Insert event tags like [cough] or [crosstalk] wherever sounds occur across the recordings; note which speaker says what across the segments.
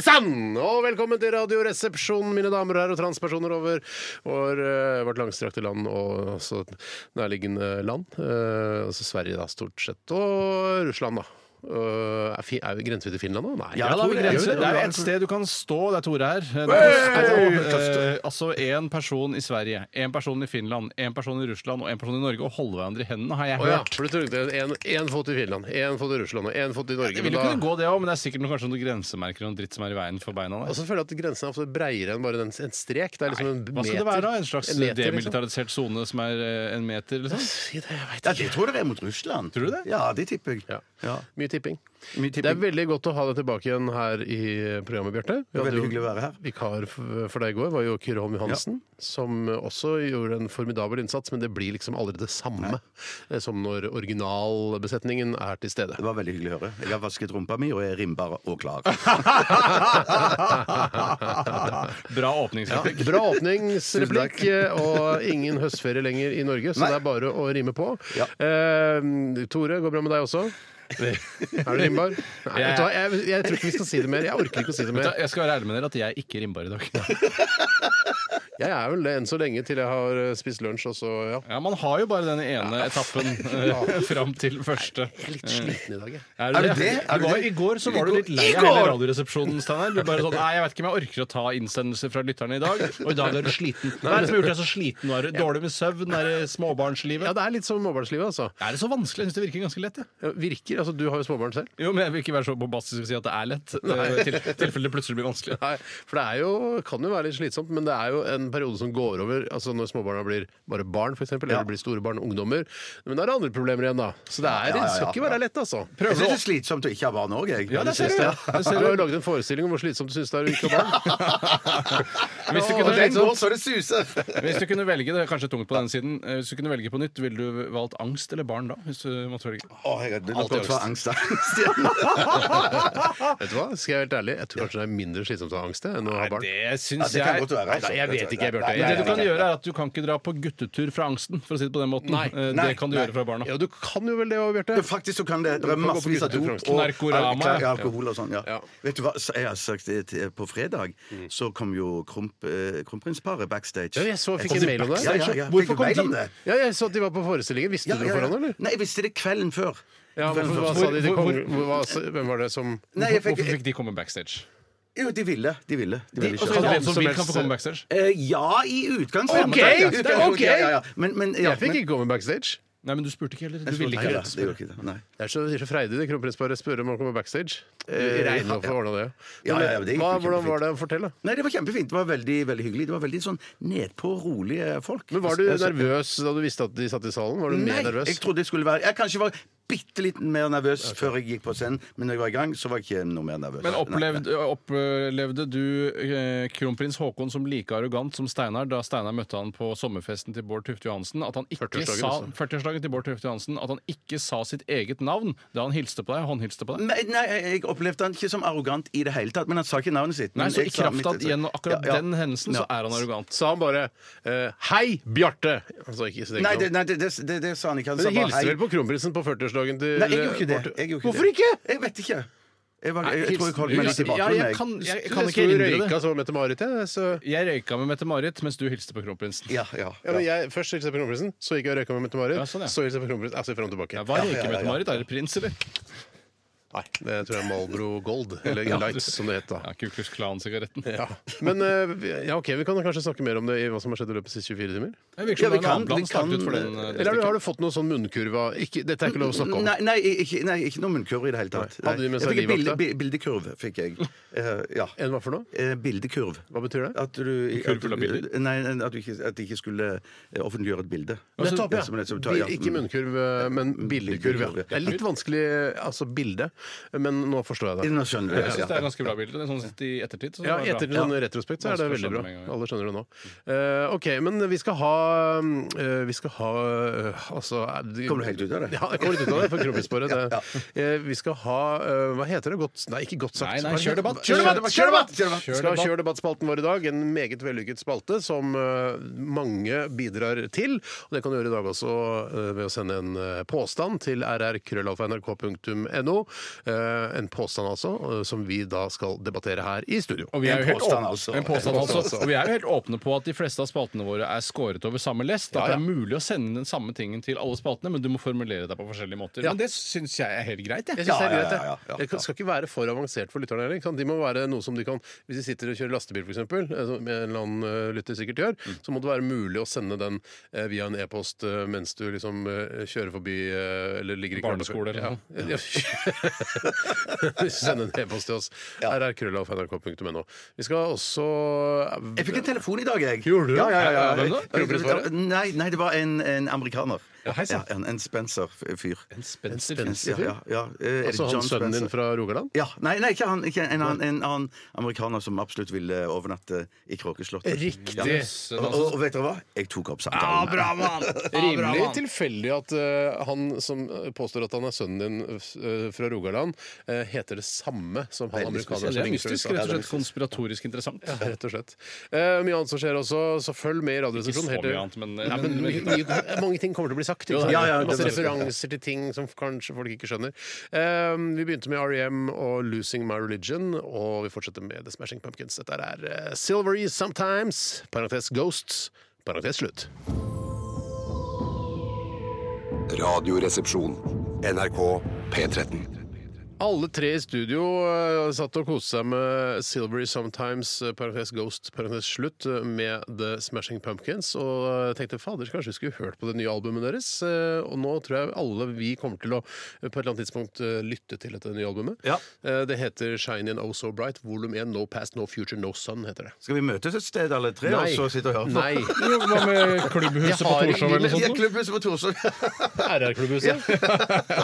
Speaker 1: Sann! Og velkommen til Radioresepsjonen, mine damer og herrer og transpersoner over vår, eh, vårt langstrakte land og også nærliggende land. Eh, altså Sverige, da, stort sett. Og Russland, da. Eh, er, fi, er vi grenser vi til Finland nå? Nei.
Speaker 2: Ja,
Speaker 1: jeg
Speaker 2: da,
Speaker 1: tror
Speaker 2: vi
Speaker 1: det.
Speaker 2: grenser.
Speaker 1: Jo,
Speaker 2: Det er
Speaker 1: jo,
Speaker 2: et sted du kan stå. Det er Tore her. Du
Speaker 1: Hey!
Speaker 2: kan stå,
Speaker 1: Tøft.
Speaker 2: eh, altså én person i Sverige, én person i Finland, én person i Russland og én person i Norge og holde hverandre i hendene, har jeg
Speaker 1: Å ja,
Speaker 2: hørt.
Speaker 1: for du trodde en, en fot i Finland, en fot i Russland og en fot i Norge.
Speaker 2: Det vil
Speaker 1: men
Speaker 2: jo
Speaker 1: da-
Speaker 2: kunne gå, det òg, men det er sikkert noe, kanskje noen grensemerker og noe dritt som er i veien for beina.
Speaker 1: Og
Speaker 2: Der.
Speaker 1: så føler jeg at grensen er ofte breiere enn bare den, en strek. Det er liksom en meter.
Speaker 2: Hva skal det være da? En slags
Speaker 1: En meter, liksom.
Speaker 2: demilitarisert sone som er eh, en meter, liksom?
Speaker 1: Si det, jeg vet
Speaker 3: Ja,
Speaker 1: ikke.
Speaker 3: det tror jeg det er mot Russland.
Speaker 2: Tror du det?
Speaker 3: Ja, det tipper jeg.
Speaker 1: Ja.
Speaker 3: Ja.
Speaker 1: [laughs] Mye tipping.
Speaker 3: Mye tipping.
Speaker 1: Det er veldig godt å ha deg tilbake igjen her i programmet, Bjarte. Vi
Speaker 3: var
Speaker 1: hadde
Speaker 3: veldig
Speaker 1: jo
Speaker 3: hyggelig å være her.
Speaker 1: Vikar f- for deg i går var jo Kyrre Holm Johansen, som også gjorde en formidabel innsats, men det blir liksom aldri det samme eh, som når originalbesetningen er til stede.
Speaker 3: Det var veldig hyggelig å høre. Jeg har vasket rumpa mi og er rimbar og klar.
Speaker 2: [laughs] Bra åpningsreplikk.
Speaker 1: Bra åpningsreplikk, eh, og ingen høstferie lenger i Norge, så
Speaker 3: Nei.
Speaker 1: det er bare å rime på.
Speaker 3: Ja.
Speaker 1: Eh, Tore, går det bra med deg også? Er du
Speaker 3: [laughs]
Speaker 1: rimbar? Nei,
Speaker 2: Jeg-
Speaker 1: vet du hva, jeg, jeg tror ikke vi skal si det mer. Jeg orker ikke å si det
Speaker 2: Vet
Speaker 1: mer.
Speaker 2: du, Jeg skal være ærlig med dere at jeg ikke rimbar i
Speaker 1: [laughs]
Speaker 2: dag.
Speaker 1: Jeg er vel det enn så lenge, til jeg har eh, spist lunsj, og så ja.
Speaker 2: Ja, Man har jo bare den ene etappen
Speaker 1: [laughs]
Speaker 2: eh, fram til første.
Speaker 1: Litt
Speaker 3: Mm.
Speaker 1: sliten i dag, jeg.
Speaker 2: Er du det?
Speaker 3: Er
Speaker 2: Du
Speaker 3: du
Speaker 2: var,
Speaker 3: det?
Speaker 2: I går så var du litt lei
Speaker 1: I
Speaker 2: av hele
Speaker 1: går!
Speaker 2: Radioresepsjonen, Steinar. Du bare sånn Nei, jeg vet ikke om jeg orker å ta innsendelser fra lytterne i dag. Og i dag er du sliten. Hva er det som har gjort deg så sliten? Var det dårlig med søvn? Er det
Speaker 1: Ja,
Speaker 2: småbarnslivet?
Speaker 1: det er litt som småbarnslivet, altså.
Speaker 2: Er det så vanskelig? Jeg syns det virker ganske lett. jeg.
Speaker 1: Ja, Virker. Altså, du har jo småbarn selv.
Speaker 2: Jo, men jeg vil ikke være så bombastisk og si at det er lett. I til, tilfelle det plutselig blir vanskelig.
Speaker 1: Nei, for det er jo, kan jo være litt slitsomt, men det er jo en periode som går over. Altså Når småbarna blir bare barn, f.eks., eller blir store barn, ungdommer. Men da er det andre problemer igjen, da. Så det, er,
Speaker 3: Ja, ja,
Speaker 1: det skal
Speaker 3: ja,
Speaker 1: ikke være lett, altså.
Speaker 3: Jeg syns det er slitsomt å ikke ha barn òg, jeg.
Speaker 2: Ja, det ser du. Det
Speaker 1: Du
Speaker 2: ser
Speaker 1: har jo
Speaker 2: du.
Speaker 1: laget en forestilling om hvor slitsomt du syns det er å ikke ha barn.
Speaker 2: Hvis du
Speaker 3: Og
Speaker 2: kunne,
Speaker 3: den
Speaker 2: liksom,
Speaker 3: går så det suser!
Speaker 2: hvis du kunne velge det er kanskje tungt på den siden eh, Hvis du kunne velge på nytt, ville du valgt angst eller barn da? Hvis du måtte velge
Speaker 3: Å, jeg hadde nok
Speaker 2: Alltid
Speaker 3: gått for [laughs] angst. angst ja.
Speaker 1: Vet du hva? Skal jeg være helt ærlig, jeg tror kanskje det er mindre slitsomt å ha angst det, enn å ha barn.
Speaker 2: Det
Speaker 3: Ja,
Speaker 2: syns
Speaker 3: det kan
Speaker 2: jeg
Speaker 3: godt være. altså.
Speaker 1: Nei, jeg vet ikke, jeg, Bjørte.
Speaker 3: Nei,
Speaker 2: Men
Speaker 3: nei,
Speaker 2: det du kan
Speaker 3: nei, nei.
Speaker 2: gjøre er at du kan ikke dra på guttetur fra angsten, for å si det på den måten.
Speaker 1: Nei.
Speaker 2: Eh,
Speaker 3: Nei.
Speaker 2: det kan du
Speaker 3: Nei.
Speaker 2: gjøre fra barna.
Speaker 1: Ja, du kan jo vel det òg, Bjarte.
Speaker 3: Ja, Faktisk så kan det Det er
Speaker 1: gå på
Speaker 3: massevis av dop
Speaker 1: guttetur,
Speaker 3: og
Speaker 2: Knarkorama,
Speaker 3: alk-
Speaker 2: ja.
Speaker 3: alkohol og sånn. Ja.
Speaker 1: Ja. Mm.
Speaker 3: Vet du hva, så jeg har sagt det til- på fredag, så kom jo Krump, eh, kronprinsparet backstage.
Speaker 1: Ja, jeg så- fikk en mail om det.
Speaker 3: Ja, ja, ja.
Speaker 1: Hvorfor
Speaker 3: Fikk
Speaker 1: kom
Speaker 3: mail om
Speaker 1: de?
Speaker 3: det?
Speaker 1: Ja, jeg så at de var på forestillingen. Visste
Speaker 3: Ja,
Speaker 1: du
Speaker 3: ja,
Speaker 1: det
Speaker 3: ja.
Speaker 1: foran, eller?
Speaker 3: Nei, jeg visste det kvelden før.
Speaker 1: Ja, men
Speaker 3: Kvelden
Speaker 1: hva
Speaker 3: før.
Speaker 1: sa de? de
Speaker 2: hvor-
Speaker 1: kom, hva, hvem var det som
Speaker 3: Nei, jeg fikk,
Speaker 2: Hvorfor fikk de komme backstage?
Speaker 3: jo, de ville. De ville, de ville
Speaker 2: Altså,
Speaker 3: kjøre.
Speaker 1: hvem
Speaker 2: alle som
Speaker 1: som
Speaker 2: vil
Speaker 1: helst-
Speaker 2: kan få komme backstage?
Speaker 3: Eh, ja, i utgangspunktet.
Speaker 1: Ok,
Speaker 3: Ja, i
Speaker 1: det er
Speaker 3: utgangspunktet,
Speaker 1: ok.
Speaker 3: Ja, ja, ja. Men, men, ja,
Speaker 1: Jeg fikk ikke komme backstage.
Speaker 2: Nei, men du spurte ikke heller. Du
Speaker 3: men,
Speaker 2: ville
Speaker 3: Nei,
Speaker 2: ikke
Speaker 3: da,
Speaker 2: heller.
Speaker 3: det gjorde ikke det. Nei.
Speaker 1: Det er så, det er så freidig det kronprinsparet spør om å komme backstage. Du
Speaker 3: Eh,
Speaker 1: regner med å få
Speaker 3: ja.
Speaker 1: ordna det.
Speaker 3: Ja, ja, ja, det gikk
Speaker 1: hva,
Speaker 3: jo
Speaker 1: hvordan
Speaker 3: kjempefint.
Speaker 1: var det? Fortell, da.
Speaker 3: Nei, det var kjempefint. Det var veldig, veldig hyggelig. Det var veldig sånn nedpå rolige folk.
Speaker 1: Men Var du
Speaker 3: Altså,
Speaker 1: nervøs da du visste at de satt i salen? Var du
Speaker 3: Nei,
Speaker 1: mer nervøs?
Speaker 3: jeg trodde jeg skulle være Jeg kanskje var bitte litt mer nervøs før jeg gikk på scenen, men når jeg var i gang, så var jeg ikke noe mer nervøs.
Speaker 2: Men
Speaker 3: Nei.
Speaker 2: opplevde, opplevde du eh, kronprins Haakon som like arrogant som Steinar da Steinar møtte han på sommerfesten til Bård Tufte Johansen? At han ikke
Speaker 1: 40-årsdagen
Speaker 2: sa
Speaker 1: også.
Speaker 3: liksom.
Speaker 2: 40-årsdagen til Bård Tufte Johansen At han ikke sa sitt eget navn da han hilste på deg? Håndhilste på deg?
Speaker 3: Nei, nei, jeg opplevde han ikke som arrogant i det hele tatt, men han sa ikke navnet sitt.
Speaker 2: Nei,
Speaker 3: Men
Speaker 2: så i
Speaker 3: jeg sa mitt-
Speaker 2: kraft av at gjennom akkurat
Speaker 3: Ja, ja.
Speaker 2: den hendelsen så er han arrogant.
Speaker 1: Sa han bare eh, 'Hei, Bjarte'? Han sa ikke sitt eget
Speaker 3: Nei, det,
Speaker 1: navn.
Speaker 3: nei det, det, det, det sa han ikke. Han
Speaker 1: Men
Speaker 3: sa
Speaker 1: de
Speaker 3: bare
Speaker 1: hilste
Speaker 3: hei.
Speaker 1: vel på kronprinsen på 40-årsdagen til eh,
Speaker 3: Nei, jeg gjorde ikke det. Jeg gjorde ikke
Speaker 1: Hvorfor
Speaker 3: det.
Speaker 1: ikke?
Speaker 3: Jeg vet ikke. Jeg, var, jeg, jeg,
Speaker 1: Nei,
Speaker 3: tror jeg holdt meg litt
Speaker 2: hilsen-
Speaker 3: tilbake.
Speaker 2: Ja, jeg
Speaker 3: med meg.
Speaker 2: kan- jeg- kan ikke
Speaker 1: sto og
Speaker 2: hindre det.
Speaker 1: røyka så Mette-Marit, jeg. Så
Speaker 2: Jeg røyka med Mette-Marit mens du hilste på kronprinsen.
Speaker 3: Ja, ja,
Speaker 1: ja, men jeg, først hilste jeg på kronprinsen, så gikk jeg og røyka med Mette-Marit.
Speaker 2: Ja, sånn, ja.
Speaker 1: Så hilste jeg på kronprinsen. Altså fram og tilbake.
Speaker 2: Ja, hva
Speaker 3: ja,
Speaker 2: røyker
Speaker 3: ja, ja.
Speaker 2: Mette-Marit? Er det prins, eller?
Speaker 1: Nei, det tror jeg er Marlboro Gold. Eller Lights, som det het da.
Speaker 2: Ja, Kuklus Klan-sigaretten.
Speaker 1: Ja. Men eh, ja, ok, vi kan kanskje snakke mer om det i hva som har skjedd i løpet av de siste 24 timer?
Speaker 2: Det virker som
Speaker 3: Ja,
Speaker 2: det er en
Speaker 3: vi kan-
Speaker 2: annen
Speaker 3: vi
Speaker 2: plan
Speaker 3: kan-
Speaker 2: startet for den. eh,
Speaker 3: Eller
Speaker 2: det
Speaker 1: Eller har du,
Speaker 2: stykket.
Speaker 1: har du fått noe sånn munnkurva ikke, Dette er ikke lov å snakke om.
Speaker 3: Nei, nei, ikke, nei, ikke noe munnkurv i det hele tatt.
Speaker 1: Nei. Hadde de med seg
Speaker 3: jeg fikk en bilde,
Speaker 1: livvakta?
Speaker 3: bi- bildekurv, fikk jeg. Eh, ja.
Speaker 1: En hva for noe?
Speaker 3: Eh, bildekurv.
Speaker 1: Hva betyr det?
Speaker 3: At du,
Speaker 2: kurv full av bilder?
Speaker 3: Nei, nei, at du ikke, at de ikke skulle eh, offentliggjøre et bilde. Altså,
Speaker 1: Nettopp,
Speaker 3: Som- liksom som- som-
Speaker 1: eh, ja. Ikke munnkurv, men bildekurv. Ja. Det er litt vanskelig altså bilde. men nå forstår jeg det.
Speaker 3: Nå skjønner du
Speaker 2: Jeg syns
Speaker 3: det. Ja.
Speaker 2: det er ganske bra bilde. Sånn sett i ettertid. Så
Speaker 1: Ja,
Speaker 2: det var
Speaker 1: etter
Speaker 2: bra.
Speaker 1: sånn retrospekt så er
Speaker 2: Vanskelig å
Speaker 1: det veldig
Speaker 2: skjønne
Speaker 1: bra.
Speaker 2: med en gang, ja.
Speaker 1: Alle skjønner det nå. Eh, ok, men vi skal ha eh, Vi skal ha eh, Altså eh, de-
Speaker 3: Kommer du helt ut av det?
Speaker 1: Ja, jeg kommer litt ut av det. For
Speaker 3: [laughs]
Speaker 1: kroppssporet. Det, Eh, vi godt ha eh, Hva heter det? Godt Nei, ikke godt sagt.
Speaker 2: Nei, nei,
Speaker 1: Hva
Speaker 2: kjør
Speaker 1: heter-
Speaker 2: debatt!
Speaker 1: Kjør debatt! Kjør debatt!
Speaker 3: Kjør debatt!
Speaker 1: Vi skal ha Kjør debatt-spalten vår i dag. En meget vellykket spalte som eh, mange bidrar til. Og det kan du gjøre i dag også eh, ved å sende en eh, påstand til rrkrøllalfa.nrk.no. Eh, en påstand altså, eh, som vi da skal debattere her i studio.
Speaker 2: Og vi er
Speaker 3: En
Speaker 2: jo helt
Speaker 3: påstand,
Speaker 2: åpne-
Speaker 3: altså.
Speaker 2: En påstand
Speaker 3: En
Speaker 2: altså. Og vi er jo helt åpne på at de fleste av spaltene våre er skåret over samme lest. At
Speaker 1: Ja, ja.
Speaker 2: det er mulig å sende inn den samme tingen til alle spaltene, men du må formulere deg på forskjellige måter. Men det syns jeg er helt greit.
Speaker 1: Jeg
Speaker 2: Jeg.
Speaker 1: synes det er
Speaker 3: Ja,
Speaker 1: greit,
Speaker 3: ja, ja,
Speaker 1: jeg.
Speaker 3: ja, ja.
Speaker 1: Det kan- skal ikke være for avansert for lytterne heller. ikke sant? De må være noe som de kan Hvis de sitter og kjører lastebil, f.eks., som en eller annen eh, lytter sikkert gjør,
Speaker 3: Mm.
Speaker 1: så må det være mulig å sende den eh, via en e-post eh, mens du liksom eh, kjører forbi eh, eller ligger i
Speaker 2: Barneskole eller
Speaker 1: ja.
Speaker 2: noe.
Speaker 1: Ja. [laughs] Send en e-post til oss. rrkrøllalfa.nrk.no. Vi skal også
Speaker 3: Jeg fikk en telefon i dag, jeg.
Speaker 1: Gjorde du?
Speaker 3: Ja, ja, ja, ja.
Speaker 2: Hvem da?
Speaker 1: Gjorde du svaret?
Speaker 3: Nei, nei, det var en, en amerikaner.
Speaker 2: Ja, hei sann.
Speaker 3: en, en Spencer-fyr.
Speaker 2: Spencer
Speaker 1: En
Speaker 2: finnes.
Speaker 1: Spencer.
Speaker 3: Ja, ja, ja. Eh, er det
Speaker 1: Altså han
Speaker 3: John
Speaker 1: sønnen din
Speaker 3: Spencer?
Speaker 1: fra Rogaland?
Speaker 3: Ja, nei, nei ikke han. Ikke en, annen, en annen amerikaner som absolutt ville overnatte i Kråkeslottet.
Speaker 1: Riktig. altså.
Speaker 2: Yes.
Speaker 3: Og, og, og vet dere hva? Jeg tok opp samtalen.
Speaker 1: Rimelig tilfeldig at eh, han som påstår at han er sønnen din eh, fra Rogaland, eh, heter det samme som han
Speaker 3: Veldig
Speaker 1: amerikaneren
Speaker 2: Det
Speaker 1: som
Speaker 3: spesielt.
Speaker 2: er
Speaker 1: ringer fra
Speaker 2: mystisk,
Speaker 1: USA.
Speaker 2: rett og slett konspiratorisk interessant.
Speaker 1: Ja, Rett og slett. Eh, mye annet som skjer også, så følg med i Radioresepsjonen.
Speaker 2: så
Speaker 1: helt til-
Speaker 2: mye annet, men-
Speaker 1: Nei, sånn men mye, mye, mange ting kommer til å bli sagt. Ikke? sant?
Speaker 3: ja, ja, det-
Speaker 1: Masse referanser til ting som kanskje folk ikke skjønner. Eh, vi begynte med R.E.M. og 'Losing My Religion', og vi fortsetter med The Smashing Pumpkins. Dette er eh, 'Silvery Sometimes', parentes Ghosts, parentes slutt.
Speaker 4: Radioresepsjon. NRK P13.
Speaker 1: Alle tre i studio eh, satt og koste seg med 'Silvery Sometimes', eh, parentes Ghost, parentes slutt, eh, med The Smashing Pumpkins. Og eh, tenkte fader, kanskje vi skulle hørt på det nye albumet deres. Eh, Og nå tror jeg alle vi kommer til å eh, på et eller annet tidspunkt eh, lytte til dette nye albumet.
Speaker 3: Ja.
Speaker 1: Eh, Det heter 'Shiny and Oh So Bright', volum 1, 'No Past, No Future, No Sun'. heter det.
Speaker 3: Skal vi møtes et sted, alle tre, og så sitte og høre på? [laughs]
Speaker 1: Nei.
Speaker 2: Jo, Hva med klubbhuset
Speaker 1: Jeg
Speaker 2: på
Speaker 1: har
Speaker 2: Torshov eller noe
Speaker 3: Ja,
Speaker 2: sånt?
Speaker 3: klubben som på Torshov.
Speaker 1: RR-klubbhuset.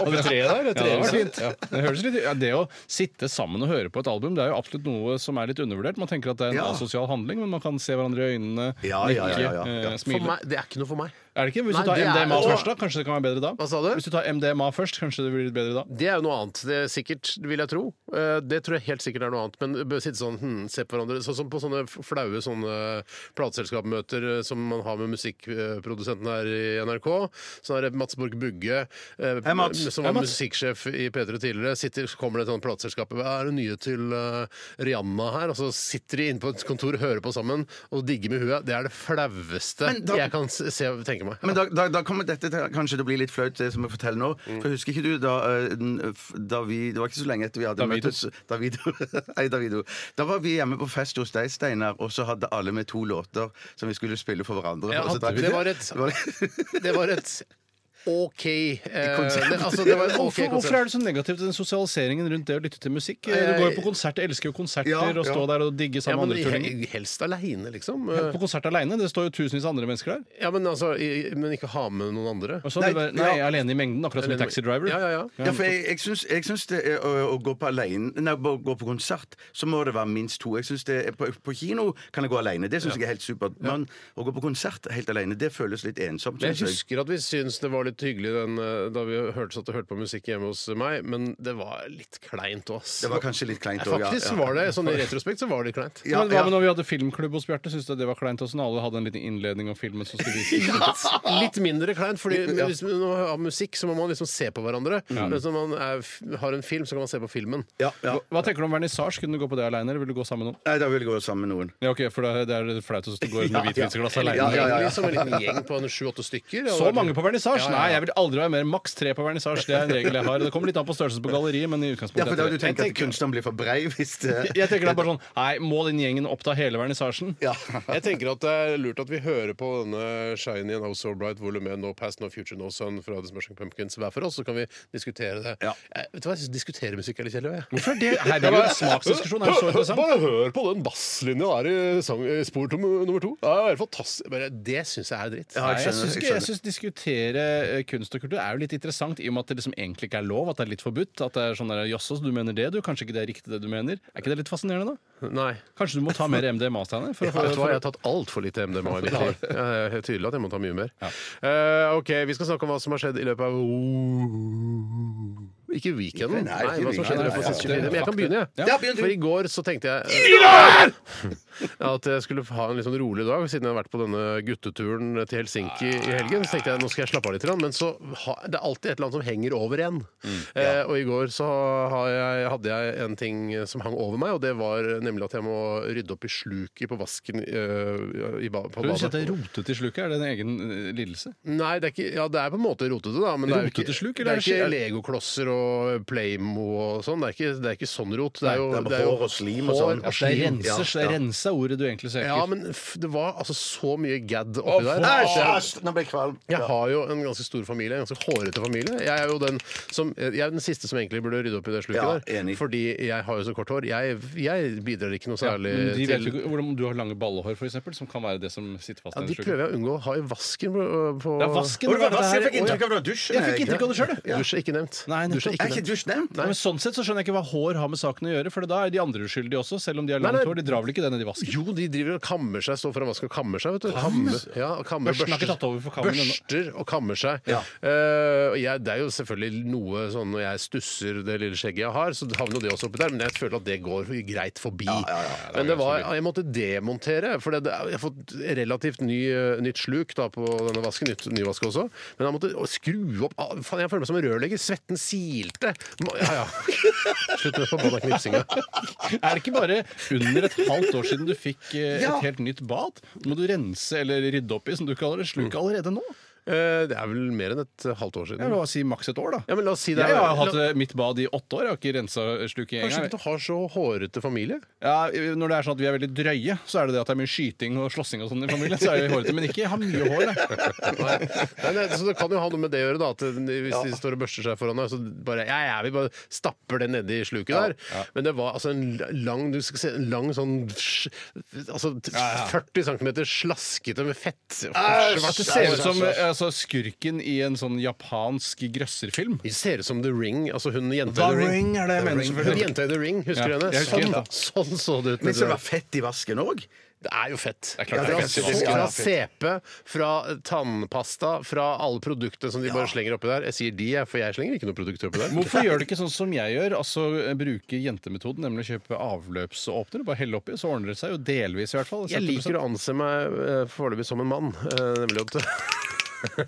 Speaker 1: Oppe i treet der.
Speaker 2: Ja, det var
Speaker 1: trehuset.
Speaker 2: fint. Det, høres litt, ja, det å sitte sammen og høre på et album Det er jo absolutt noe som er litt undervurdert. Man tenker at det er en
Speaker 3: Ja.
Speaker 2: asosial handling, men man kan se hverandre i øynene,
Speaker 3: Ja, ja, ja, ja, ja.
Speaker 2: nikke, eh,
Speaker 1: For
Speaker 2: smile.
Speaker 1: meg, det er ikke noe for meg.
Speaker 2: Er det ikke? Hvis
Speaker 1: Nei,
Speaker 2: du tar
Speaker 1: det er-
Speaker 2: MDMA
Speaker 1: Åh.
Speaker 2: først, da, kanskje det kan være bedre da?
Speaker 1: Hva sa du?
Speaker 2: Hvis du tar MDMA først, kanskje det blir litt bedre da?
Speaker 1: Det er jo noe annet, det er sikkert, vil jeg tro. Eh, Det tror jeg helt sikkert er noe annet. Men bør sitte sånn, hm, se på hverandre. Sånn som på sånne f- flaue sånne plateselskapmøter eh, som man har med musikkprodusenten her i NRK. Så er det Mats Borg Bugge, eh,
Speaker 3: Hei, Mats.
Speaker 1: som
Speaker 2: Hei,
Speaker 1: var
Speaker 2: Mats.
Speaker 1: musikksjef i P3 tidligere, sitter, så kommer det et sånt plateselskap Hva er det nye til eh, Rihanna her? Og så sitter de inne på et kontor og hører på sammen og digger med huet. Det er det flaueste
Speaker 3: Men da-
Speaker 1: jeg kan se, se- tenke meg.
Speaker 3: [laughs] Men da, da, da kommer dette til, kanskje til å bli litt flaut, det som jeg forteller nå.
Speaker 1: Mm.
Speaker 3: For husker ikke du da, eh, n- f- da vi Det var ikke så lenge etter vi hadde
Speaker 2: Davido.
Speaker 3: møttes Davido. [laughs] Hei, Davido. Da var vi hjemme på fest hos deg, Steinar, og så hadde alle med to låter som vi skulle spille for hverandre.
Speaker 1: Ja,
Speaker 3: Og så
Speaker 1: hadde vi
Speaker 3: drakk-
Speaker 1: det? var
Speaker 3: [laughs]
Speaker 1: et- Det var et OK eh,
Speaker 3: konsept.
Speaker 1: det, altså, det var et OK
Speaker 2: Hvorfor, hvorfor
Speaker 1: konsept.
Speaker 2: er det så negativt den sosialiseringen rundt det å lytte til musikk? Du
Speaker 1: Jeg-
Speaker 2: går jo på konsert, jeg elsker jo konserter,
Speaker 3: Ja,
Speaker 2: og stå
Speaker 3: ja.
Speaker 2: der og digge
Speaker 1: Ja,
Speaker 2: sammen med
Speaker 1: men
Speaker 2: andre tullinger.
Speaker 1: he- helst aleine, liksom.
Speaker 2: På konsert aleine, det står jo tusenvis av andre mennesker der.
Speaker 1: Ja, men, altså, i, men ikke ha med noen andre.
Speaker 2: Og så er det
Speaker 3: Nei,
Speaker 2: bare, nei,
Speaker 3: ja.
Speaker 2: alene i mengden, akkurat som i Taxi Driver.
Speaker 1: Ja, ja, ja.
Speaker 3: Ja, for jeg, jeg, syns, jeg syns det er å, å gå på alene, nei, å gå på konsert, så må det være minst to. Jeg syns det er, på, på kino kan jeg gå alene, det syns jeg er helt supert. Men å gå på konsert helt alene, det føles litt ensomt.
Speaker 1: Men
Speaker 3: synes
Speaker 1: jeg husker at vi syntes det var litt hyggelig den, eh, da vi hørte, satt og hørte på musikk hjemme hos meg, men det var litt kleint òg.
Speaker 3: Det var kanskje litt kleint også, ja,
Speaker 1: Faktisk
Speaker 3: ja.
Speaker 1: var det sånn i retrospekt så var det litt kleint.
Speaker 3: Ja,
Speaker 2: men hva med når vi hadde filmklubb hos Bjarte? Syns du det var kleint også? Når alle hadde en liten innledning om filmen som skulle
Speaker 3: [laughs]
Speaker 2: vises?
Speaker 1: [laughs] Litt mindre kleint, fordi hvis man har musikk, så må man liksom se på hverandre.
Speaker 2: Mm.
Speaker 1: Men Hvis man er, har en film, så kan man se på filmen.
Speaker 3: Ja, ja.
Speaker 2: Hva tenker du om vernissasje? Kunne du gå på det aleine, eller vil du gå sammen med noen?
Speaker 3: Nei, da vil jeg gå sammen med noen.
Speaker 2: Ja, ok, for det er- det er flaut å gå ut med
Speaker 3: [laughs] Ja, ja.
Speaker 2: hvitvinsglass
Speaker 3: Ja,
Speaker 2: aleine.
Speaker 3: ja, ja.
Speaker 1: Egentlig som en liten gjeng på en sju-åtte
Speaker 2: [laughs]
Speaker 1: stykker. Det
Speaker 2: Så
Speaker 1: hadde vært-
Speaker 2: mange på vernissasje?
Speaker 1: Ja, ja, ja.
Speaker 2: Nei, jeg vil aldri være mer enn maks tre på vernissasje. Det er en regel jeg har. Det kommer litt an på størrelsen på galleriet, men i
Speaker 3: Ja,
Speaker 2: utgangspunktet
Speaker 3: for da
Speaker 2: er
Speaker 3: du
Speaker 2: det tre.
Speaker 3: tenker at kunstneren blir for brei hvis det
Speaker 2: Jeg tenker da bare sånn Nei, må den gjengen oppta hele vernissasjen?
Speaker 3: Ja.
Speaker 1: [laughs] Jeg tenker at det er lurt at vi hører på denne Shiny and Oh So Bright volum 1, No Past, No Future, No Sun fra The Smashing Pumpkins hver for oss, så kan vi diskutere det.
Speaker 3: Ja.
Speaker 1: Eh, vet du hva, jeg synes diskutere musikk er litt kjedelig, jeg.
Speaker 2: Hvorfor er det? Her er det jo en smaksdiskusjon. Er det så interessant?
Speaker 1: Bare hør på den basslinja der i sang- i spor tom- nummer to. Det er fantastisk. Bare, det syns jeg er dritt.
Speaker 3: Ja,
Speaker 2: Nei, jeg
Speaker 3: skjønner,
Speaker 2: syns
Speaker 3: jeg
Speaker 2: ikke- jeg syns diskutere eh, kunst og kultur er jo litt interessant, i og med at det liksom egentlig ikke er lov, at det er litt forbudt. At det er sånn der, Jaså, så du mener det, du? Kanskje ikke det er riktig det du mener? Er ikke det litt fascinerende, da?
Speaker 1: Nei.
Speaker 2: Kanskje du må ta mer MDMA-steiner? For, å
Speaker 1: Ja,
Speaker 2: få-
Speaker 1: vet du hva?
Speaker 2: for,
Speaker 1: Jeg har tatt altfor lite MDMA i mitt liv. Ja, Det er tydelig at jeg må ta mye mer. Eh, ok, Vi skal snakke om hva som har skjedd i løpet av Ikke weekenden.
Speaker 3: Nei, ikke
Speaker 1: hva som har skjedd i løpet av siste
Speaker 2: weekenden.
Speaker 1: 24 Men jeg kan begynne, jeg.
Speaker 2: Ja,
Speaker 3: begynn du.
Speaker 1: For i går så tenkte jeg Ja, At jeg skulle ha en litt sånn rolig dag, siden jeg har vært på denne gutteturen til Helsinki i helgen. Så tenkte jeg nå skal jeg slappe av litt, grann, men så ha, det er alltid et eller annet som henger over en. eh, og i går så har jeg, hadde jeg en ting som hang over meg, og det var nemlig at jeg må rydde opp i sluket på vasken eh, i ba, på
Speaker 2: du sier at
Speaker 1: badet.
Speaker 2: det er rotete i sluket? Er det en egen eh, lidelse?
Speaker 1: Nei, det er, ikke, ja, det er på en måte rotete, da. Men det er jo ikke,
Speaker 2: Rotete sluk,
Speaker 1: det
Speaker 2: eller
Speaker 1: er ikke
Speaker 2: er det-
Speaker 1: legoklosser og Playmo og sånn. Det, er ikke- det er ikke sånn rot. Det er jo,
Speaker 3: Nei, det er
Speaker 1: jo
Speaker 3: hår og slim og sånn.
Speaker 2: At det er renser, så det er
Speaker 3: Ja, ja.
Speaker 2: rensa ordet du egentlig søker?
Speaker 1: Ja, men f det var altså så mye gadd oppi der.
Speaker 3: Æsj! æsj, Nå ble jeg kvalm.
Speaker 1: Jeg har jo en ganske stor familie, en ganske hårete familie. Jeg er jo den, som, jeg er den siste som egentlig burde rydde opp i det sluket
Speaker 3: Ja,
Speaker 1: der.
Speaker 3: enig.
Speaker 1: Fordi jeg har jo så kort hår. Jeg, jeg bidrar ikke noe særlig
Speaker 2: Men de vet jo
Speaker 1: til
Speaker 2: ikke hvordan om du har lange ballehår, f.eks., som kan være det som sitter fast
Speaker 1: ja,
Speaker 2: i
Speaker 1: De
Speaker 2: den sluket.
Speaker 1: prøver jeg å unngå å ha i vasken. På, på,
Speaker 2: Det er vasken!
Speaker 3: Og det var
Speaker 2: dette
Speaker 3: vask,
Speaker 2: her-
Speaker 3: jeg fikk inntrykk av det var dusjen.
Speaker 2: Jeg fikk inntrykk av det sjøl,
Speaker 1: Ja. Dusj er ikke nevnt.
Speaker 2: Nei, nettopp.
Speaker 1: Dusj er
Speaker 3: Er
Speaker 1: ikke
Speaker 3: ikke
Speaker 1: nevnt.
Speaker 3: dusj nevnt?
Speaker 2: Ja, men sånn sett så skjønner jeg ikke hva hår har med saken å gjøre, for da er de andre uskyldige også, selv om de har
Speaker 1: Nei,
Speaker 2: langt
Speaker 1: nei.
Speaker 2: hår. De drar vel ikke det ned i vasken?
Speaker 1: Jo, de driver og kammer seg, står foran vasken og kammer seg. vet du. Kamme, ja, og kammer,
Speaker 2: Børsten har ikke tatt over for kammen ennå.
Speaker 1: Børster og kammer seg.
Speaker 3: Ja.
Speaker 1: Eh, og jeg, det er jo selvfølgelig noe sånn når jeg stusser det lille skjegget jeg har, så havner jo det også oppi der, men jeg føler at det går greit forbi. men det var, jeg måtte demontere, for det, det, jeg har fått relativt ny, eh, nytt sluk da, på denne vasken, nytt, ny vask også, men jeg måtte å, skru opp ah, Faen, jeg føler meg som en rørlegger. Svetten silte. Ma- Ja, ja. [laughs] Slutt med forbanna knipsinga.
Speaker 2: [laughs] Er det ikke bare under et halvt år siden du fikk eh,
Speaker 3: Ja.
Speaker 2: et helt nytt bad? Må du rense eller rydde opp i, som du kaller det, sluket
Speaker 1: Mm.
Speaker 2: allerede nå?
Speaker 1: Eh, Det er vel mer enn et eh, halvt år
Speaker 2: Ja,
Speaker 1: siden.
Speaker 2: la oss si maks et år, da.
Speaker 1: Ja, men la oss si det.
Speaker 2: jeg har
Speaker 1: La-
Speaker 2: hatt eh, mitt bad i åtte år, jeg har ikke eh, rensa sluket
Speaker 1: Kanskje
Speaker 2: engang.
Speaker 1: ikke du har så hårete familie?
Speaker 2: Ja, når det er sånn at vi er veldig drøye, så er det det at det er mye skyting og slåssing og sånn i familien. Så er vi hårete, men ikke jeg har mye hår. Jeg.
Speaker 1: Nei. [laughs] Nei, nei, så det kan jo ha noe med det å gjøre, da. At hvis de står og børster seg foran deg, så bare ja, ja, vi bare stapper det nedi sluket der. Men det var altså en lang du skal se, en lang sånn sj- altså, t- 40 cm slaskete med fett.
Speaker 2: Det ser ut som eh, altså, skurken i en sånn japansk grøsserfilm.
Speaker 1: Det ser ut som The Ring. Altså hun jenta
Speaker 2: The
Speaker 1: i The Ring.
Speaker 2: Ring er det jeg
Speaker 1: The
Speaker 2: mener,
Speaker 1: Ring.
Speaker 2: selvfølgelig.
Speaker 1: Hun jenta i The Ring, husker
Speaker 2: Ja,
Speaker 1: du henne?
Speaker 2: jeg husker
Speaker 1: Sånn,
Speaker 2: henne.
Speaker 1: sånn så det ut.
Speaker 3: Men så det
Speaker 1: nedi
Speaker 3: var fett i vasken òg?
Speaker 1: Det er jo fett.
Speaker 2: er klart det er
Speaker 1: Fra
Speaker 2: fett i
Speaker 1: sukker,
Speaker 2: vasken.
Speaker 1: Fra
Speaker 3: Ja,
Speaker 1: CP, fra tannpasta, fra alle produktene som de bare slenger oppi der. Jeg sier de, jeg, for jeg slenger ikke noe produkt oppi der.
Speaker 2: Hvorfor gjør du ikke sånn som jeg gjør? Altså eh, Bruke jentemetoden, nemlig å kjøpe avløpsåpner og bare helle oppi, så ordner det seg jo delvis, i hvert fall.
Speaker 1: Jeg liker å anse meg eh, foreløpig som en mann. eh, Nemlig at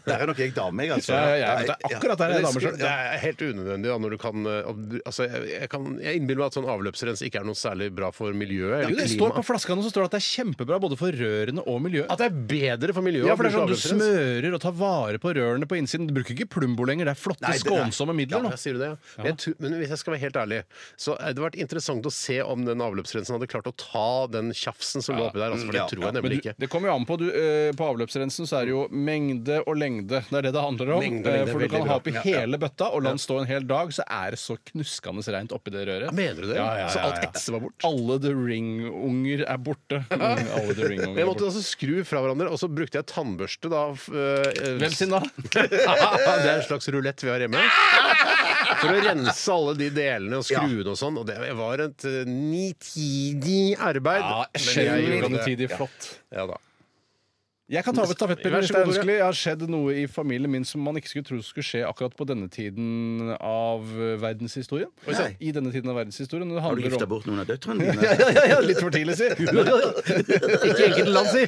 Speaker 3: Der er nok jeg dame, jeg, altså.
Speaker 2: Ja, ja, ja, det er [laughs] akkurat der jeg er dame
Speaker 1: Det
Speaker 2: selv.
Speaker 1: er- det er helt unødvendig da, når du kan eh, ob- altså, jeg, jeg, kan, jeg innbiller meg at sånn avløpsrens ikke er noe særlig bra for miljøet.
Speaker 2: Jo,
Speaker 1: Eller
Speaker 2: det står på flaskene så står det at det er kjempebra både for rørene og miljøet.
Speaker 1: At det er bedre for miljøet
Speaker 2: Ja, for det er
Speaker 1: å
Speaker 2: sånn Du
Speaker 1: bruke avløpsrens.
Speaker 2: smører og tar vare på rørene på innsiden. Du bruker ikke Plumbo lenger. Det er flotte,
Speaker 3: Nei, det er-
Speaker 2: skånsomme midler.
Speaker 1: Ja,
Speaker 2: nå.
Speaker 1: sier du det, ja. Men, jeg tror- men hvis jeg skal være helt ærlig, så hadde det vært interessant å se om den avløpsrensen hadde klart å ta den tjafsen som lå oppi der. Altså, for det
Speaker 3: Ja,
Speaker 1: tror jeg
Speaker 2: Men
Speaker 1: nemlig
Speaker 2: du,
Speaker 1: ikke.
Speaker 2: det kommer jo an på. Du, eh, på avløpsrensen så er det jo mengde og lengde. Det er det det handler om.
Speaker 1: Mengde og lengde
Speaker 2: Eh,
Speaker 1: er
Speaker 2: For du
Speaker 1: veldig
Speaker 2: kan
Speaker 1: bra.
Speaker 2: ha oppi hele bøtta og la den stå en hel dag, så er det så knuskende reint oppi det røret.
Speaker 1: Mener du det?
Speaker 2: Ja, ja, ja,
Speaker 1: Så alt
Speaker 2: ja.
Speaker 1: etset var bort?
Speaker 2: Alle The Ring-unger er
Speaker 1: [laughs]
Speaker 2: borte. Mm, alle The Ring-unger
Speaker 1: Men jeg
Speaker 2: er
Speaker 1: måtte
Speaker 2: borte.
Speaker 1: altså skru fra hverandre, og så brukte jeg tannbørste da. f- øh,
Speaker 2: Hvem sin da?
Speaker 1: [laughs] det er en slags rulett vi har hjemme. For å rense alle de delene og skruene og sånn. Og det var et eh, nitidig arbeid.
Speaker 2: Ja,
Speaker 1: Men jeg
Speaker 2: skjønner
Speaker 1: gjorde
Speaker 2: du
Speaker 1: det.
Speaker 2: tidig flott.
Speaker 1: Ja da.
Speaker 2: Jeg kan ta over stafettpinnen
Speaker 1: Vær
Speaker 2: hvis
Speaker 1: så
Speaker 2: det er
Speaker 1: god, Tore.
Speaker 2: ønskelig. Jeg har skjedd noe i familien min som man ikke skulle tro skulle skje akkurat på denne tiden av eh, verdenshistorien.
Speaker 3: sann.
Speaker 2: I denne tiden av verdenshistorien. og Det
Speaker 3: Har du
Speaker 2: handler
Speaker 3: gifta
Speaker 2: om
Speaker 3: bort noen av døtrene dine?
Speaker 2: [laughs] ja, ja, ja, litt for tidlig, si.
Speaker 1: Ikke enkelte land, [laughs] si!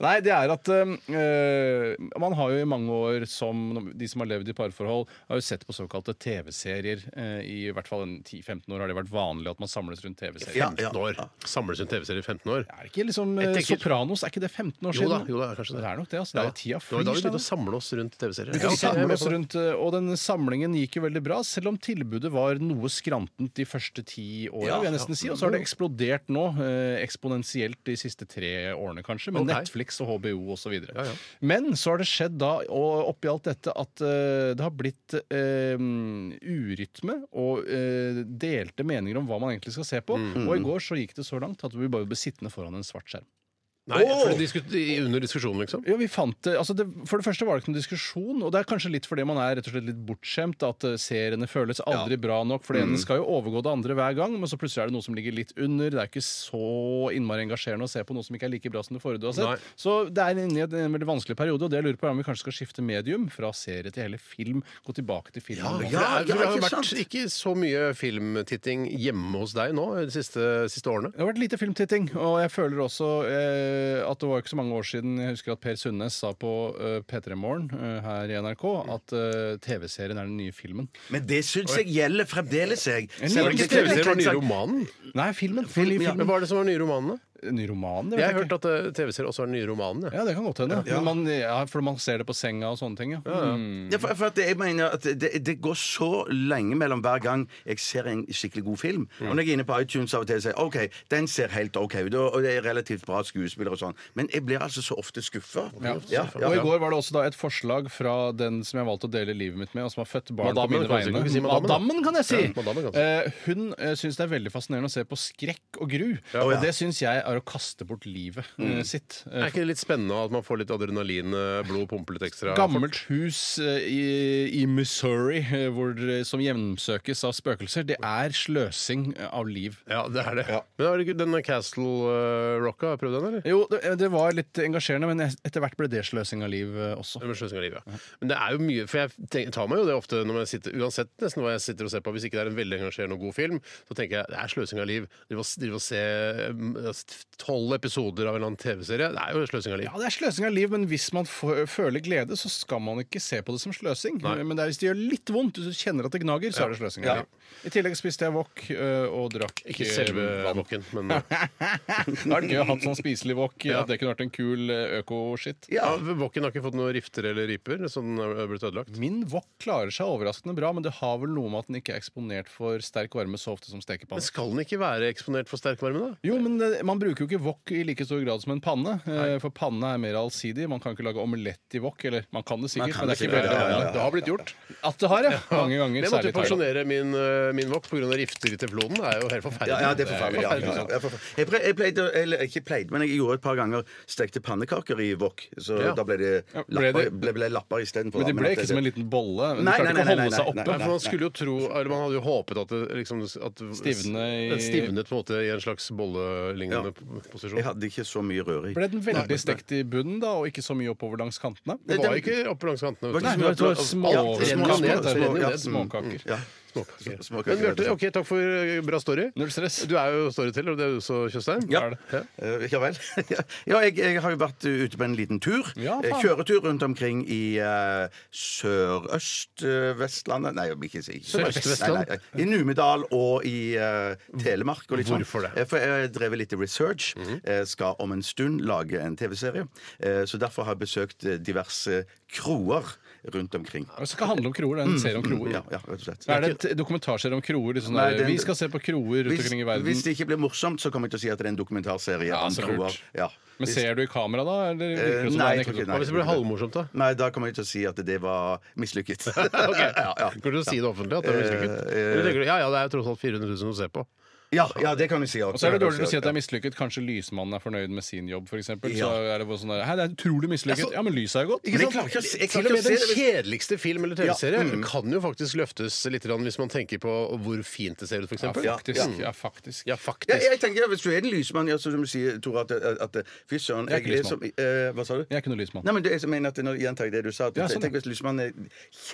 Speaker 2: Nei, det er at um, eh, man har jo i mange år, som de som har levd i parforhold, har jo sett på såkalte TV-serier. eh, I hvert fall en 10-15 år har det vært vanlig at man samles rundt TV-serier.
Speaker 3: Ja,
Speaker 1: 15 år. Samles en TV-serie i 15 år.
Speaker 2: Er det ikke liksom eh,
Speaker 1: Jeg tenker-
Speaker 2: Sopranos? Er ikke det 15 år
Speaker 1: Jo
Speaker 2: siden?
Speaker 1: da, jo da, kanskje det.
Speaker 2: det er nok det. altså. Det er jo tida
Speaker 1: Det var da vi
Speaker 2: flyr.
Speaker 1: begynte
Speaker 2: da.
Speaker 1: å samle oss rundt TV-serier.
Speaker 2: Vi samler oss rundt, eh, og den samlingen gikk jo veldig bra, selv om tilbudet var noe skrantent de første ti åra, vil jeg nesten si. Og så har det eksplodert nå, eh, eksponentielt de siste tre årene, kanskje, med
Speaker 1: Ok.
Speaker 2: Netflix og HBO osv.
Speaker 1: Ja, ja.
Speaker 2: Men så har det skjedd da, og oppi alt dette, at eh, det har blitt eh, urytme og eh,
Speaker 1: Mm.
Speaker 2: delte meninger om hva man egentlig skal se på. Og i går så gikk det så langt at vi bare ble sittende foran en svart skjerm.
Speaker 1: Nei, for det diskut, i- under diskusjonen, liksom.
Speaker 2: Ja, vi fant det, altså det, For det første var det ikke noen diskusjon. Og det er kanskje litt fordi man er rett og slett litt bortskjemt. At eh, seriene føles aldri bra nok. For det ene skal jo overgå det andre hver gang, men så plutselig er det noe som ligger litt under. Det er ikke så innmari engasjerende å se på noe som ikke er like bra som det forrige du har sett.
Speaker 1: Nei.
Speaker 2: Så det er inne i en, en veldig vanskelig periode, og det jeg lurer på er om vi kanskje skal skifte medium. Fra serie til hele film. Gå tilbake til filmen.
Speaker 1: For
Speaker 3: ja,
Speaker 1: det, er, for det har jo
Speaker 3: ikke
Speaker 1: vært
Speaker 3: sant?
Speaker 1: ikke så mye filmtitting hjemme hos deg nå eh, de siste, siste årene.
Speaker 2: Det har vært lite filmtitting, og jeg føler også eh, at det var ikke så mange år siden jeg husker at Per Sundnes sa på eh, P3 Morgen eh, her i NRK at eh, TV-serien er den nye filmen.
Speaker 3: Men det syns jeg gjelder fremdeles, jeg.
Speaker 2: Det
Speaker 1: Det
Speaker 2: var
Speaker 1: var
Speaker 2: ikke
Speaker 1: ikke TV-serien, det var nye romanen.
Speaker 2: Nei, filmen. Film,
Speaker 1: Men Hva var det som var nye romanene?
Speaker 2: Ny roman, det vet
Speaker 1: Jeg har
Speaker 2: jeg
Speaker 1: hørt
Speaker 2: ikke.
Speaker 1: at eh, TV-serier også er nye romanene.
Speaker 2: Ja, det kan godt hende. Men man, ja, for man ser det på senga og sånne ting, ja. Mm.
Speaker 3: Ja, for, for at jeg mener at det, det går så lenge mellom hver gang jeg ser en skikkelig god film. Og når jeg er inne på iTunes av og til og sier OK, den ser helt OK ut, og og det er relativt bra skuespillere og sånn, men jeg blir altså så ofte skuffa.
Speaker 2: Ja.
Speaker 3: Ja, ja,
Speaker 2: Og i
Speaker 3: ja.
Speaker 2: går var det også da et forslag fra den som jeg valgte å dele livet mitt med, og som har født barn
Speaker 1: Madammen,
Speaker 2: på
Speaker 1: kan du
Speaker 2: mine
Speaker 1: si-
Speaker 2: vegne.
Speaker 1: madammen, da?
Speaker 2: Madammen, kan jeg si!
Speaker 1: Ja, madammen kan du si.
Speaker 2: Eh, hun uh, syns det er veldig fascinerende å se på skrekk og gru. Og det syns jeg er å kaste bort livet
Speaker 1: Mm.
Speaker 2: eh, sitt. Eh,
Speaker 1: Er ikke det litt spennende at man får litt adrenalin, eh, blod pumper litt ekstra?
Speaker 2: Gammelt hus eh, i, i Missouri eh, hvor, det- som hjemsøkes av spøkelser. Det er sløsing eh, av liv.
Speaker 1: Ja, det er det. Men har du ikke den Castle Rocka, har du prøvd den, eller?
Speaker 2: Jo, det, eh, det var litt engasjerende, men es- etter hvert ble det sløsing av liv eh, også.
Speaker 1: Det med sløsing av livet, ja. Men det er jo mye, for jeg tenk- tar meg jo det ofte når jeg sitter, uansett nesten hva jeg sitter og ser på, hvis ikke det er en veldig engasjerende og god film, så tenker jeg det er sløsing av liv. Drive og- drive og se mm, tolv episoder av en eller annen TV-serie, det er jo sløsing av liv.
Speaker 2: Ja, det er sløsing av liv, men hvis man f- føler glede, så skal man ikke se på det som sløsing. Men det er, hvis det gjør litt vondt, hvis du kjenner at det gnager, så er det sløsing av liv. I tillegg spiste jeg wok øh, og drakk
Speaker 1: Ikke
Speaker 2: øh,
Speaker 1: selve
Speaker 2: vann.
Speaker 1: bokken, men
Speaker 3: [laughs]
Speaker 2: Da [laughs] er det gøy å ha en sånn spiselig wok.
Speaker 1: Ja.
Speaker 2: At det kunne vært en kul øh, øko-shit.
Speaker 1: ja, bokken har ikke fått noen rifter eller riper, så den er blitt ødelagt.
Speaker 2: Min wok klarer seg overraskende bra, men det har vel noe med at den ikke er eksponert for sterk varme så ofte som
Speaker 1: Men
Speaker 2: stekepanne.
Speaker 1: skal den ikke være eksponert for sterk varme, da?
Speaker 2: Jo, men eh, man bruker jo ikke wok i like stor grad som en panne. eh, For panne er mer allsidig. Man kan ikke lage omelett i wok. Eller man kan det sikkert,
Speaker 3: kan
Speaker 2: men det er
Speaker 3: det
Speaker 2: ikke
Speaker 3: sikkert,
Speaker 2: veldig
Speaker 3: ja, ja, ja.
Speaker 2: vanlig.
Speaker 1: Det har blitt gjort.
Speaker 2: At det har, ja. Mange ganger.
Speaker 1: Jeg måtte
Speaker 2: Særlig
Speaker 1: jo pensjonere min, eh, min wok pga. rifter i teflonen. Det er jo helt forferdelig.
Speaker 3: Ja, ja, det er
Speaker 2: [laughs]
Speaker 1: [laughs]
Speaker 3: forferdelig. Ja, ja, ja, det er forferdelig. Jeg, ple- jeg pleide, å- eller ikke pleide, men jeg gjorde et par ganger stekte pannekaker i wok. Så
Speaker 1: Ja.
Speaker 3: da ble det
Speaker 2: Ja, ble
Speaker 3: lapper,
Speaker 2: det-
Speaker 3: ble, ble lapper istedenfor.
Speaker 2: Men det
Speaker 3: da,
Speaker 2: ble
Speaker 3: at
Speaker 2: ikke som en liten bolle. Den
Speaker 3: Nei,
Speaker 2: klarte
Speaker 3: nei,
Speaker 2: ikke å
Speaker 3: nei,
Speaker 2: holde
Speaker 3: nei,
Speaker 2: seg
Speaker 3: nei,
Speaker 2: oppe.
Speaker 1: Ja, for man skulle jo tro, eller man hadde jo håpet at det liksom at
Speaker 2: Stivne i-
Speaker 1: den stivnet på en måte i en slags bollelignende
Speaker 3: Ja.
Speaker 1: p-
Speaker 3: Jeg
Speaker 1: posisjon.
Speaker 3: hadde ikke så mye røre i.
Speaker 2: Ble den veldig stekt i bunnen da, og ikke så mye oppover langs kantene?
Speaker 1: Det
Speaker 3: den-
Speaker 1: var ikke oppe langs kantene. vet
Speaker 3: Var
Speaker 1: du.
Speaker 2: Nei, det var to små,
Speaker 1: Ja, det
Speaker 2: små,
Speaker 1: renner
Speaker 2: små,
Speaker 1: ned, det renner
Speaker 2: små,
Speaker 1: ned.
Speaker 2: ja, småkaker.
Speaker 3: Ja.
Speaker 1: Småkaker.
Speaker 3: Småkaker,
Speaker 1: Men Bjarte,
Speaker 3: ja.
Speaker 1: ok, takk for eh, bra story.
Speaker 2: Null stress.
Speaker 1: Du er jo storyteller, og det er du også, Tjøstheim.
Speaker 3: Ja.
Speaker 2: Er det?
Speaker 1: Ja.
Speaker 3: Eh, Ja vel. [laughs] ja, jeg, jeg har jo vært ute på en liten tur.
Speaker 2: Ja,
Speaker 3: Eh,
Speaker 2: faen.
Speaker 3: Kjøretur rundt omkring i eh, Sørøst-Vestlandet Nei, jeg vil ikke si
Speaker 1: Sørøst-Vestland?
Speaker 3: Nei, nei, nei. I Numedal og i eh, Telemark. Og litt sånn.
Speaker 1: Hvorfor det?
Speaker 3: Eh, For jeg drev litt research.
Speaker 2: Mhm.
Speaker 3: Eh, skal om en stund lage en TV-serie. Eh, så derfor har jeg besøkt eh, diverse kroer rundt omkring.
Speaker 2: Det skal handle om kroer. Det er en serie om kroer.
Speaker 3: Mm. Ja, ja, rett og slett.
Speaker 2: Er det en dokumentarserie om kroer? Liksom,
Speaker 3: Nei,
Speaker 2: der,
Speaker 3: det er en-
Speaker 2: vi skal se på kroer rundt
Speaker 3: Hvis,
Speaker 2: omkring i
Speaker 3: hvis
Speaker 2: verden.
Speaker 3: det ikke blir morsomt, så kommer jeg til å si at det er en dokumentarserie
Speaker 2: Ja,
Speaker 3: om
Speaker 2: så
Speaker 3: kroer.
Speaker 2: lurt.
Speaker 3: Ja.
Speaker 2: Men
Speaker 3: Hvis- Eh,
Speaker 2: ser du i kamera da? Eller virker det som det er en
Speaker 3: nei, jeg
Speaker 2: ekte
Speaker 3: tror ikke-
Speaker 2: dokumentar?
Speaker 1: Hva hvis det blir halvmorsomt, da?
Speaker 3: Nei, da kommer jeg til å si at det var
Speaker 2: [laughs]
Speaker 3: mislykket. [laughs] ja, ja.
Speaker 1: Kan du si det offentlig? at det er mislykket?
Speaker 3: Eh, eh.
Speaker 1: Eller tenker du, Ja, ja, det er jo tross alt 400 000 å se på.
Speaker 3: ja, ja, det kan vi si.
Speaker 2: Og så er det dårligere å si at det er mislykket. Kanskje lysmannen er fornøyd med sin jobb, f.eks. eksempel Så
Speaker 3: Ja.
Speaker 2: er det bare sånn der Hei, det er utrolig mislykket. Ja, men lyset er jo godt.
Speaker 3: Men jeg klarer ikke å se- jeg
Speaker 1: Til
Speaker 3: klarer
Speaker 1: og
Speaker 3: ikke
Speaker 1: med
Speaker 3: å se
Speaker 1: den
Speaker 3: det.
Speaker 1: kjedeligste film eller TV-serie
Speaker 3: Ja, mm.
Speaker 1: kan jo faktisk løftes litt grann hvis man tenker på hvor fint det ser ut, f.eks.
Speaker 2: Ja, faktisk. Ja, faktisk.
Speaker 1: Ja,
Speaker 3: Ja,
Speaker 1: faktisk.
Speaker 3: jeg tenker, Hvis du er en lysmann, ja, så som du sier, Tore, at, at Fy søren
Speaker 2: Jeg er ikke
Speaker 3: jeg er som- eh, Hva sa du?
Speaker 2: Jeg er ikke noe lysmann.
Speaker 3: Nei, men det, jeg mener at når, Gjentar det du sa. At,
Speaker 2: Ja, sånn,
Speaker 3: tenk
Speaker 2: ja.
Speaker 3: hvis lysmannen er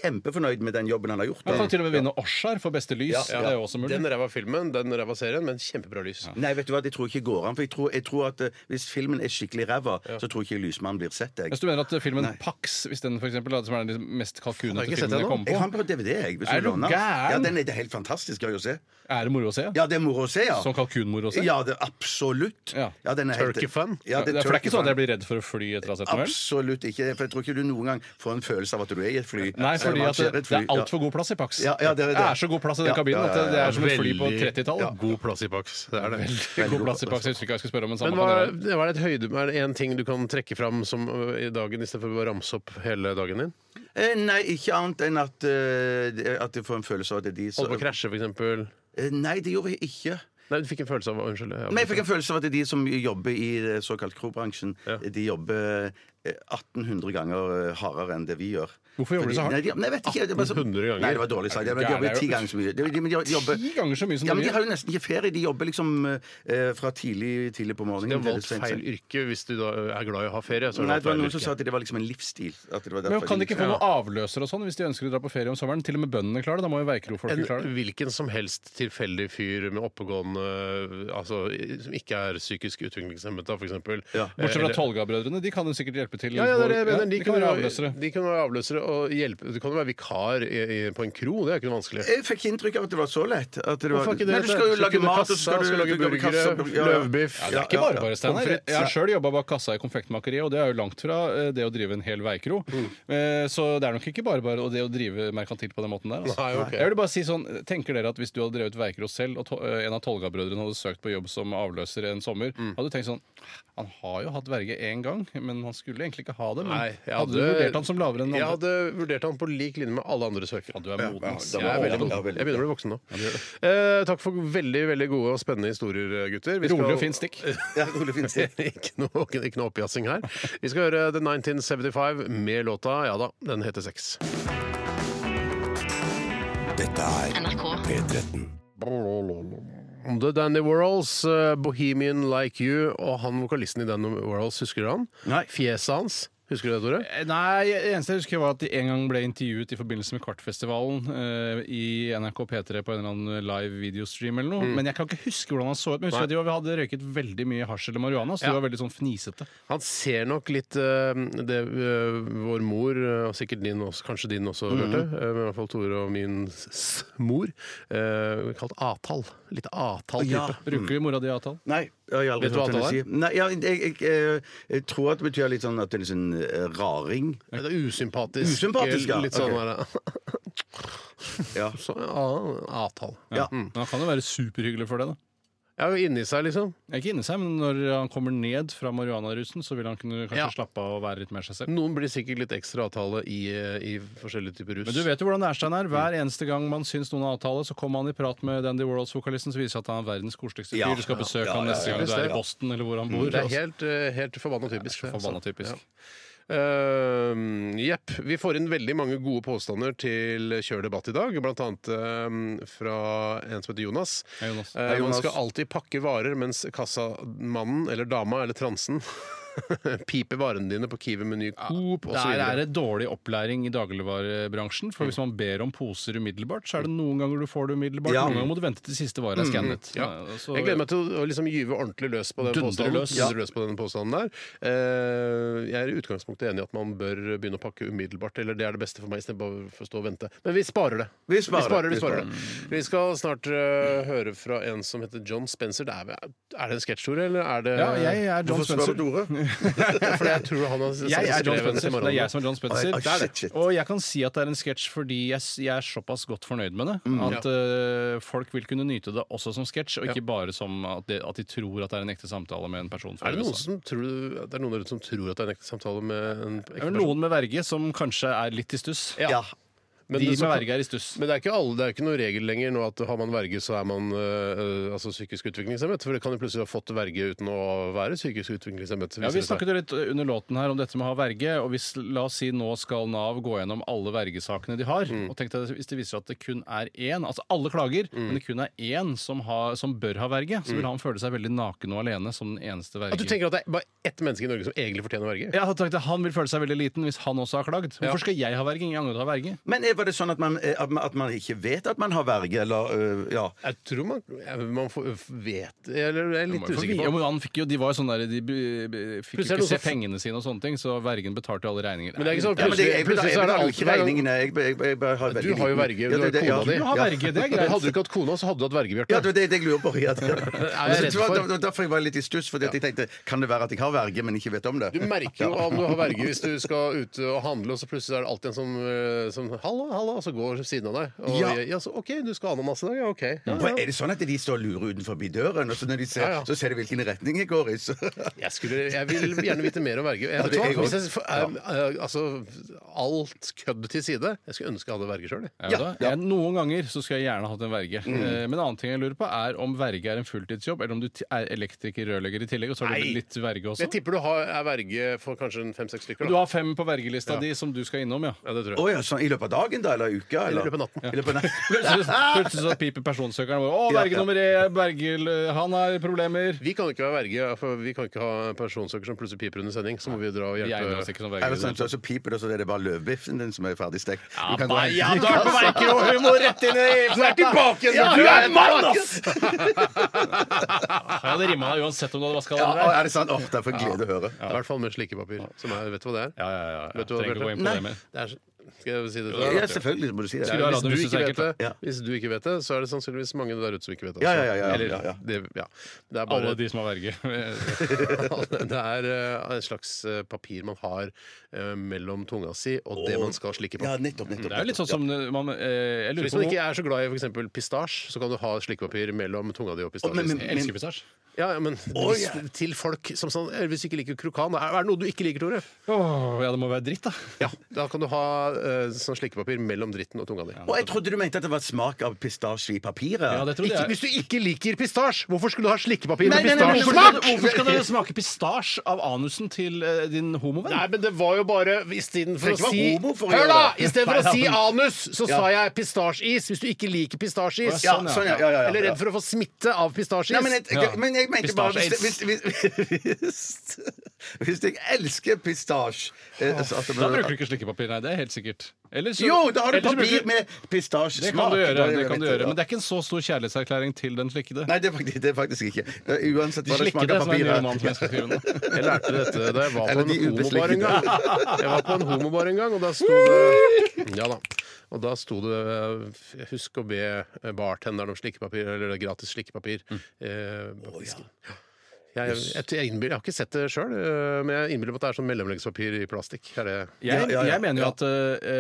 Speaker 3: kjempefornøyd med den jobben han har gjort.
Speaker 2: Han
Speaker 3: da.
Speaker 2: kan til og med vinne Oscar for beste lys.
Speaker 3: Ja, ja.
Speaker 2: Det er jo også mulig.
Speaker 1: Den ræva filmen, den ræva serien, men kjempebra lys.
Speaker 3: Nei, vet du hva, det tror jeg ikke går an. For jeg tror, jeg tror at eh, hvis filmen er skikkelig ræva, så tror jeg ikke lysmannen blir sett. Jeg,
Speaker 2: Hvis du mener at filmen Pax, hvis den for eksempel, da, som er den mest kalkunete
Speaker 1: Har jeg ikke sett
Speaker 2: filmen jeg
Speaker 1: den
Speaker 2: kom
Speaker 3: jeg
Speaker 2: på,
Speaker 3: har den på DVD, jeg. Hvis
Speaker 2: Er du
Speaker 3: låner den.
Speaker 2: gæren?
Speaker 3: Ja, den er det er helt fantastisk gøy å se.
Speaker 2: er det moro å se?
Speaker 3: Ja, det er moro å se, ja.
Speaker 2: Som kalkunmoro å se?
Speaker 3: Ja, det, absolutt.
Speaker 2: Ja.
Speaker 3: den er
Speaker 1: Turkey fun?
Speaker 3: Ja,
Speaker 2: det, for det er ikke
Speaker 3: turkey
Speaker 2: sånn at jeg
Speaker 3: fun.
Speaker 2: blir redd for å fly etter å ha sett den? vel?
Speaker 3: Absolutt ikke. For jeg tror ikke du noen gang får en følelse av at du er i et fly.
Speaker 2: Nei,
Speaker 3: selv om
Speaker 2: fordi
Speaker 3: man
Speaker 2: at det,
Speaker 3: ser et
Speaker 2: det
Speaker 3: fly.
Speaker 2: er altfor god plass i Pax.
Speaker 3: Ja, ja, det er det.
Speaker 2: så god plass i den
Speaker 3: Ja,
Speaker 2: kabinen
Speaker 3: ja, ja,
Speaker 2: at det er som et fly på
Speaker 1: Veldig-
Speaker 2: 30-tallet.
Speaker 1: God plass i Pax. Det er det.
Speaker 2: God plass i Pax, jeg husker ikke hva jeg skulle spørre om. Men
Speaker 1: Men
Speaker 2: samme
Speaker 1: hva,
Speaker 2: kan det være.
Speaker 1: det var det et høyde, er det én ting du kan trekke fram som, ø, i dagen istedenfor å bare ramse opp hele dagen din?
Speaker 3: Eh, Nei, ikke annet enn at, eh, at jeg får en følelse av at det er de
Speaker 1: Holde på å krasje, f.eks.
Speaker 3: Eh, Nei, det gjorde jeg ikke.
Speaker 1: Nei, du fikk en følelse av Unnskyld. jeg
Speaker 3: Men jeg
Speaker 1: avbryter.
Speaker 3: fikk en følelse av at de som jobber i det såkalt krobransjen,
Speaker 1: Ja.
Speaker 3: de jobber eh, 1800 ganger eh, hardere enn det vi gjør.
Speaker 2: Hvorfor jobber de så hardt?
Speaker 3: Nei, de, nei, jeg vet ikke, det er bare så-
Speaker 1: 1800 ganger?
Speaker 3: Nei, det var dårlig sagt. De
Speaker 2: Gæren er
Speaker 3: jobber
Speaker 2: jo-
Speaker 3: ti ganger så mye. De, de, men de jobber,
Speaker 2: Ti ganger så mye som
Speaker 3: ja,
Speaker 2: det
Speaker 3: men
Speaker 2: vi
Speaker 3: De
Speaker 2: gjør.
Speaker 3: har jo nesten ikke ferie. De jobber liksom eh, fra tidlig, tidlig på
Speaker 1: De
Speaker 3: morgenen.
Speaker 1: har
Speaker 3: til
Speaker 1: valgt
Speaker 3: sent-
Speaker 1: feil yrke hvis du da er glad i å ha ferie. Så har du
Speaker 3: Nei,
Speaker 1: valgt
Speaker 3: det var
Speaker 1: feil
Speaker 3: noen som
Speaker 1: yrke.
Speaker 3: sa at det var liksom en livsstil. At det var
Speaker 2: Men
Speaker 3: derfor
Speaker 2: Kan de ikke få
Speaker 3: liksom-
Speaker 2: noen avløser og sånn hvis de ønsker å dra på ferie om sommeren? Til og med bøndene klarer det. Da må jo Veikro-folket klare
Speaker 1: en
Speaker 2: det.
Speaker 1: hvilken som helst tilfeldig fyr med oppegående Altså som ikke er psykisk utviklingshemmet, da, for eksempel.
Speaker 3: Ja.
Speaker 2: Bortsett fra
Speaker 1: Eller-
Speaker 2: Tolga-brødrene. De kan jo sikkert hjelpe til.
Speaker 1: Ja, ja, det er det jeg
Speaker 2: Ja,
Speaker 1: mener.
Speaker 2: de kan være avløsere.
Speaker 1: de kan være avløsere og hjelpe. Du kan jo være vikar i, i, på en kro, det er ikke noe vanskelig.
Speaker 3: Jeg fikk inntrykk av at det var så lett. At det var,
Speaker 1: Hvorfor ikke det?
Speaker 3: Nei, du skal
Speaker 1: Du
Speaker 3: jo
Speaker 1: skal
Speaker 3: lage
Speaker 1: kunne
Speaker 3: mat,
Speaker 1: kassa,
Speaker 3: og så skal du,
Speaker 1: skal lage
Speaker 3: du kan-
Speaker 1: burgere,
Speaker 3: kassa- ja, ja.
Speaker 1: løvbiff.
Speaker 2: Ja, det er ikke bare bare, Steinar.
Speaker 1: Pommes frites.
Speaker 2: Jeg har sjøl jobba bak kassa i Konfektmakeriet, og det er jo langt fra eh, det å drive en hel veikro. Eh, Så det er nok ikke bare bare og det å drive merkantilt på den måten der. Altså.
Speaker 1: Nei, ok.
Speaker 2: Jeg vil bare si sånn, Tenker dere at hvis du hadde drevet veikro selv, og to eh, en av Tolga-brødrene hadde søkt på jobb som avløser en sommer, hadde du tenkt sånn Han har jo hatt verge én gang, men han skulle egentlig ikke ha det. Men
Speaker 1: Nei, jeg
Speaker 2: hadde, du vurdert han som lavere enn
Speaker 1: Jeg
Speaker 2: andre?
Speaker 1: hadde vurdert han på lik linje med alle andre søkere.
Speaker 2: Ja, du er moden, ass.
Speaker 3: Ja,
Speaker 1: Jeg er veldig
Speaker 3: ja,
Speaker 1: moden.
Speaker 3: ja, veldig.
Speaker 1: Jeg begynner å bli voksen nå. Eh, takk for veldig veldig gode og spennende historier, eh, gutter. Vi
Speaker 2: Rolig og
Speaker 1: skal-
Speaker 2: fint stikk.
Speaker 3: Ja, Ole Finstad.
Speaker 1: [laughs] ikke, noe, ikke noe oppjassing her. Vi skal høre The 1975 med låta Ja da, den heter Sex.
Speaker 4: Dette er
Speaker 5: NRK.
Speaker 4: P13.
Speaker 1: The Danny Warhols, eh, 'Bohemian Like You', og han vokalisten i Danny Warhols, husker du han?
Speaker 3: Nei.
Speaker 1: Fjeset hans. Husker du det, Tore?
Speaker 2: Eh, Nei, det eneste jeg husker var at de en gang ble intervjuet i forbindelse med Kvartfestivalen eh, i NRK P3 på en eller annen live videostream eller noe. Men jeg kan ikke huske hvordan han så ut. Men husker
Speaker 1: Nei.
Speaker 2: at de var- hadde røyket veldig mye hasj eller marihuana, så
Speaker 1: Ja.
Speaker 2: de var veldig sånn fnisete.
Speaker 1: Han ser nok litt eh, det eh, vår mor, eh, og sikkert din også, kanskje din også,
Speaker 3: Mm-hmm.
Speaker 1: Bjarte, eh, men i hvert fall Tore og min s- s- mor, eh, kalt A-tall. Litt A-tall-type.
Speaker 3: Ja.
Speaker 2: Bruker mora di avtale?
Speaker 3: Nei. Jeg har aldri
Speaker 1: Vet du hva
Speaker 3: hørt henne
Speaker 1: det
Speaker 3: si. Nei, ja, jeg, jeg, jeg, jeg tror at det betyr litt sånn at det er litt sånn eh, raring.
Speaker 1: Det er usympatisk.
Speaker 3: Usympatisk, ja.
Speaker 1: Litt sånn
Speaker 3: Ok.
Speaker 1: der, [laughs]
Speaker 3: Ja.
Speaker 1: så, ja, A-tall.
Speaker 3: Ja.
Speaker 2: Men han kan jo være superhyggelig for det, da.
Speaker 1: Ja, jo inni seg, liksom.
Speaker 2: Ikke inni seg, men når han kommer ned fra marihuanarusen, så vil han kunne kanskje
Speaker 1: Ja.
Speaker 2: slappe av og være litt mer seg selv.
Speaker 1: Noen blir sikkert litt ekstra avtale i, eh, i forskjellige typer rus.
Speaker 2: Men du vet jo hvordan det er, Steinar. Hver
Speaker 1: Mm.
Speaker 2: eneste gang man syns noen har avtale, så kommer han i prat med Dandy Warhols-vokalisten, så viser det seg at han er verdens koseligste fyr.
Speaker 3: Ja,
Speaker 2: du skal
Speaker 3: ja,
Speaker 2: besøke
Speaker 3: ja,
Speaker 2: han
Speaker 3: ja,
Speaker 2: neste
Speaker 3: ja,
Speaker 2: gang du er
Speaker 1: visst
Speaker 2: i
Speaker 1: det, ja. Mm,
Speaker 2: Boston, eller hvor han bor.
Speaker 1: Det er
Speaker 2: altså.
Speaker 1: helt, eh, helt forbanna typisk.
Speaker 2: Det er forbanna
Speaker 1: altså.
Speaker 2: typisk.
Speaker 1: Ja. Eh, Jepp. vi får inn veldig mange gode påstander til Kjør debatt i dag, blant annet eh, fra en som heter Jonas.
Speaker 2: Hei, Jonas.
Speaker 1: Eh,
Speaker 3: Hei,
Speaker 1: man
Speaker 3: Jonas.
Speaker 1: skal alltid pakke varer mens kassamannen eller dama eller transen [laughs] piper varene dine på Kiwi Meny Coop og
Speaker 2: Der
Speaker 1: så
Speaker 2: er
Speaker 1: videre.
Speaker 2: det dårlig opplæring i dagligvarebransjen.
Speaker 1: Mm.
Speaker 2: For hvis man ber om poser umiddelbart, så er det noen ganger du får det umiddelbart.
Speaker 3: Ja.
Speaker 2: Noen ganger må du vente til siste vare er skannet.
Speaker 1: Mm. Ja. Jeg gleder meg til å liksom gyve ordentlig løs på den
Speaker 2: Dundre
Speaker 1: påstanden.
Speaker 2: løs.
Speaker 1: Dundre løs på den påstanden der. Eh, Jeg er i utgangspunktet enig i at man bør begynne å pakke umiddelbart. Eller det er det beste for meg, istedenfor å stå og vente. Men vi sparer det.
Speaker 3: Vi sparer
Speaker 1: vi sparer,
Speaker 3: det,
Speaker 1: vi
Speaker 3: vi
Speaker 1: sparer det. Vi skal snart eh, høre fra en som heter John Spencer. Det er, er det en sketsj, Tore? Eller er det
Speaker 2: Ja, jeg er John
Speaker 3: Hvorfor spør
Speaker 2: Spencer.
Speaker 3: du Tore?
Speaker 1: [laughs] For jeg tror han har
Speaker 2: Jeg er John
Speaker 1: skrevet en
Speaker 2: Spencer. Det er jeg som er John Spencer.
Speaker 3: Oi, oi,
Speaker 2: Det er det.
Speaker 3: shit, shit.
Speaker 2: Og jeg kan si at det er en sketsj fordi jeg, s- jeg er såpass godt fornøyd med det at eh, folk vil kunne nyte det også som sketsj, og ikke bare som at de, at de tror at det er en ekte samtale med en person. fra
Speaker 1: Er det noen
Speaker 2: USA.
Speaker 1: som tror, det er noen der ute som tror at det er en ekte samtale med en ekte
Speaker 2: Det er vel
Speaker 1: person?
Speaker 2: noen med verge som kanskje er litt i stuss.
Speaker 3: Ja.
Speaker 1: Men
Speaker 2: De
Speaker 1: det-
Speaker 2: med verge er i stuss.
Speaker 1: Men det er ikke alle, det er ikke noen regel lenger nå at har man verge, så er man øh, øh, altså psykisk utviklingshemmet. For det kan jo plutselig ha fått verge uten å være psykisk utviklingshemmet.
Speaker 2: Ja, Vi
Speaker 1: viser det sånn. seg.
Speaker 2: snakket jo litt under låten her om dette med å ha verge. og hvis, La oss si nå skal Nav gå gjennom alle vergesakene de har.
Speaker 1: Mm.
Speaker 2: og tenk deg Hvis det viser seg at det kun er én, altså alle klager, men det kun er én som, har, som bør ha verge, så vil han føle seg veldig naken og alene som den eneste
Speaker 1: Mm. At du
Speaker 2: vergen.
Speaker 1: tenker at det er bare ett menneske i Norge som egentlig fortjener verge?
Speaker 2: Ja, jeg tenkte, Han vil føle seg veldig liten hvis han også har klagd.
Speaker 1: Ja.
Speaker 2: Hvorfor skal jeg ha verge? Ingen andre har verge.
Speaker 3: Men er- var det sånn at man, eh, at man- at man ikke vet at man har verge, eller øh, Ja.
Speaker 1: Jeg tror man, ja, man får, vet Eller jeg er litt usikker
Speaker 2: Ja,
Speaker 1: på.
Speaker 2: men han fikk jo, de var jo sånn der, de b- b- fikk jo ikke se
Speaker 1: Plutselig er det noen som-
Speaker 2: pengene sine og sånne ting, så vergen betalte alle regninger.
Speaker 1: Men det er ikke sånn
Speaker 3: Ja, men det, jeg,
Speaker 1: Plutselig-
Speaker 3: betaler- jeg
Speaker 1: plutselig så er det
Speaker 3: betaler jo
Speaker 1: alt-
Speaker 3: ikke regningene. Jeg, jeg, jeg, bare har
Speaker 1: Du har
Speaker 3: veldig
Speaker 1: jo
Speaker 3: liten-
Speaker 1: verge.
Speaker 3: Ja,
Speaker 1: Du
Speaker 3: det-
Speaker 1: har
Speaker 3: det-
Speaker 1: kona
Speaker 3: ja.
Speaker 1: di.
Speaker 2: Du har verge, det er greit.
Speaker 1: Hadde du ikke hatt kona, så hadde du hatt verge,
Speaker 3: Ja,
Speaker 1: Bjarte.
Speaker 3: det var det jeg lurer på.
Speaker 1: [laughs]
Speaker 3: Ja.
Speaker 1: jeg redd
Speaker 3: Det var-
Speaker 1: for?
Speaker 3: det var derfor jeg var litt i stuss, for jeg tenkte kan det være at jeg har verge, men ikke vet om det?
Speaker 1: Du merker jo om du har verge hvis du skal ut og handle, og så plutselig er det alltid en som, eh, som 'Hallo, hallo, og så går ved siden av deg. Og, ja.
Speaker 3: Ja.
Speaker 1: så, OK, du skal ha ananas i dag? Ja, OK. Ja,
Speaker 3: Men Er det sånn at de står og lurer utenfor døren, og så når de ser,
Speaker 1: Ja, ja.
Speaker 3: så ser de hvilken retning jeg går i? Så. [laughs]
Speaker 1: Jeg, skulle, jeg vil gjerne vite mer om verge. Jeg,
Speaker 3: det er
Speaker 1: vet du hva?
Speaker 3: jeg
Speaker 1: Hvis jeg, for, eh, eh, altså, alt kødd til side. Jeg skulle ønske jeg hadde verge sjøl.
Speaker 2: Ja,
Speaker 3: Ja,
Speaker 2: da.
Speaker 3: ja.
Speaker 2: Jeg, noen ganger så skulle jeg gjerne hatt en verge. Eh, Men en annen ting jeg lurer på er om verge er en fulltidsjobb, eller om du ti- er elektriker, rørlegger i tillegg, og så har
Speaker 1: Nei.
Speaker 2: du litt verge også.
Speaker 1: Jeg tipper du har, er verge for kanskje en fem-seks stykker.
Speaker 2: Du
Speaker 1: Da.
Speaker 2: har fem på vergelista di som du skal innom, ja.
Speaker 1: Ja, det tror
Speaker 3: Å
Speaker 1: jeg.
Speaker 3: ja, sånn i løpet av dagen, da? Eller uka? Eller?
Speaker 1: [laughs] I løpet av natten.
Speaker 3: I løpet av natten.
Speaker 2: Plutselig plutselig så piper personsøkeren vår. 'Å, verge
Speaker 3: Ja, ja.
Speaker 2: nummer én, Bergil, eh, han har problemer'.
Speaker 1: Vi kan ikke være verge, for vi kan ikke ha en personsøker som plutselig piper under sending. Så må vi dra og
Speaker 2: Jeg
Speaker 1: hjelpe.
Speaker 2: egner oss ikke som verge.
Speaker 3: Eller sånn, så, så piper det, og så er det bare løvbiffen din som er ferdig stekt. Du kan gå
Speaker 2: Nei,
Speaker 3: hen- [laughs]
Speaker 2: ja, da er det på
Speaker 1: [laughs]
Speaker 2: verkerohumor rett inn i
Speaker 1: tilbake igjen!
Speaker 2: Ja,
Speaker 1: du er
Speaker 2: en
Speaker 1: mann, ass!
Speaker 2: Jeg hadde rimma deg uansett om du hadde vaska
Speaker 3: Ja,
Speaker 2: deg.
Speaker 3: å, er det sant? Åh, det er for glede å høre.
Speaker 1: I hvert fall med slikepapir. Som er, vet du hva det er?
Speaker 2: Ja, ja, ja. Jeg
Speaker 1: Vet du hva,
Speaker 2: trenger ikke
Speaker 1: Bjarte?
Speaker 2: gå inn på det mer.
Speaker 3: Nei.
Speaker 1: Det er, så- skal jeg si det til deg?
Speaker 3: Ja, selvfølgelig må du si det.
Speaker 2: Skulle du ha
Speaker 1: Hvis
Speaker 2: radio,
Speaker 1: du,
Speaker 2: hvis du
Speaker 1: ikke
Speaker 2: sier
Speaker 1: vet det,
Speaker 2: ekkelt,
Speaker 3: ja.
Speaker 1: hvis du ikke vet det, så er det sannsynligvis mange der ute som ikke vet det.
Speaker 3: Ja,
Speaker 1: også.
Speaker 3: ja, ja, ja,
Speaker 1: Eller,
Speaker 3: ja, ja.
Speaker 1: Det, ja. det er bare
Speaker 2: Alle de som har verge. [laughs]
Speaker 1: [laughs] det er eh, en slags eh, papir man har eh, mellom tunga si og det man skal slikke på.
Speaker 3: Ja, nettopp, nettopp.
Speaker 2: Det er jo litt sånn som man eh, Jeg
Speaker 1: Så
Speaker 2: lurer
Speaker 1: Hvis
Speaker 2: på
Speaker 1: man ikke
Speaker 2: hvor-
Speaker 1: er så glad i for eksempel pistasje, så kan du ha slikkepapir mellom tunga di og pistasjen.
Speaker 3: men- men-
Speaker 2: Jeg elsker pistasje.
Speaker 1: ja, ja, men
Speaker 3: Å,
Speaker 1: hvis,
Speaker 3: ja.
Speaker 1: til folk som sånn eh, Hvis du ikke liker krokan, er, er det noe du ikke liker, Tore?
Speaker 2: Åh, ja, det må være dritt, da.
Speaker 1: Ja, Da kan du ha eh, sånn slikkepapir mellom dritten og tunga di.
Speaker 3: Og jeg trodde du mente at det var smak av pistasje i papiret.
Speaker 2: Ja, det trodde
Speaker 1: Ikke,
Speaker 2: jeg.
Speaker 1: hvis du ikke liker pistasje, hvorfor skulle du ha slikkepapir med
Speaker 2: Hvorfor
Speaker 3: sånn.
Speaker 2: skal det-
Speaker 1: pistasjesmak?
Speaker 2: Hvorfor skal det smake pistasje av anusen til eh, din homovenn?
Speaker 1: Nei, men det var jo bare Istedenfor
Speaker 3: Trenger
Speaker 1: å
Speaker 3: ikke
Speaker 1: si
Speaker 3: være homo for å
Speaker 1: Hør,
Speaker 3: gjøre
Speaker 1: da!
Speaker 3: det.
Speaker 1: Istedenfor å
Speaker 2: Nei,
Speaker 1: si
Speaker 2: ja,
Speaker 1: anus, så sa jeg pistasjeis. Hvis du ikke liker
Speaker 2: Å,
Speaker 1: pistasjeis.
Speaker 2: ja,
Speaker 3: Ja, sånn, ja, ja, ja, ja.
Speaker 1: Eller redd for å få smitte av pistasjeis.
Speaker 3: Nei, men jeg,
Speaker 2: Ja.
Speaker 3: men jeg mente bare hvis,
Speaker 2: Pistasje-aids.
Speaker 3: hvis, hvis, hvis, [laughs] hvis jeg elsker pistasje eh, altså at det-
Speaker 2: Da bruker du ikke slikkepapir, nei. Det er helt sikkert. Eller så-
Speaker 3: Jo, da har du
Speaker 2: eller så bruker
Speaker 3: papir med pistasjesmak.
Speaker 2: Det kan du gjøre,
Speaker 3: Da er
Speaker 2: det kan du
Speaker 3: rett,
Speaker 2: gjøre.
Speaker 3: ja.
Speaker 2: Men det er ikke en så stor kjærlighetserklæring til den slikkede.
Speaker 3: Nei, det er faktisk, det er faktisk ikke. Eh, Uansett hva det
Speaker 2: Slikkede,
Speaker 3: smaker
Speaker 2: som er en
Speaker 3: papir
Speaker 2: ny
Speaker 3: her.
Speaker 2: roman som jeg skal skrive
Speaker 3: [laughs]
Speaker 2: nå.
Speaker 1: Jeg lærte dette da jeg var på
Speaker 3: Eller
Speaker 1: en
Speaker 3: de
Speaker 1: homobar en
Speaker 3: ubeslektede.
Speaker 1: gang. [laughs] Jeg var på en homobar en gang, og da sto det Ja da. Og da sto det eh, Husk å be eh, bartenderen om slikkepapir, eller gratis slikkepapir.
Speaker 3: Mm.
Speaker 1: Eh, bak disken. jeg, jeg, jeg, innbiller- jeg har ikke sett det sjøl, men jeg innbiller meg at det er sånn mellomleggspapir i plastikk. Er det
Speaker 2: Jeg,
Speaker 3: Ja, ja, ja.
Speaker 2: jeg mener jo at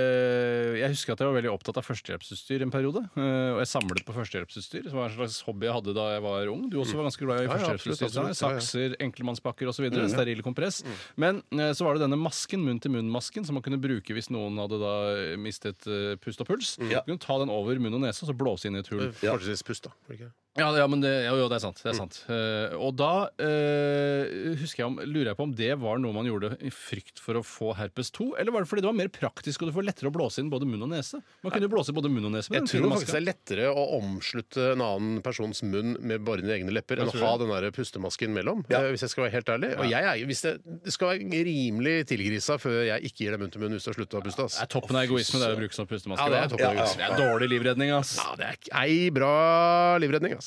Speaker 2: eh, Jeg husker at jeg var veldig opptatt av førstehjelpsutstyr en periode. eh, og jeg samlet på førstehjelpsutstyr, som var en slags hobby jeg hadde da jeg var ung. Du også var ganske glad i
Speaker 1: ja, Mm.
Speaker 2: førstehjelpsutstyr.
Speaker 1: absolutt, absolutt,
Speaker 2: Steinar. Sakser, enkeltmannspakker osv. videre Steril kompress. Men eh, så var det denne masken, munn-til-munn-masken, som man kunne bruke hvis noen hadde da mistet eh, pust og puls.
Speaker 1: Mm.
Speaker 3: Ja.
Speaker 2: Du kunne ta den over munn og nese og så blåse inn i et hull.
Speaker 1: Fortrinnsvis pust, da. var det ikke det?
Speaker 2: Ja, ja men det, jo, jo, det er sant. Det er sant. Eh, og da eh, husker jeg om, lurer jeg på om det var noe man gjorde i frykt for å få herpes 2, eller var det fordi det var mer praktisk og du får lettere å blåse inn både munn og nese? Man kunne jo blåse i både munn og nese med
Speaker 1: Jeg
Speaker 2: den
Speaker 1: tror
Speaker 2: fine
Speaker 1: faktisk
Speaker 2: maska.
Speaker 1: det er lettere å omslutte en annen persons munn med bare dine egne lepper enn å
Speaker 2: tror
Speaker 1: ha den der pustemasken mellom, eh, hvis jeg skal være helt ærlig. Og jeg er, hvis det, det skal være rimelig tilgrisa før jeg ikke gir deg munn til munn hvis du har slutta å puste.
Speaker 2: Det
Speaker 1: Ass.
Speaker 2: er toppen av egoisme det er å bruke som pustemaske.
Speaker 1: Ja, det er
Speaker 2: da.
Speaker 1: toppen av
Speaker 2: Det
Speaker 1: egoisme.
Speaker 2: er dårlig livredning, ass.
Speaker 1: Ja, det er ikke- ei bra livredning, altså.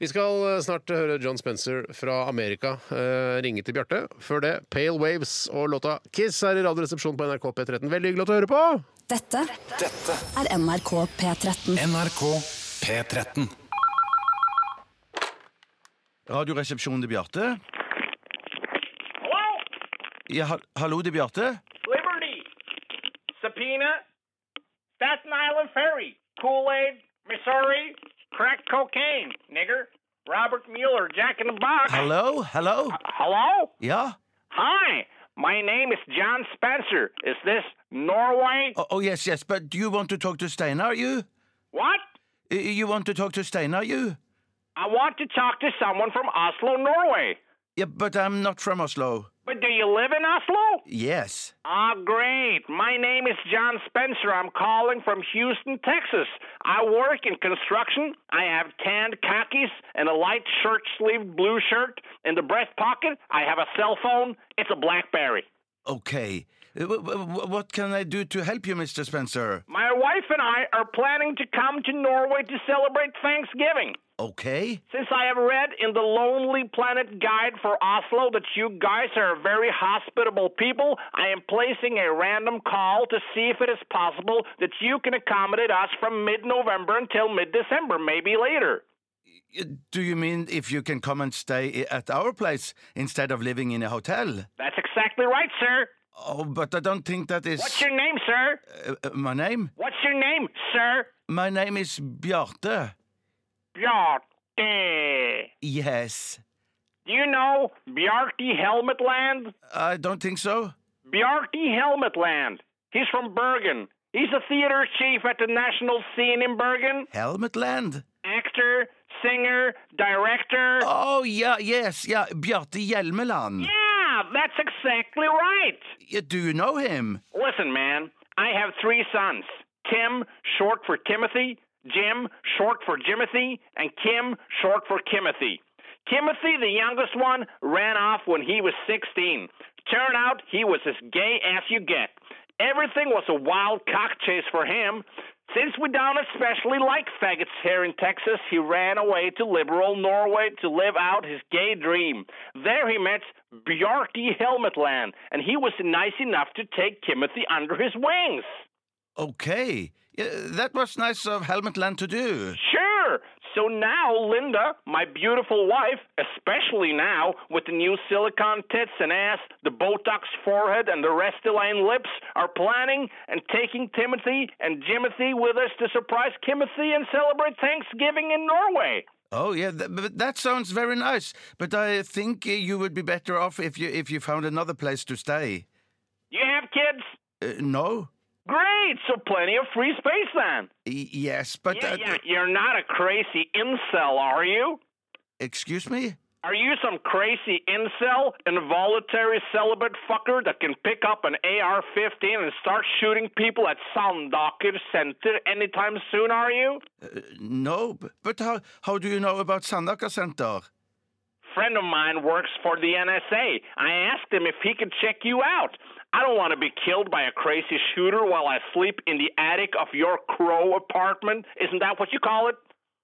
Speaker 1: Vi skal eh, snart høre John Spencer fra Amerika eh, ringe til Bjarte. Før det, Pale Waves og låta Kiss her i Radioresepsjonen på NRK P13. Veldig hyggelig at du hører på!
Speaker 5: Dette er NRK P13.
Speaker 6: NRK P13.
Speaker 3: Radioresepsjonen til Bjarte. Ja, ha- hallo til Bjarte.
Speaker 7: Liberty, subpoena, Staten Island Ferry, Kool Aid, Missouri, crack cocaine, nigger, Robert Mueller, Jack in the Box.
Speaker 3: Hallo, hallo.
Speaker 7: Hello?
Speaker 3: Ja.
Speaker 7: Hi, my name is John Spencer. Is this Norway?
Speaker 3: Oh, oh, yes, yes, but do you want to talk to Steinar, you?
Speaker 7: What?
Speaker 3: Y- You want to talk to Steinar, you?
Speaker 7: I want to talk to someone from Oslo, Norway.
Speaker 3: Yeah, but I'm not from Oslo.
Speaker 7: But do you live in Oslo?
Speaker 3: Yes.
Speaker 7: Ah, great. My name is John Spencer. I'm calling from Houston, Texas. I work in construction. I have tanned khakis and a light shirt sleeved blue shirt. In the breast pocket, I have a cell phone. It's a Blackberry.
Speaker 3: Okay. Uh, wh- wh- What can I do to help you, Mr. Spencer?
Speaker 7: My wife and I are planning to come to Norway to celebrate Thanksgiving.
Speaker 3: Okay.
Speaker 7: Since I have read in the Lonely Planet Guide for Oslo that you guys are a very hospitable people, I am placing a random call to see if it is possible that you can accommodate us from mid November until mid December, maybe later.
Speaker 3: Uh, Do you mean if you can come and stay i- at our place instead of living in a hotel?
Speaker 7: That's exactly right, sir.
Speaker 3: Oh, but I don't think that is
Speaker 7: What's your name, sir?
Speaker 3: uh, uh, my name.
Speaker 7: What's your name, sir?
Speaker 3: My name is Bjarte.
Speaker 7: Bjarte.
Speaker 3: Yes.
Speaker 7: Do you know Bjarti Helmetland?
Speaker 3: I don't think so.
Speaker 7: Bjarti Helmetland. He's from Bergen. He's a theater chief at the national scene in Bergen.
Speaker 3: Helmetland.
Speaker 7: Actor, singer, director.
Speaker 3: Oh, yeah, yes, yeah, Bjarte Hjelmeland.
Speaker 7: Yeah, that's exactly right.
Speaker 3: Yeah, do you know him?
Speaker 7: Listen, man, I have three sons Tim, short for Timothy, Jim, short for Jimothy, and Kim, short for Kimothy. Timothy, the youngest one, ran off when he was 16. Turned out he was as gay as you get. Everything was a wild cock chase for him. Since we don't especially like faggots here in Texas, he ran away to liberal Norway to live out his gay dream. There he met Bjarki Helmetland, and he was nice enough to take Timothy under his wings.
Speaker 3: Okay. Yeah, that was nice of Helmetland to do.
Speaker 7: Sure. So now, Linda, my beautiful wife, especially now with the new silicone tits and ass, the Botox forehead, and the Restylane lips, are planning and taking Timothy and Jimothy with us to surprise Kimothy and celebrate Thanksgiving in Norway.
Speaker 3: Oh, yeah, th- but that sounds very nice. But I think uh, you would be better off if you if you found another place to stay.
Speaker 7: You have kids?
Speaker 3: Uh, no?
Speaker 7: Great. So plenty of free space then.
Speaker 3: Y- yes, but.
Speaker 7: Yeah,
Speaker 3: uh,
Speaker 7: yeah. You're not a crazy incel, are you?
Speaker 3: Excuse me?
Speaker 7: Are you some crazy incel, involuntary celibate fucker that can pick up an AR 15 and start shooting people at Sandaker Center anytime soon, are you?
Speaker 3: No, b- but how, how do you know about Sandaka Center?
Speaker 7: Friend of mine works for the NSA. I asked him if he could check you out. I don't want to be killed by a crazy shooter while I sleep in the attic of your crow apartment. Isn't that what you call it?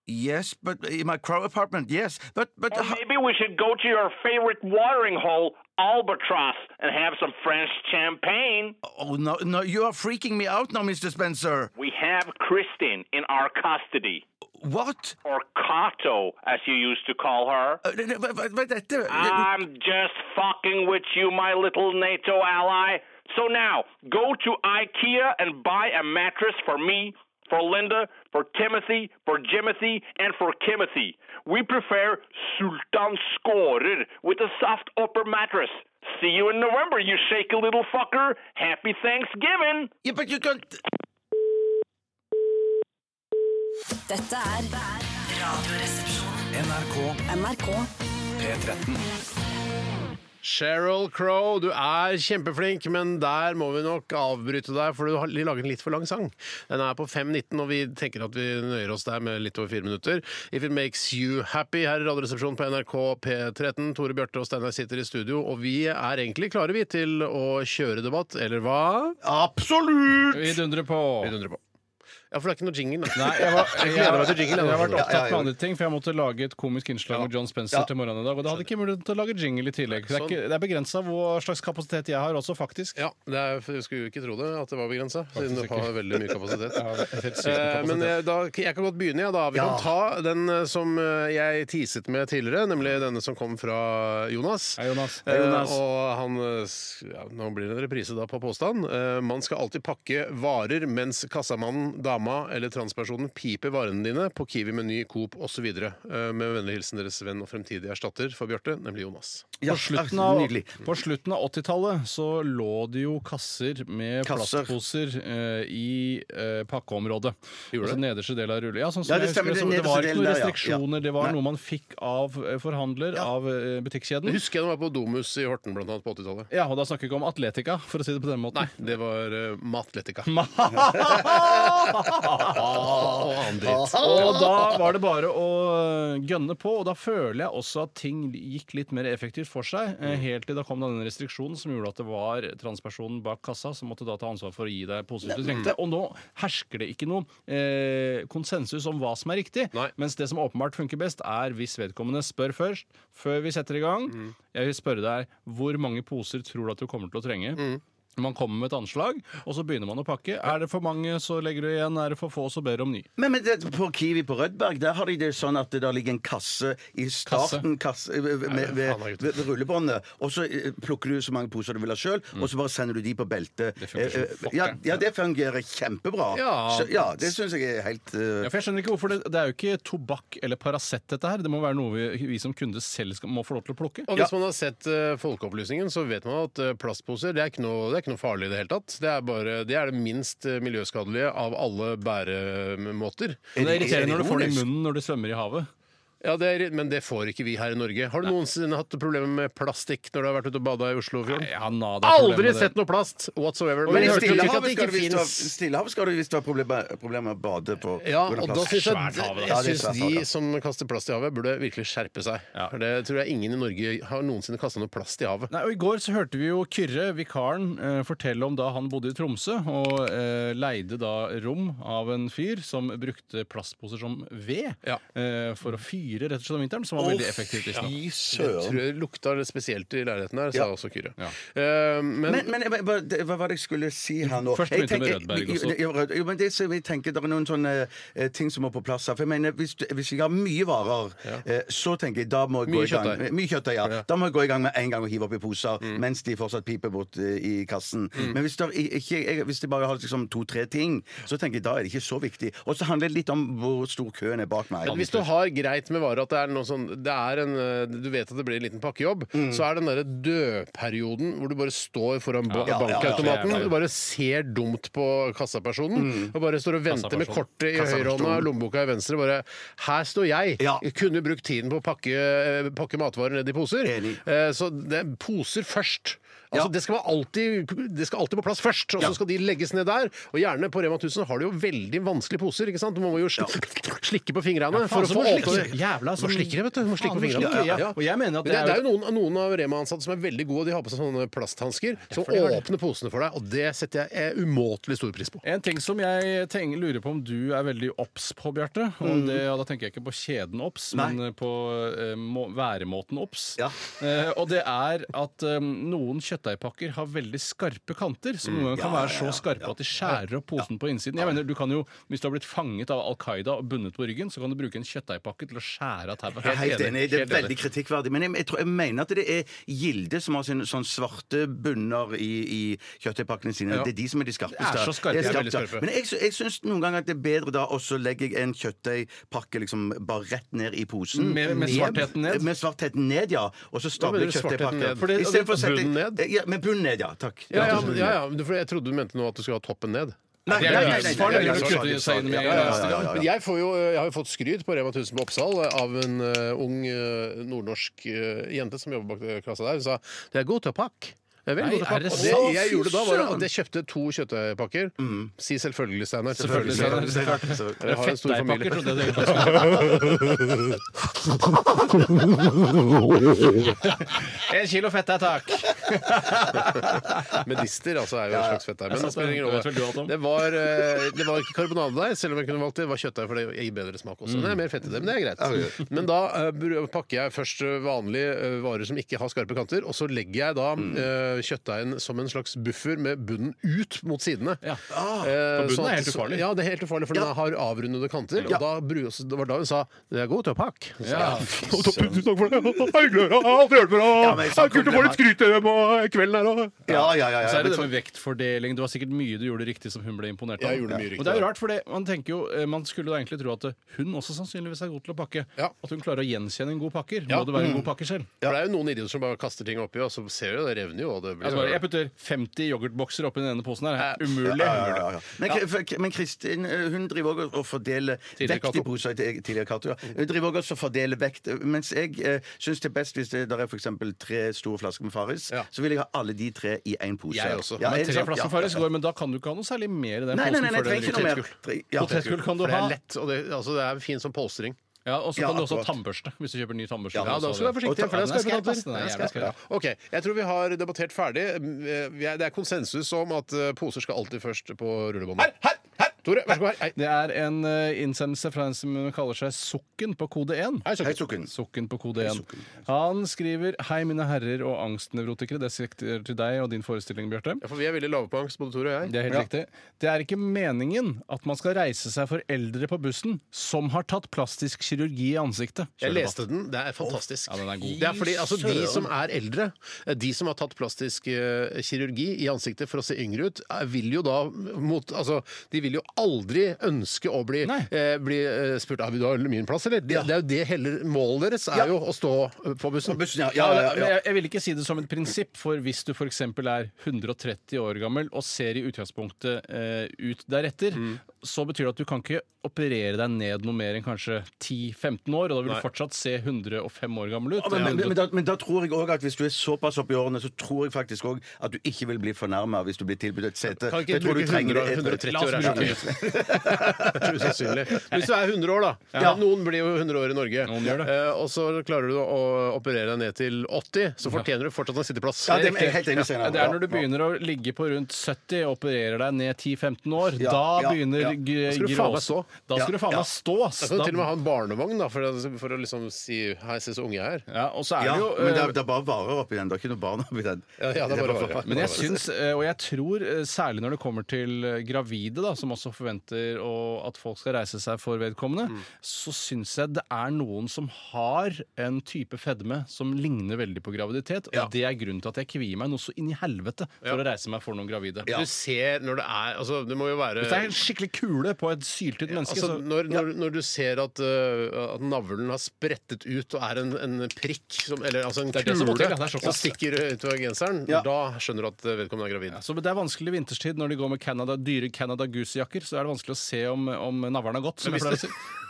Speaker 3: Yes, but in my crow apartment, yes. But, but.
Speaker 7: Or
Speaker 3: ho-
Speaker 7: maybe we should go to your favorite watering hole, Albatross, and have some French champagne.
Speaker 3: oh, no, no, you are freaking me out now, Mr. Spencer.
Speaker 7: We have Kristin in our custody,
Speaker 3: What?
Speaker 7: or Kato, as you used to call her.
Speaker 3: Uh, no, no, but, but, but, that- uh,
Speaker 7: I'm just fucking with you, my little NATO ally. So now, go to IKEA and buy a mattress for me, for Linda, for Timothy, for Jimothy, and for Kimothy. We prefer Sultan Skorer with a soft upper mattress. See you in November, you shaky little fucker. Happy Thanksgiving.
Speaker 3: yeah, but you can't.
Speaker 5: Dette er Radioresepsjonen.
Speaker 6: NRK
Speaker 5: NRK
Speaker 6: P13.
Speaker 1: Cheryl Crow, du er kjempeflink, men der må vi nok avbryte deg, for du har laget en litt for lang sang. Den er på 5.19, og vi tenker at vi nøyer oss der med litt over fire minutter. If it makes you happy, her i Radioresepsjonen på NRK P13. Tore Bjarte og Steinar sitter i studio, og vi er egentlig klare, vi, til å kjøre debatt, eller hva?
Speaker 3: Absolutt!
Speaker 2: Vi dundrer på.
Speaker 1: Vi dundrer på. Ja, for det er ikke noe jingle. da.
Speaker 2: Nei, jeg, var, jeg,
Speaker 1: gleder meg til jingle, jeg,
Speaker 2: har vært
Speaker 1: altså.
Speaker 2: opptatt med andre ting, for jeg måtte lage et komisk innslag med John Spencer
Speaker 3: Ja.
Speaker 2: til morgenen i dag. Og da hadde jeg ikke mulighet til å lage jingle i tillegg. Det er, ikke, det er begrensa hva slags kapasitet jeg har også, faktisk.
Speaker 1: Sånn. Ja, det er, for jeg skulle jo ikke tro det, at det var begrensa, siden du
Speaker 2: Faktisk
Speaker 1: har
Speaker 2: ikke.
Speaker 1: veldig mye
Speaker 2: [laughs]
Speaker 1: kapasitet.
Speaker 2: Ja, helt sykt med
Speaker 1: Eh, Men jeg, da, jeg kan godt begynne, jeg, da. Vi kan ta den eh, som eh, jeg teaset med tidligere, nemlig denne som kom fra Jonas.
Speaker 2: Hei, Jonas.
Speaker 1: Eh,
Speaker 2: Hei, Jonas.
Speaker 1: og han eh, s- ja, Nå blir det en reprise da på påstand. Eh, man skal alltid pakke varer mens kassamannen, dama eller transpersonen piper varene dine på Kiwi, Meny, Coop osv. Uh, med vennlig hilsen deres venn og fremtidig erstatter for Bjarte, nemlig Jonas.
Speaker 3: Ja,
Speaker 2: På slutten av,
Speaker 3: [laughs] nydelig.
Speaker 2: på slutten av 80-tallet så lå det jo kasser med
Speaker 3: Kasser.
Speaker 2: plastposer eh, i eh, pakkeområdet. Altså nederste del av rulle. Ja, sånn som
Speaker 3: Ja, det
Speaker 2: jeg husker det,
Speaker 3: stemmer,
Speaker 2: så
Speaker 3: den
Speaker 2: det var ikke noen
Speaker 3: nederste delen der, ja.
Speaker 2: restriksjoner. Det
Speaker 3: Nei.
Speaker 2: var noe man fikk av eh, forhandler av eh,
Speaker 1: Jeg
Speaker 2: butikkjeden.
Speaker 1: husker jeg da jeg var på Domus i Horten blant annet på 80-tallet.
Speaker 2: Ja, og da snakker vi ikke om atletika, for å si det på den måten.
Speaker 1: Nei, det var uh, Matletica.
Speaker 2: [laughs]
Speaker 3: [laughs]
Speaker 1: og annen dritt.
Speaker 2: Og da var det bare å eh, gønne på, og da føler jeg også at ting gikk litt mer effektivt for seg. eh, Helt til da kom denne restriksjonen som gjorde at det var transpersonen bak kassa som måtte da ta ansvar for å gi deg poser du trengte. Og nå hersker det ikke noe eh, konsensus om hva som er riktig,
Speaker 1: Nei.
Speaker 2: mens det som åpenbart funker best, er hvis vedkommende spør først, før vi setter i gang. Jeg vil spørre deg hvor mange poser tror du at du kommer til å trenge? Man kommer med et anslag, og så begynner man å pakke. Er det for mange, så legger du igjen. Er det for få, så ber du om ny.
Speaker 3: Men, men det, på Kiwi på Rødberg der har de det sånn at det der ligger en kasse i starten kasse, eh, ved, ved, ved, ved, ved rullebåndet. Og så eh, plukker du så mange poser du vil ha sjøl, og så bare sender du de på beltet.
Speaker 2: Det fungerer som
Speaker 3: Eh, eh,
Speaker 2: fuck,
Speaker 3: ja,
Speaker 2: det.
Speaker 3: ja, det fungerer kjempebra.
Speaker 2: Ja.
Speaker 3: så, ja det syns jeg er helt eh,
Speaker 2: Ja, for jeg skjønner ikke hvorfor Det, det er jo ikke tobakk eller Paracet, dette her. Det må være noe vi, vi som kunde selv skal, må få lov til å plukke.
Speaker 1: Og hvis man har sett eh, Folkeopplysningen, så vet man at eh, plastposer det er, ikke noe, det er ikke noe farlig i det hele tatt. Det er, bare, det er det minst eh, miljøskadelige av alle bæremåter.
Speaker 2: Men det er irriterende når du får det i
Speaker 3: ironisk?
Speaker 2: munnen når du svømmer i havet.
Speaker 1: Ja, det er, Men det får ikke vi her i Norge. Har du noensinne hatt problemer med plastikk når du har vært ute og bada i Oslofjorden?
Speaker 2: Jeg har nada problem med
Speaker 1: Aldri
Speaker 2: det.
Speaker 1: sett noe plast whatsoever.
Speaker 3: Men i
Speaker 1: jeg hørte jo ikke at det ikke
Speaker 3: Stillehavet skal du visst ha-
Speaker 1: finnes.
Speaker 3: Stillehavet skal du visst ha problemer problem med å bade på.
Speaker 1: Ja,
Speaker 3: på
Speaker 1: og
Speaker 3: grunn av
Speaker 1: da
Speaker 3: plast.
Speaker 1: syns jeg,
Speaker 2: Svært hav, da.
Speaker 1: jeg
Speaker 3: Ja, det er
Speaker 1: synes
Speaker 3: svært hav,
Speaker 1: de
Speaker 3: ja.
Speaker 1: som kaster plast i havet, burde virkelig skjerpe seg.
Speaker 2: Ja.
Speaker 1: For det tror jeg ingen i Norge har noensinne kasta noe plast i havet.
Speaker 2: Nei, og I går så hørte vi jo Kyrre, vikaren, eh, fortelle om da han bodde i Tromsø og eh, leide da rom av en fyr som brukte plastposer som ved
Speaker 1: Ja.
Speaker 2: eh, for å fyre rett og slett om vinteren, som var veldig effektivt. visstnok.
Speaker 3: Fy
Speaker 1: Jeg
Speaker 3: søren.
Speaker 1: tror det lukta litt spesielt i leiligheten her, sa
Speaker 3: Ja.
Speaker 1: også Kyrre.
Speaker 2: Ja.
Speaker 1: Eh, men,
Speaker 3: Men, men jeg bare- bare- det- hva var det jeg skulle si her nå?
Speaker 2: Først
Speaker 3: Jeg
Speaker 2: begynte med
Speaker 3: tenker-
Speaker 2: Rødberg også.
Speaker 3: Jo, Rød- Jo, men det som jeg tenker, det er noen sånne eh, ting som må på plass her. For jeg mener, hvis, du- hvis jeg har mye varer, eh, så tenker jeg da må jeg
Speaker 1: Mye
Speaker 3: gå i gang
Speaker 1: kjøttdeig.
Speaker 3: Mye kjøttdeig, ja.
Speaker 1: Ja.
Speaker 3: Da må jeg gå i gang med en gang og hive opp i poser mens de fortsatt piper bort eh, i kassen. Men hvis, det er i- ikke, jeg, hvis de bare har liksom to-tre ting, så tenker jeg da er det ikke så viktig. Og så handler det litt om hvor stor køen er bak meg.
Speaker 1: Men hvis du har greit med varer, at det er noe sånn det er en, eh, Du vet at det blir en liten pakkejobb,
Speaker 3: Mm.
Speaker 1: så er den derre dødperioden hvor du bare står foran ba
Speaker 3: Ja, ja, ja, Mm.
Speaker 1: bankautomaten,
Speaker 2: ja, ja.
Speaker 1: du bare ser dumt på kassapersonen, og bare står og venter med
Speaker 2: Kassaperson.
Speaker 1: kortet i høyrehånda og lommeboka i venstre, bare Her står jeg!
Speaker 3: Ja.
Speaker 1: Jeg kunne brukt tiden på å pakke, eh, pakke matvarer ned i poser.
Speaker 3: Enig.
Speaker 1: Eh, Så det er poser først. Altså,
Speaker 3: Ja.
Speaker 1: det, skal man alltid, det skal alltid på plass først, og så skal de legges ned der. Og gjerne på Rema 1000 har de jo veldig vanskelige poser. ikke sant? Du må jo sli slikke på fingrene for å få åpne
Speaker 2: Jævla
Speaker 1: Du må slikke det, vet du. Du må slikke
Speaker 2: Faen,
Speaker 1: på
Speaker 2: du
Speaker 1: fingrene.
Speaker 2: slikker, ja.
Speaker 1: Ja.
Speaker 2: Og jeg mener at
Speaker 1: Men det,
Speaker 2: det er
Speaker 1: det er jo noen, noen av Rema-ansatte som er veldig gode, og de har på seg sånne plasthansker som
Speaker 2: for de har det.
Speaker 1: åpner posene for deg, og det setter jeg eh, umåtelig stor pris på.
Speaker 2: En ting som jeg tenker, lurer på om du er veldig obs på, Bjarte. Og det, ja, da tenker jeg ikke på kjeden obs,
Speaker 3: Mm. Nei.
Speaker 2: men på eh, må, væremåten obs.
Speaker 3: Ja.
Speaker 2: Eh, og det er at eh, noen kjøttdeigpakker har veldig skarpe kanter, som
Speaker 3: Mm.
Speaker 2: noen ganger kan være så skarpe at de skjærer opp posen på innsiden. Jeg mener, du kan jo, Hvis du har blitt fanget av Al Qaida og bundet på ryggen, så kan du bruke en kjøttdeigpakke til å skjære av tauet.
Speaker 3: Jeg er helt enig. Det er
Speaker 2: Helt enig.
Speaker 3: veldig kritikkverdig. Men jeg, jeg, tror, jeg mener at det er Gilde som har sine sånn svarte bunner i, i kjøttdeigpakkene sine.
Speaker 2: Ja.
Speaker 3: Det er de som er de skarpeste.
Speaker 2: Det er så skarpe,
Speaker 3: Det
Speaker 2: de er
Speaker 3: skarpt,
Speaker 2: veldig
Speaker 3: ja.
Speaker 2: skarpe.
Speaker 3: Men jeg, sy- jeg syns noen ganger at det er bedre da også legger jeg en kjøttdeigpakke liksom bare rett ned i posen.
Speaker 2: Med- med svartheten ned?
Speaker 3: Med svartheten ned, ja. Og så
Speaker 1: Hva
Speaker 3: stabler
Speaker 1: mener
Speaker 3: jeg
Speaker 1: du, svartheten ned?
Speaker 3: kjøttdeigpakken.
Speaker 1: Fordi-
Speaker 3: I stedet for å sette-
Speaker 1: bunnen ned?
Speaker 3: Ja, med bunnen ned, ja. Takk.
Speaker 1: Ja, ja, men- ja, ja, men for jeg trodde du mente nå at du skulle ha toppen ned.
Speaker 3: Nei,
Speaker 2: Det er
Speaker 3: nei, nei, nei,
Speaker 2: livsfarlig
Speaker 3: nei, nei,
Speaker 2: å
Speaker 3: nei,
Speaker 2: kutte
Speaker 3: nei,
Speaker 2: seg inn med-
Speaker 3: ja, ja, ja, ja,
Speaker 1: Men
Speaker 3: ja.
Speaker 1: jeg, får jo, jeg har jo fått skryt på Rema 1000 på Oppsal av en eh, ung eh, nordnorsk eh, jente som jobber bak eh, kassa der. Hun sa det er god til å pakke. Det er veldig
Speaker 2: Nei,
Speaker 1: god til å
Speaker 2: er det
Speaker 1: pakke. Og
Speaker 2: sant?
Speaker 1: det jeg gjorde da, var
Speaker 3: Søren!
Speaker 1: at jeg kjøpte to kjøttdeigpakker. Si Mm. selvfølgelig, Steinar.
Speaker 2: Selvfølgelig, Steinar.
Speaker 3: Så-
Speaker 1: Jeg har en stor
Speaker 2: Fettdeigpakker,
Speaker 1: familie.
Speaker 2: trodde jeg det [laughs] En kilo fettdeig, takk!
Speaker 1: Medister altså, er jo en slags fettdeig. Men det spiller ingen
Speaker 2: Det vet vel du alt
Speaker 1: rolle.
Speaker 2: om.
Speaker 1: Det var, eh, det var ikke karbonadedeig, selv om jeg kunne valgt det. Det var kjøttdeig, for det gir bedre smak også.
Speaker 2: Mm.
Speaker 1: Det er mer fett i det, men det er greit. Men da eh, br- pakker jeg først eh, vanlige eh, varer som ikke har skarpe kanter, og så legger jeg da
Speaker 2: Mm.
Speaker 1: eh, kjøttdeigen som en slags buffer med bunnen ut mot sidene.
Speaker 2: Ja.
Speaker 1: Eh,
Speaker 2: for bunnen
Speaker 1: sånn
Speaker 2: er
Speaker 1: at-
Speaker 2: helt ufarlig.
Speaker 1: Ja, det er helt ufarlig, for den har avrundede kanter. Og da, bru- det var da hun sa 'det er god til å pakke'. Så
Speaker 2: Ja. [laughs]
Speaker 1: jeg, Tusen takk for det! Det er hyggelig å høre. Alt gjør det bra.
Speaker 3: Ja, men
Speaker 1: Det
Speaker 3: sånn
Speaker 1: er kult å få litt skryt eh, på kvelden her òg.
Speaker 3: Ja, ja, ja, ja.
Speaker 2: Så er det det med vektfordeling. Du har sikkert mye du gjorde riktig som hun ble imponert av.
Speaker 1: Jeg gjorde mye riktig,
Speaker 2: og det er jo
Speaker 1: ja.
Speaker 2: rart, for det, man tenker jo, eh, man skulle da egentlig tro at eh, hun også sannsynligvis er god til å pakke.
Speaker 1: Ja.
Speaker 2: At hun klarer å gjenkjenne en god pakker.
Speaker 1: Ja.
Speaker 2: Må
Speaker 1: Mm.
Speaker 2: det være en god pakke selv?
Speaker 1: For det er jo noen idioter som bare kaster ting oppi, og så ser du det revner jo. Og det blir
Speaker 2: Altså, jeg putter 50 yoghurtbokser oppi den ene posen her. Umulig.
Speaker 3: Ja, ja, ja. Men, for- men Kristin eh, hun driver også og fordeler
Speaker 2: Tidligere
Speaker 3: vekt i
Speaker 2: Cato.
Speaker 3: poser til- tidligere Cato, ja. Hun driver også og fordeler vekt. Mens jeg eh, syns det er best hvis det der er for eksempel tre store flasker med Farris,
Speaker 1: Ja.
Speaker 3: så vil jeg ha alle de tre i én pose.
Speaker 1: Jeg også.
Speaker 3: Ja,
Speaker 2: Men
Speaker 3: er det
Speaker 2: tre
Speaker 3: sant?
Speaker 2: flasker
Speaker 3: Ja,
Speaker 2: Farris
Speaker 3: ja, ja.
Speaker 2: går, men da kan du ikke ha noe særlig mer i den
Speaker 3: Nei, nei,
Speaker 2: posen.
Speaker 3: nei, nei,
Speaker 2: før det
Speaker 3: trenger ikke noe mer.
Speaker 2: ryker.
Speaker 3: Tre- ja.
Speaker 2: Potetgull kan du
Speaker 1: For det
Speaker 2: ha.
Speaker 1: er lett, og det, altså, det er fint som polstring.
Speaker 2: Ja, og så
Speaker 3: Ja,
Speaker 2: kan du også ha
Speaker 3: akkurat.
Speaker 2: tannbørste hvis du kjøper ny tannbørste.
Speaker 1: Ja, da skal du være forsiktig.
Speaker 2: Og
Speaker 1: For det er
Speaker 2: ta- den er
Speaker 1: skarpe
Speaker 2: skarp, ass. Den
Speaker 1: kanter.
Speaker 2: er
Speaker 1: Den er
Speaker 2: jævlig
Speaker 1: skarp, ja.
Speaker 2: skarp.
Speaker 1: OK. Jeg tror vi har Mm, debattert ferdig. Eh, vi er- Det er konsensus om at eh, poser skal alltid først på rullebåndet.
Speaker 2: Her, her, her!
Speaker 1: Tore, vær så god. Hei.
Speaker 2: Det er en eh, innsendelse fra en som kaller seg Sukken på kode 1.
Speaker 1: Hei, Sukken.
Speaker 3: Hei, Sukken.
Speaker 2: Sukken på kode 1. Han skriver Hei, mine herrer og angstnevrotikere. Det sikter til deg og din forestilling, Bjarte.
Speaker 1: Ja, for vi er veldig lave på angst, både Tore og jeg.
Speaker 2: Det er helt riktig. Det er ikke meningen at man skal reise seg for eldre på bussen som har tatt plastisk kirurgi i ansiktet.
Speaker 1: Jeg
Speaker 2: Kjør
Speaker 1: leste den. Det er fantastisk.
Speaker 2: Ja, den er god.
Speaker 1: Det er fordi altså, De som er eldre, de som har tatt plastisk eh, kirurgi i ansiktet for å se yngre ut, eh, vil jo da mot Altså, de vil jo aldri ønske å bli,
Speaker 2: Nei.
Speaker 1: eh, bli eh, spurt Har du ha min plass, eller? Det, det er jo det heller Målet deres er jo å stå eh, på bussen.
Speaker 3: Bussen, ja,
Speaker 2: Ja,
Speaker 3: ja, ja,
Speaker 1: [laughs]
Speaker 2: men
Speaker 3: ja.
Speaker 2: Jeg, jeg vil ikke si det som et prinsipp, for hvis du f.eks. er 130 år gammel og ser i utgangspunktet eh, ut deretter,
Speaker 3: Mm.
Speaker 2: så betyr det at du kan ikke operere deg ned noe mer enn kanskje 10-15 år, og da vil du fortsatt se 105 år gammel ut.
Speaker 3: Ja, Men, men,
Speaker 2: Eller
Speaker 3: men, da, men da tror jeg også at hvis du er såpass oppe i årene, så tror jeg faktisk òg at du ikke vil bli fornærma hvis du blir tilbudt et sete.
Speaker 1: Kan ikke
Speaker 3: Jeg tror
Speaker 1: bruke
Speaker 3: du trenger
Speaker 1: 100,
Speaker 3: det-
Speaker 1: 130
Speaker 2: La oss
Speaker 1: år er så
Speaker 2: bruke-
Speaker 3: [laughs]
Speaker 1: mye. Usannsynlig. Hvis du er 100 år, da. Noen blir jo 100 år i Norge.
Speaker 2: Noen gjør det.
Speaker 1: Eh, og så klarer du å operere deg ned til 80, så fortjener du fortsatt en sitteplass.
Speaker 3: Ja, det er jeg helt enig
Speaker 2: Ja,
Speaker 3: senere.
Speaker 2: Det er når du begynner å ligge på rundt 70 og opererer deg ned 10-15 år.
Speaker 3: Ja,
Speaker 2: da
Speaker 3: ja,
Speaker 2: begynner
Speaker 3: ja.
Speaker 2: ja.
Speaker 1: Da skal du faen meg stå.
Speaker 2: Da skal du faen meg stå. ass.
Speaker 1: Da kan du til og
Speaker 2: Da-
Speaker 1: med ha en barnevogn da, for, å- for å liksom si 'hei, se så unge jeg er'.
Speaker 2: Ja, og så er
Speaker 3: Ja,
Speaker 2: det jo
Speaker 3: men
Speaker 2: eh,
Speaker 3: det er, det er bare varer oppi den. Det er ikke noe barn oppi den.
Speaker 1: Ja, ja, det er bare varer.
Speaker 2: Men jeg syns, eh, og jeg tror eh, særlig når det kommer til eh, gravide, da, som også forventer å, at folk skal reise seg for vedkommende,
Speaker 1: Mm.
Speaker 2: så syns jeg det er noen som har en type fedme som ligner veldig på graviditet. Og det er grunnen til at jeg kvier meg noe så inn i helvete for å reise meg for noen gravide.
Speaker 1: Du ser når det er Altså, det må jo være
Speaker 2: Hvis det er en skikkelig kule på et syltynt menneske,
Speaker 1: Altså,
Speaker 2: så
Speaker 1: når, når, når du ser at, uh, at navlen har sprettet ut og er en, en prikk, som, eller altså en
Speaker 2: er det som må til, ja.
Speaker 1: kule
Speaker 2: Det er såpass.
Speaker 1: som stikker utover genseren, da skjønner du at øh, vedkommende er gravid.
Speaker 2: så det er vanskelig vinterstid når de går med Canada, dyre Canada Goose-jakker. Så er det vanskelig å se om, om navlen har gått. Som jeg pleier å si.
Speaker 3: Ja,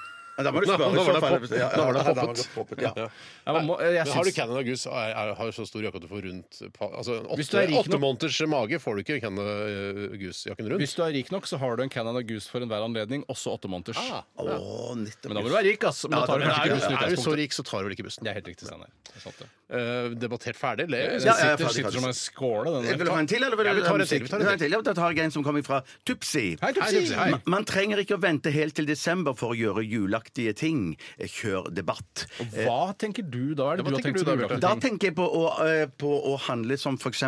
Speaker 3: Da må du
Speaker 1: Nå-
Speaker 3: spørre.
Speaker 1: nå var
Speaker 3: i så
Speaker 1: det
Speaker 3: fall.
Speaker 1: poppet.
Speaker 3: Ja, ja,
Speaker 1: Nå var det
Speaker 3: ja, da
Speaker 1: poppet.
Speaker 3: poppet, ja.
Speaker 2: Ja, man må, jeg
Speaker 1: Men har du
Speaker 2: syns-
Speaker 1: Canada Goose, er, er, har jo så stor jakke at du får rundt pa- altså, en
Speaker 2: Hvis du
Speaker 1: åtte,
Speaker 2: er rik nok-
Speaker 1: åtte måneders mage får du ikke Canada uh, Goose-jakken rundt.
Speaker 2: Hvis du er rik nok, så har du en Canada Goose for enhver anledning, også åtte måneders.
Speaker 3: Å,
Speaker 2: Men
Speaker 3: nettopp.
Speaker 2: da må du være rik, ass. Ah. Men da tar du
Speaker 1: Men
Speaker 2: kanskje ikke
Speaker 1: er, du,
Speaker 2: bussen i
Speaker 1: er du så
Speaker 2: utgangspunktet.
Speaker 1: rik, så tar du vel ikke bussen.
Speaker 2: Det er helt riktig, Steinar. Det er sant, det.
Speaker 1: Eh, debattert ferdig? eller?
Speaker 2: Den
Speaker 3: ja, ja,
Speaker 2: sitter,
Speaker 3: ferdig,
Speaker 2: sitter som en skåle, den
Speaker 3: Jeg Vil
Speaker 2: der.
Speaker 3: du ha en til, eller vil
Speaker 1: Ja,
Speaker 3: du
Speaker 1: vi tar
Speaker 3: ha
Speaker 1: en til,
Speaker 3: musikk?
Speaker 1: vi tar en
Speaker 3: Vi tar en til. Ja, Da tar jeg en som kommer fra Tupsi.
Speaker 2: Hei, Tupsi. Hei.
Speaker 3: Ma- Man trenger ikke å vente helt til desember for å gjøre julaktige ting. Eh, Kjør debatt.
Speaker 2: Hva tenker du da? Er det
Speaker 1: hva
Speaker 2: du har
Speaker 1: tenker
Speaker 2: tenkt
Speaker 1: du
Speaker 2: som
Speaker 1: da, Bjarte?
Speaker 2: julaften?
Speaker 3: Da tenker jeg på å, eh, på å handle som f.eks.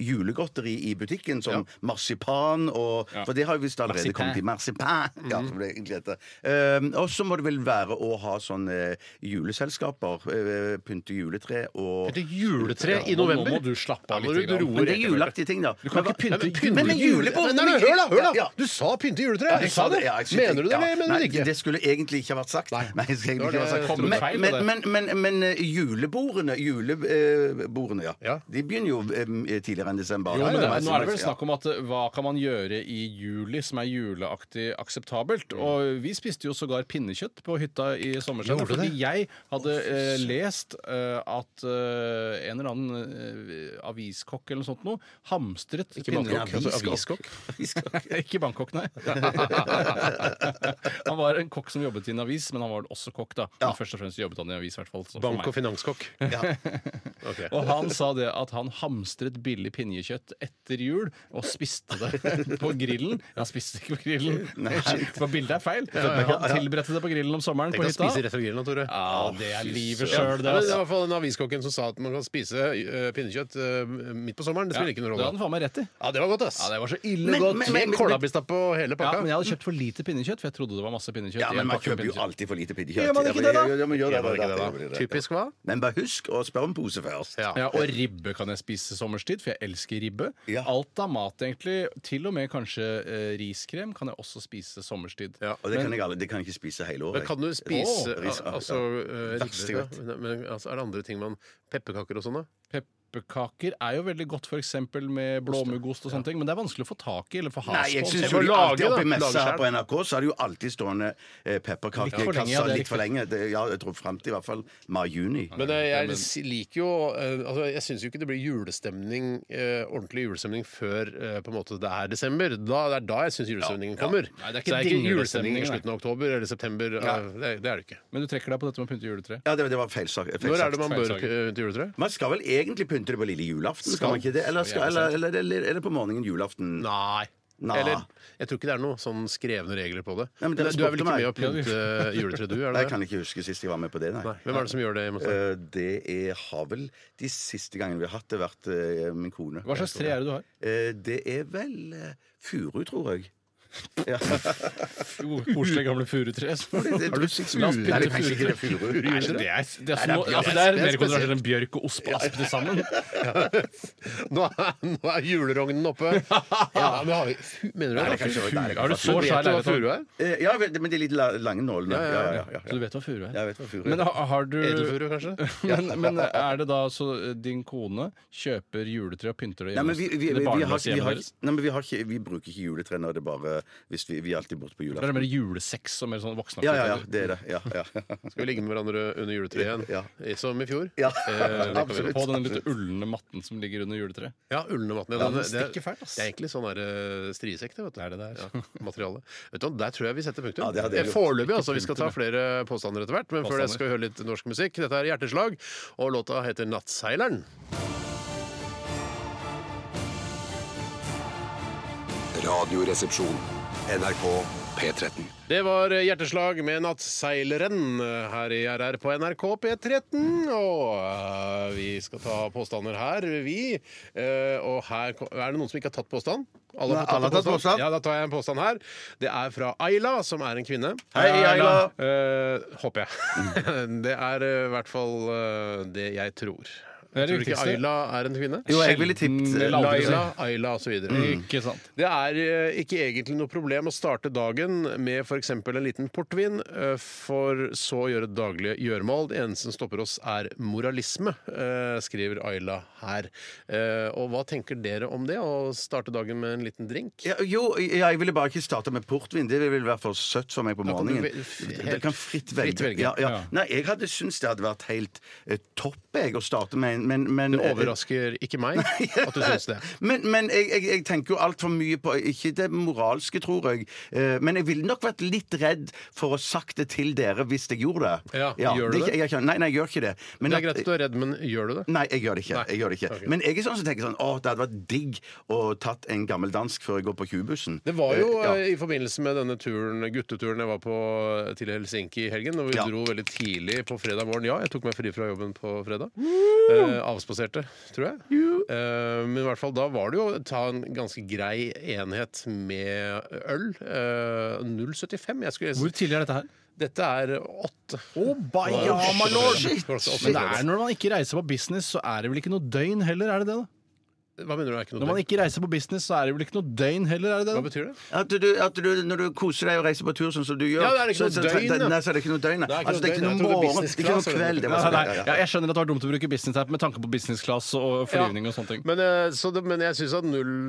Speaker 3: julegodteri i butikken, som marsipan og For det har jo visst allerede
Speaker 2: Marsipan.
Speaker 3: kommet i marsipan.
Speaker 1: Mm.
Speaker 3: Ja, som det egentlig heter. Ehm, og så må det vel være å ha sånne juleselskaper. eh, Pynte juletre og
Speaker 1: Pynte juletre i
Speaker 2: Nå-
Speaker 1: november?
Speaker 2: Nå må du slappe av
Speaker 1: Ja, nå
Speaker 2: litt.
Speaker 1: må du
Speaker 2: grann.
Speaker 1: roe
Speaker 3: Men det er juleaktige ting, da.
Speaker 2: Du kan ikke
Speaker 1: Nei, men
Speaker 2: pynte
Speaker 1: pynte
Speaker 3: Men- men
Speaker 1: jule-
Speaker 3: julebord-
Speaker 1: Nei, nei, men Hør, da! hør da
Speaker 3: Ja, ja.
Speaker 1: Du sa pynte juletre!
Speaker 3: Jeg
Speaker 1: Du sa det.
Speaker 3: ja, jeg synes
Speaker 1: Mener du det,
Speaker 3: ja.
Speaker 1: eller mener du
Speaker 3: Nei,
Speaker 1: det ikke?
Speaker 3: Det skulle egentlig ikke ha vært sagt. Nei, jeg skulle
Speaker 1: var
Speaker 3: egentlig ikke ha
Speaker 1: det-
Speaker 3: vært
Speaker 2: kom det feil
Speaker 3: sagt.
Speaker 2: på
Speaker 3: Men,
Speaker 2: det?
Speaker 3: men, men, men, men eh, julebordene, julebordene ja.
Speaker 1: Ja.
Speaker 3: de begynner jo eh, tidligere enn desember.
Speaker 2: Jo, men det,
Speaker 3: Ja, ja, ja.
Speaker 2: nå er det vel snakk om at eh, hva kan man gjøre i juli som er juleaktig akseptabelt? Og vi spiste jo sågar pinnekjøtt på hytta i sommersalen.
Speaker 1: Gjorde
Speaker 2: Fordi
Speaker 1: det?
Speaker 2: jeg hadde eh, lest eh, at eh, en eller annen eh, aviskokk eller noe sånt noe hamstret
Speaker 1: Bangkok, altså aviskokk.
Speaker 2: [laughs] Ikke Bangkok, nei. han var en kokk som jobbet i en avis, men han var også kokk, da. Men først og fremst jobbet han i en avis, i hvert fall. så for meg.
Speaker 1: Bank- og finanskokk. Ok.
Speaker 2: Og han sa det at han hamstret billig pinnekjøtt etter jul og spiste det på grillen. Han spiste ikke på grillen, Shit, for bildet er feil. Han tilberedte det på grillen om sommeren
Speaker 1: Jeg
Speaker 2: på
Speaker 1: kan
Speaker 2: hytta.
Speaker 1: spise rett fra grillen, Tore.
Speaker 2: Ja, det er livet
Speaker 1: Ja, men
Speaker 2: sjøl,
Speaker 1: det
Speaker 2: det.
Speaker 1: var i
Speaker 2: Altså.
Speaker 1: hvert fall den aviskokken som sa at man kan spise eh, pinnekjøtt eh, midt på sommeren. Det
Speaker 2: Ja,
Speaker 1: spiller ikke
Speaker 2: det
Speaker 1: noen
Speaker 2: hadde
Speaker 1: rolle.
Speaker 2: han faen meg rett i.
Speaker 1: Ja, det var godt, ass.
Speaker 2: Ja, det var så ille
Speaker 3: Men-
Speaker 2: godt.
Speaker 3: men-
Speaker 1: Med kålrabistapp på hele
Speaker 2: ja,
Speaker 1: pakka.
Speaker 2: men jeg hadde kjøpt for lite pinnekjøtt, for jeg trodde det var masse pinnekjøtt.
Speaker 3: Ja,
Speaker 2: i en
Speaker 3: men man
Speaker 2: pakke med
Speaker 3: kjøper jo
Speaker 2: pinnekjøtt.
Speaker 3: alltid for lite pinnekjøtt.
Speaker 2: Gjør man ikke det, da?
Speaker 3: Ja, men gjør
Speaker 1: Gjør man
Speaker 3: det,
Speaker 1: ikke det,
Speaker 3: da.
Speaker 1: da? Typisk hva?
Speaker 3: Men bare husk å spørre om pose først.
Speaker 1: Ja.
Speaker 2: Ja, og ribbe kan jeg spise sommerstid, for jeg elsker ribbe.
Speaker 3: Ja.
Speaker 2: Alt av mat, egentlig. Til og med kanskje eh, riskrem kan jeg også spise sommerstid.
Speaker 1: Ja.
Speaker 3: Og det kan jeg aldri, det kan jeg ikke spise hele året.
Speaker 1: Men kan du spise
Speaker 3: Åh, ris-
Speaker 1: al- altså, eh,
Speaker 3: Verste
Speaker 1: ribbe,
Speaker 3: godt.
Speaker 1: da? Men, altså, Er det andre ting man Pepperkaker og sånn, da?
Speaker 2: Pepperkaker er jo veldig godt f.eks. med blåmuggost og sånne ting, men det er vanskelig å få tak i eller få has på.
Speaker 3: Nei, jeg syns
Speaker 2: Så
Speaker 3: jo
Speaker 2: må
Speaker 3: de
Speaker 2: du lage
Speaker 3: alltid
Speaker 2: det.
Speaker 3: oppe i
Speaker 1: Lage
Speaker 3: messa
Speaker 1: selv.
Speaker 3: her på NRK, så er det jo alltid stående
Speaker 2: Litt for lenge,
Speaker 3: eh,
Speaker 2: ja,
Speaker 3: pepperkakekasser
Speaker 2: det er
Speaker 3: litt for lenge. Det, ja, jeg tror frem til i hvert fall mai-juni.
Speaker 1: Men eh, jeg s- liker jo eh, altså, Jeg syns jo ikke det blir julestemning eh, ordentlig julestemning før eh, på en måte det er desember. Da, det er da jeg syns julestemningen kommer.
Speaker 2: Nei, det er ikke
Speaker 1: Så det er ikke
Speaker 2: dinglestemning,
Speaker 1: julestemning i
Speaker 2: nei.
Speaker 1: slutten av oktober eller september. eh, Det, det er det ikke.
Speaker 2: Men du trekker deg på dette med å pynte juletre?
Speaker 3: Ja, det, det var feil sak. Feil
Speaker 1: Når
Speaker 3: sagt.
Speaker 1: er det man bør
Speaker 2: feilsager.
Speaker 1: eh, til juletre?
Speaker 3: Man skal vel egentlig pynte det på lille julaften? Skal man ikke det? Eller, skal, eller, eller, eller, eller på morgenen julaften?
Speaker 1: Nei.
Speaker 3: Nei.
Speaker 1: Eller jeg tror ikke det er noen sånn skrevne regler på det.
Speaker 3: Nei, men
Speaker 1: du
Speaker 3: dere
Speaker 1: er vel
Speaker 3: spurte
Speaker 1: ikke
Speaker 3: meg.
Speaker 1: med å pynte juletreet, du? Er
Speaker 3: [laughs] Nei,
Speaker 1: det
Speaker 3: Jeg
Speaker 1: det?
Speaker 3: kan ikke huske sist jeg var med på det, nei.
Speaker 1: Nei. Hvem er det som gjør det? Mathias?
Speaker 3: Eh, Det er, har vel de siste gangene vi har hatt det, vært eh, min kone.
Speaker 2: Hva slags tre er det du har?
Speaker 3: Eh, Det er vel eh, furu, tror jeg. Ja.
Speaker 2: Koselige gamle furutre.
Speaker 3: [laughs] Har du seks
Speaker 2: La oss
Speaker 3: Nei, det er
Speaker 2: pytte
Speaker 3: kanskje ikke det
Speaker 2: furu.
Speaker 3: furu.
Speaker 2: Nei, det er, det er,
Speaker 3: Nei,
Speaker 2: små,
Speaker 3: det er-
Speaker 2: altså, det er mer konsentrasjon enn bjørk og osp og asp til sammen.
Speaker 1: [laughs] Nå er, nå er julerognen oppe!
Speaker 2: [laughs]
Speaker 1: Ja, men har vi, fu- mener du
Speaker 3: Nei,
Speaker 1: det?
Speaker 3: det er kanskje- nei, det er
Speaker 2: Har du
Speaker 3: kanskje-
Speaker 2: så svær
Speaker 1: Vet du hva
Speaker 2: leilighet?
Speaker 1: furu
Speaker 2: Tom?
Speaker 1: er?
Speaker 3: Eh, Ja, men det er litt la- lange nålene. Ja, ja, ja. ja.
Speaker 2: Så du vet hva furu er?
Speaker 3: Jeg vet hva furu er.
Speaker 2: Men har, har du
Speaker 1: Edelfuru, kanskje?
Speaker 2: [laughs] men, men er det da så eh, din kone kjøper juletre og pynter det
Speaker 3: Nei,
Speaker 2: hjemme
Speaker 3: men
Speaker 2: hos
Speaker 3: vi, vi, vi,
Speaker 2: det
Speaker 3: vi, har,
Speaker 2: barnløse
Speaker 3: vi,
Speaker 2: hjemmet
Speaker 3: har,
Speaker 2: deres?
Speaker 3: nei, men vi, har ikke, vi bruker ikke juletre når det bare hvis vi, vi er alltid borte på
Speaker 2: Det er
Speaker 3: julaften.
Speaker 2: mer julesex og mer sånn voksne
Speaker 3: Ja, ja, ja. Det er det. Ja, ja.
Speaker 1: Skal vi ligge med hverandre under juletreet igjen?
Speaker 3: Ja.
Speaker 1: I- Som i fjor?
Speaker 3: Ja,
Speaker 1: Eh, det kan vi gjøre.
Speaker 2: På den litt ulne matten som ligger under juletreet.
Speaker 1: Ja, ulne matten. Ja, det, det,
Speaker 2: stikker fælt, ass.
Speaker 1: det er egentlig sånn der, eh, striesekk, det. Vet du. Det er det der. Ja, materiale. Vet du, hva, der tror jeg vi setter punktum.
Speaker 3: Ja, det hadde jeg
Speaker 1: Eh,
Speaker 3: gjort.
Speaker 1: Foreløpig, altså. Vi skal ta flere påstander etter hvert. Men før det
Speaker 2: Påstander.
Speaker 1: skal vi høre litt norsk musikk. Dette er Hjerteslag, og låta heter Nattseileren.
Speaker 4: Radioresepsjon. NRK P13.
Speaker 1: Det var Hjerteslag med Nattseileren her i RR på NRK P13. Og eh, vi skal ta påstander her, vi. Eh, og her ko- Er det noen som ikke har tatt påstand? Alle
Speaker 3: Nei, alle har tatt påstand.
Speaker 1: Ja, Da tar jeg en påstand her. Det er fra Ayla, som er en kvinne.
Speaker 3: Hei, Ayla!
Speaker 1: Eh, håper jeg. [laughs] det er eh, i hvert fall eh, det jeg tror.
Speaker 2: Det er det
Speaker 1: tror du ikke
Speaker 2: viktigste.
Speaker 1: Ayla er en kvinne?
Speaker 3: Jo, jeg ville tippet eh,
Speaker 2: Sjelden
Speaker 3: Laila.
Speaker 1: Laila, Ayla osv.
Speaker 3: Mm.
Speaker 2: Ikke sant.
Speaker 1: Det er eh, ikke egentlig noe problem å starte dagen med f.eks. en liten portvin, eh, for så å gjøre daglige gjøremål. Det eneste som stopper oss, er moralisme, eh, skriver Ayla her. Eh, Og hva tenker dere om det, å starte dagen med en liten drink?
Speaker 3: Ja, jo, ja, jeg ville bare ikke starte med portvin. Det ville være for søtt for meg på
Speaker 1: Da kan du
Speaker 3: morgenen.
Speaker 1: vel- f-
Speaker 3: Det
Speaker 1: helt
Speaker 3: kan fritt velge.
Speaker 1: fritt velge.
Speaker 3: Ja, ja.
Speaker 2: Ja.
Speaker 3: Nei, jeg hadde syntes det hadde vært helt eh, topp jeg, å starte med en men, men, eh,
Speaker 1: Det overrasker ikke meg at du syns det.
Speaker 3: [laughs] Men, men jeg, jeg, jeg tenker jo altfor mye på Ikke det moralske, tror jeg. eh, Men jeg ville nok vært litt redd for å ha sagt det til dere hvis jeg gjorde det.
Speaker 1: Ja, gjør du
Speaker 3: er
Speaker 1: det?
Speaker 3: ikke- Jeg, har ikke- nei, nei, jeg gjør ikke det. Men
Speaker 1: Det er
Speaker 3: at-
Speaker 1: greit at du er redd, men gjør du det?
Speaker 3: Nei, jeg gjør det ikke.
Speaker 1: Nei.
Speaker 3: Jeg gjør det ikke.
Speaker 1: Ok.
Speaker 3: Men jeg er sånn som tenker sånn Å, det hadde vært digg å tatt en gammel dansk før jeg går på kubussen.
Speaker 1: Det var jo
Speaker 3: Eh, ja.
Speaker 1: eh, i forbindelse med denne turen, gutteturen jeg var på eh, til Helsinki i helgen. Og vi
Speaker 3: Ja.
Speaker 1: dro veldig tidlig på fredag morgen. Ja, jeg tok meg fri fra jobben på fredag. Eh, avspaserte, tror jeg. Eh, men i hvert fall da var det jo å ta en ganske grei enhet med øl. Eh, 0,75. Jeg skulle
Speaker 2: Hvor tidlig er dette her?
Speaker 1: Dette er åtte.
Speaker 2: Oh,
Speaker 1: ja, my lord! Shit!
Speaker 2: Men det er når man ikke reiser på business, så er det vel ikke noe døgn heller, er det det? da?
Speaker 1: Hva mener du? Er ikke
Speaker 2: Når
Speaker 1: noe
Speaker 2: man
Speaker 1: det?
Speaker 2: ikke reiser på business, så er det vel ikke noe døgn heller, er det det?
Speaker 1: Hva
Speaker 2: da?
Speaker 1: betyr det?
Speaker 3: At du, at du, når du koser deg og reiser på tur sånn som du gjør
Speaker 1: Ja, det er ikke
Speaker 3: så-
Speaker 1: noe
Speaker 3: så-
Speaker 1: døgn,
Speaker 3: det-
Speaker 1: da.
Speaker 3: Nei, så er det ikke noe
Speaker 1: Det
Speaker 3: døgn.
Speaker 1: er
Speaker 3: da.
Speaker 1: ikke
Speaker 3: Altså, det
Speaker 1: noe
Speaker 3: er ikke
Speaker 1: døgn.
Speaker 3: noe
Speaker 1: Jeg trodde
Speaker 3: morgen,
Speaker 1: business
Speaker 3: det er ikke noe
Speaker 1: class,
Speaker 3: kveld. Det
Speaker 2: Nei,
Speaker 3: var sånn,
Speaker 2: nei,
Speaker 3: ja,
Speaker 2: ja,
Speaker 3: ja.
Speaker 2: jeg skjønner at det var dumt å bruke business her med tanke på business class og flyvning og sånne ting.
Speaker 1: Men, eh, så det, men jeg syns at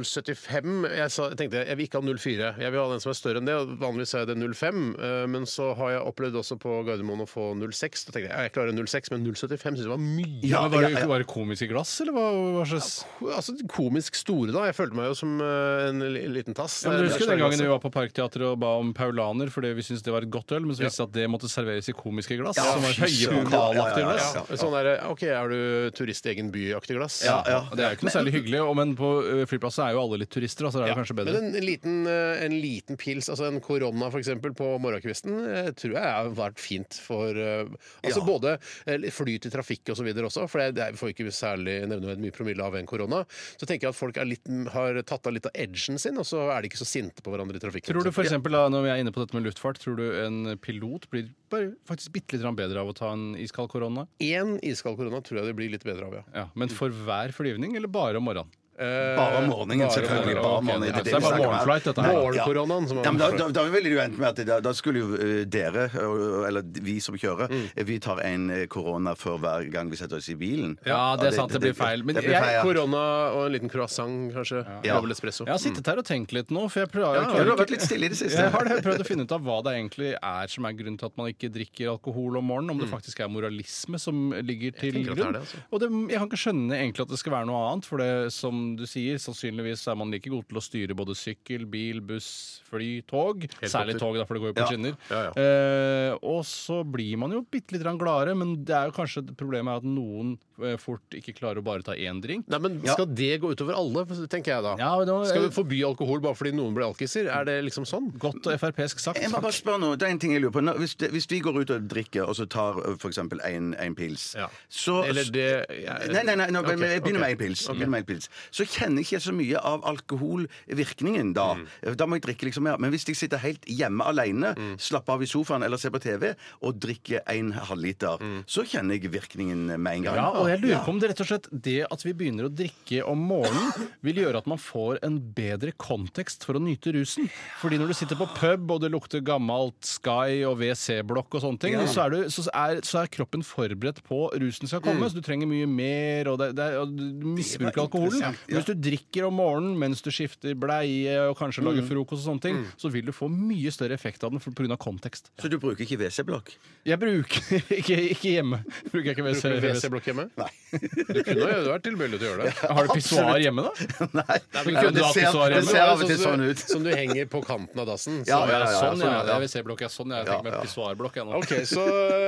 Speaker 1: 0,75 jeg, sa, jeg tenkte jeg vil ikke ha 0,4. Jeg vil ha den som er større enn det. og Vanligvis er det 0,5. eh, Men så har jeg opplevd også på Gardermoen å få 0,6. Da tenkte jeg ja, jeg klarer 0,6, men 0,75 syns jeg var mye.
Speaker 2: Ja,
Speaker 3: Ja,
Speaker 2: men var,
Speaker 3: ja,
Speaker 2: det,
Speaker 3: ja.
Speaker 2: var det komisk i glass, eller hva, hva slags
Speaker 1: Altså komisk store, da. Jeg følte meg jo som eh, en li- liten tass.
Speaker 2: ja, men du husker den gangen vi
Speaker 1: vi
Speaker 2: var på Parkteatret og ba om paulaner fordi vi syntes det var et godt øl, men så viste det seg at det måtte serveres i komiske glass?
Speaker 3: Ja,
Speaker 2: som var
Speaker 3: fy
Speaker 2: høye
Speaker 3: søren.
Speaker 2: pokalaktige
Speaker 3: Ja, ja, ja,
Speaker 2: glass?
Speaker 3: ja.
Speaker 1: Sånn der, OK, er du turist i egen by-aktig glass?
Speaker 3: Ja, ja.
Speaker 2: Og Det er jo ikke noe særlig hyggelig, og- men på ø, flyplasser er jo alle litt turister, da, så da er det kanskje bedre.
Speaker 1: Men en, en, liten, eh, en liten pils, altså en korona f.eks. på morgenkvisten, eh, tror jeg har vært fint for eh, altså
Speaker 3: Ja.
Speaker 1: både eh, flyt i trafikk og så videre også, for det er- vi får ikke særlig nevneverdig mye promille av en korona. Så tenker jeg at folk er litt, har tatt av litt av edgen sin, og så er de ikke så sinte på hverandre i trafikken.
Speaker 2: Tror du for eksempel, da, når vi er inne på dette med luftfart, tror du en pilot blir bare faktisk bitte litt grann bedre av å ta en iskald korona?
Speaker 1: Én iskald korona tror jeg det blir litt bedre av, ja.
Speaker 2: Ja, Men for hver flyvning, eller bare om morgenen?
Speaker 3: Bare om morgenen, selvfølgelig. Bare
Speaker 2: ok,
Speaker 3: om morgenen.
Speaker 2: Eh, ja,
Speaker 3: er
Speaker 2: så det er
Speaker 3: vi
Speaker 2: bare
Speaker 3: snakker om her.
Speaker 2: morgenflight, dette her.
Speaker 3: Nei, ja.
Speaker 1: Morgenkoronaen som er
Speaker 3: ja, men da, da, da ville det jo endt med at det- da, da skulle jo eh, dere, og- eller vi som kjører,
Speaker 2: Mm.
Speaker 3: eh, vi tar en eh, korona før hver gang vi setter oss i bilen.
Speaker 2: Ja, det er sant, det blir feil. Men
Speaker 3: det blir
Speaker 2: jeg-
Speaker 3: feil, ja.
Speaker 1: Korona og en liten croissant, kanskje.
Speaker 3: Ja.
Speaker 1: Dobbel espresso.
Speaker 2: Jeg har sittet her og tenkt litt nå, for jeg, prøver, jeg,
Speaker 3: Ja, Du
Speaker 2: klarer
Speaker 3: har vært
Speaker 2: ikke-
Speaker 3: litt stille i det siste.
Speaker 2: jeg har det, prøvd å finne ut av hva det egentlig er som er grunnen til at man ikke drikker alkohol om morgenen. Om det
Speaker 3: Mm.
Speaker 2: faktisk er moralisme som ligger til
Speaker 1: tenker at det er
Speaker 2: grunn.
Speaker 1: det, altså.
Speaker 2: Og det, jeg kan ikke skjønne egentlig at det skal være noe annet, for det som som du sier, sannsynligvis er man like god til å styre både sykkel, bil, buss, fly, tog. Særlig tog, da, for det går jo på skinner.
Speaker 1: Ja,
Speaker 2: Eh, og så blir man jo bitte litt gladere, men det er jo kanskje problemet er at noen eh, fort ikke klarer å bare ta én drink.
Speaker 1: Nei, men Skal det gå utover alle, tenker jeg da.
Speaker 2: Ja, men nå-
Speaker 1: Skal vi forby alkohol bare fordi noen blir alkiser? Er det liksom sånn?
Speaker 2: Godt og frp-sk sagt.
Speaker 3: Jeg må bare spørre noe. Det er en ting jeg lurer på. Nå, Hvis, det, hvis vi går ut og drikker, og så tar f.eks. en, en pils,
Speaker 1: Ja.
Speaker 3: så
Speaker 1: Eller det jeg-
Speaker 3: Nei, nei, nei, nå,
Speaker 1: Ok,
Speaker 3: men jeg begynner
Speaker 1: ok.
Speaker 3: med en pils. Begynner med en pils. Så kjenner jeg ikke så mye av alkoholvirkningen da. Da må jeg drikke liksom mer. Men hvis jeg sitter helt hjemme alene, slapper av i sofaen eller ser på TV og drikker en halvliter, så kjenner jeg virkningen med en gang.
Speaker 2: Ja, og jeg lurer på om det rett og slett det at vi begynner å drikke om morgenen, vil gjøre at man får en bedre kontekst for å nyte rusen. Fordi når du sitter på pub, og det lukter gammelt Sky og WC-blokk og sånne ting, så, er du, så, er, så er kroppen forberedt på rusen skal komme, så du trenger mye mer, og, det, Mm. det er, og du misbruker alkoholen. Men Hvis du drikker om morgenen mens du skifter bleie og kanskje lager frokost og sånne ting, så vil du få mye større effekt av den pga. kontekst.
Speaker 3: Så du bruker ikke WC-blokk?
Speaker 2: Jeg bruker [laughs] ikke, ikke hjemme. Bruker jeg ikke
Speaker 1: Bruker du
Speaker 2: WC.
Speaker 1: WC-blokk hjemme?
Speaker 3: Nei.
Speaker 1: Du kunne jo vært tilbøyelig til å gjøre det.
Speaker 2: Har du pissoar hjemme, da?
Speaker 3: Nei.
Speaker 2: men
Speaker 3: Ja,
Speaker 2: kunne du
Speaker 3: det,
Speaker 2: hatt
Speaker 3: ser,
Speaker 2: pissoar
Speaker 3: det
Speaker 2: hjemme?
Speaker 3: ser av og
Speaker 1: Sånn
Speaker 3: til
Speaker 1: som
Speaker 3: sånn
Speaker 1: du-
Speaker 3: ut.
Speaker 1: [laughs] Som du henger på kanten av dassen.
Speaker 3: Ja,
Speaker 1: Så-
Speaker 3: ja, ja,
Speaker 2: sånn, ja.
Speaker 3: sånn, ja.
Speaker 2: Jeg vil se blokka sånn. Jeg tenker meg pissoar blokk, jeg nå.
Speaker 1: Ok, Så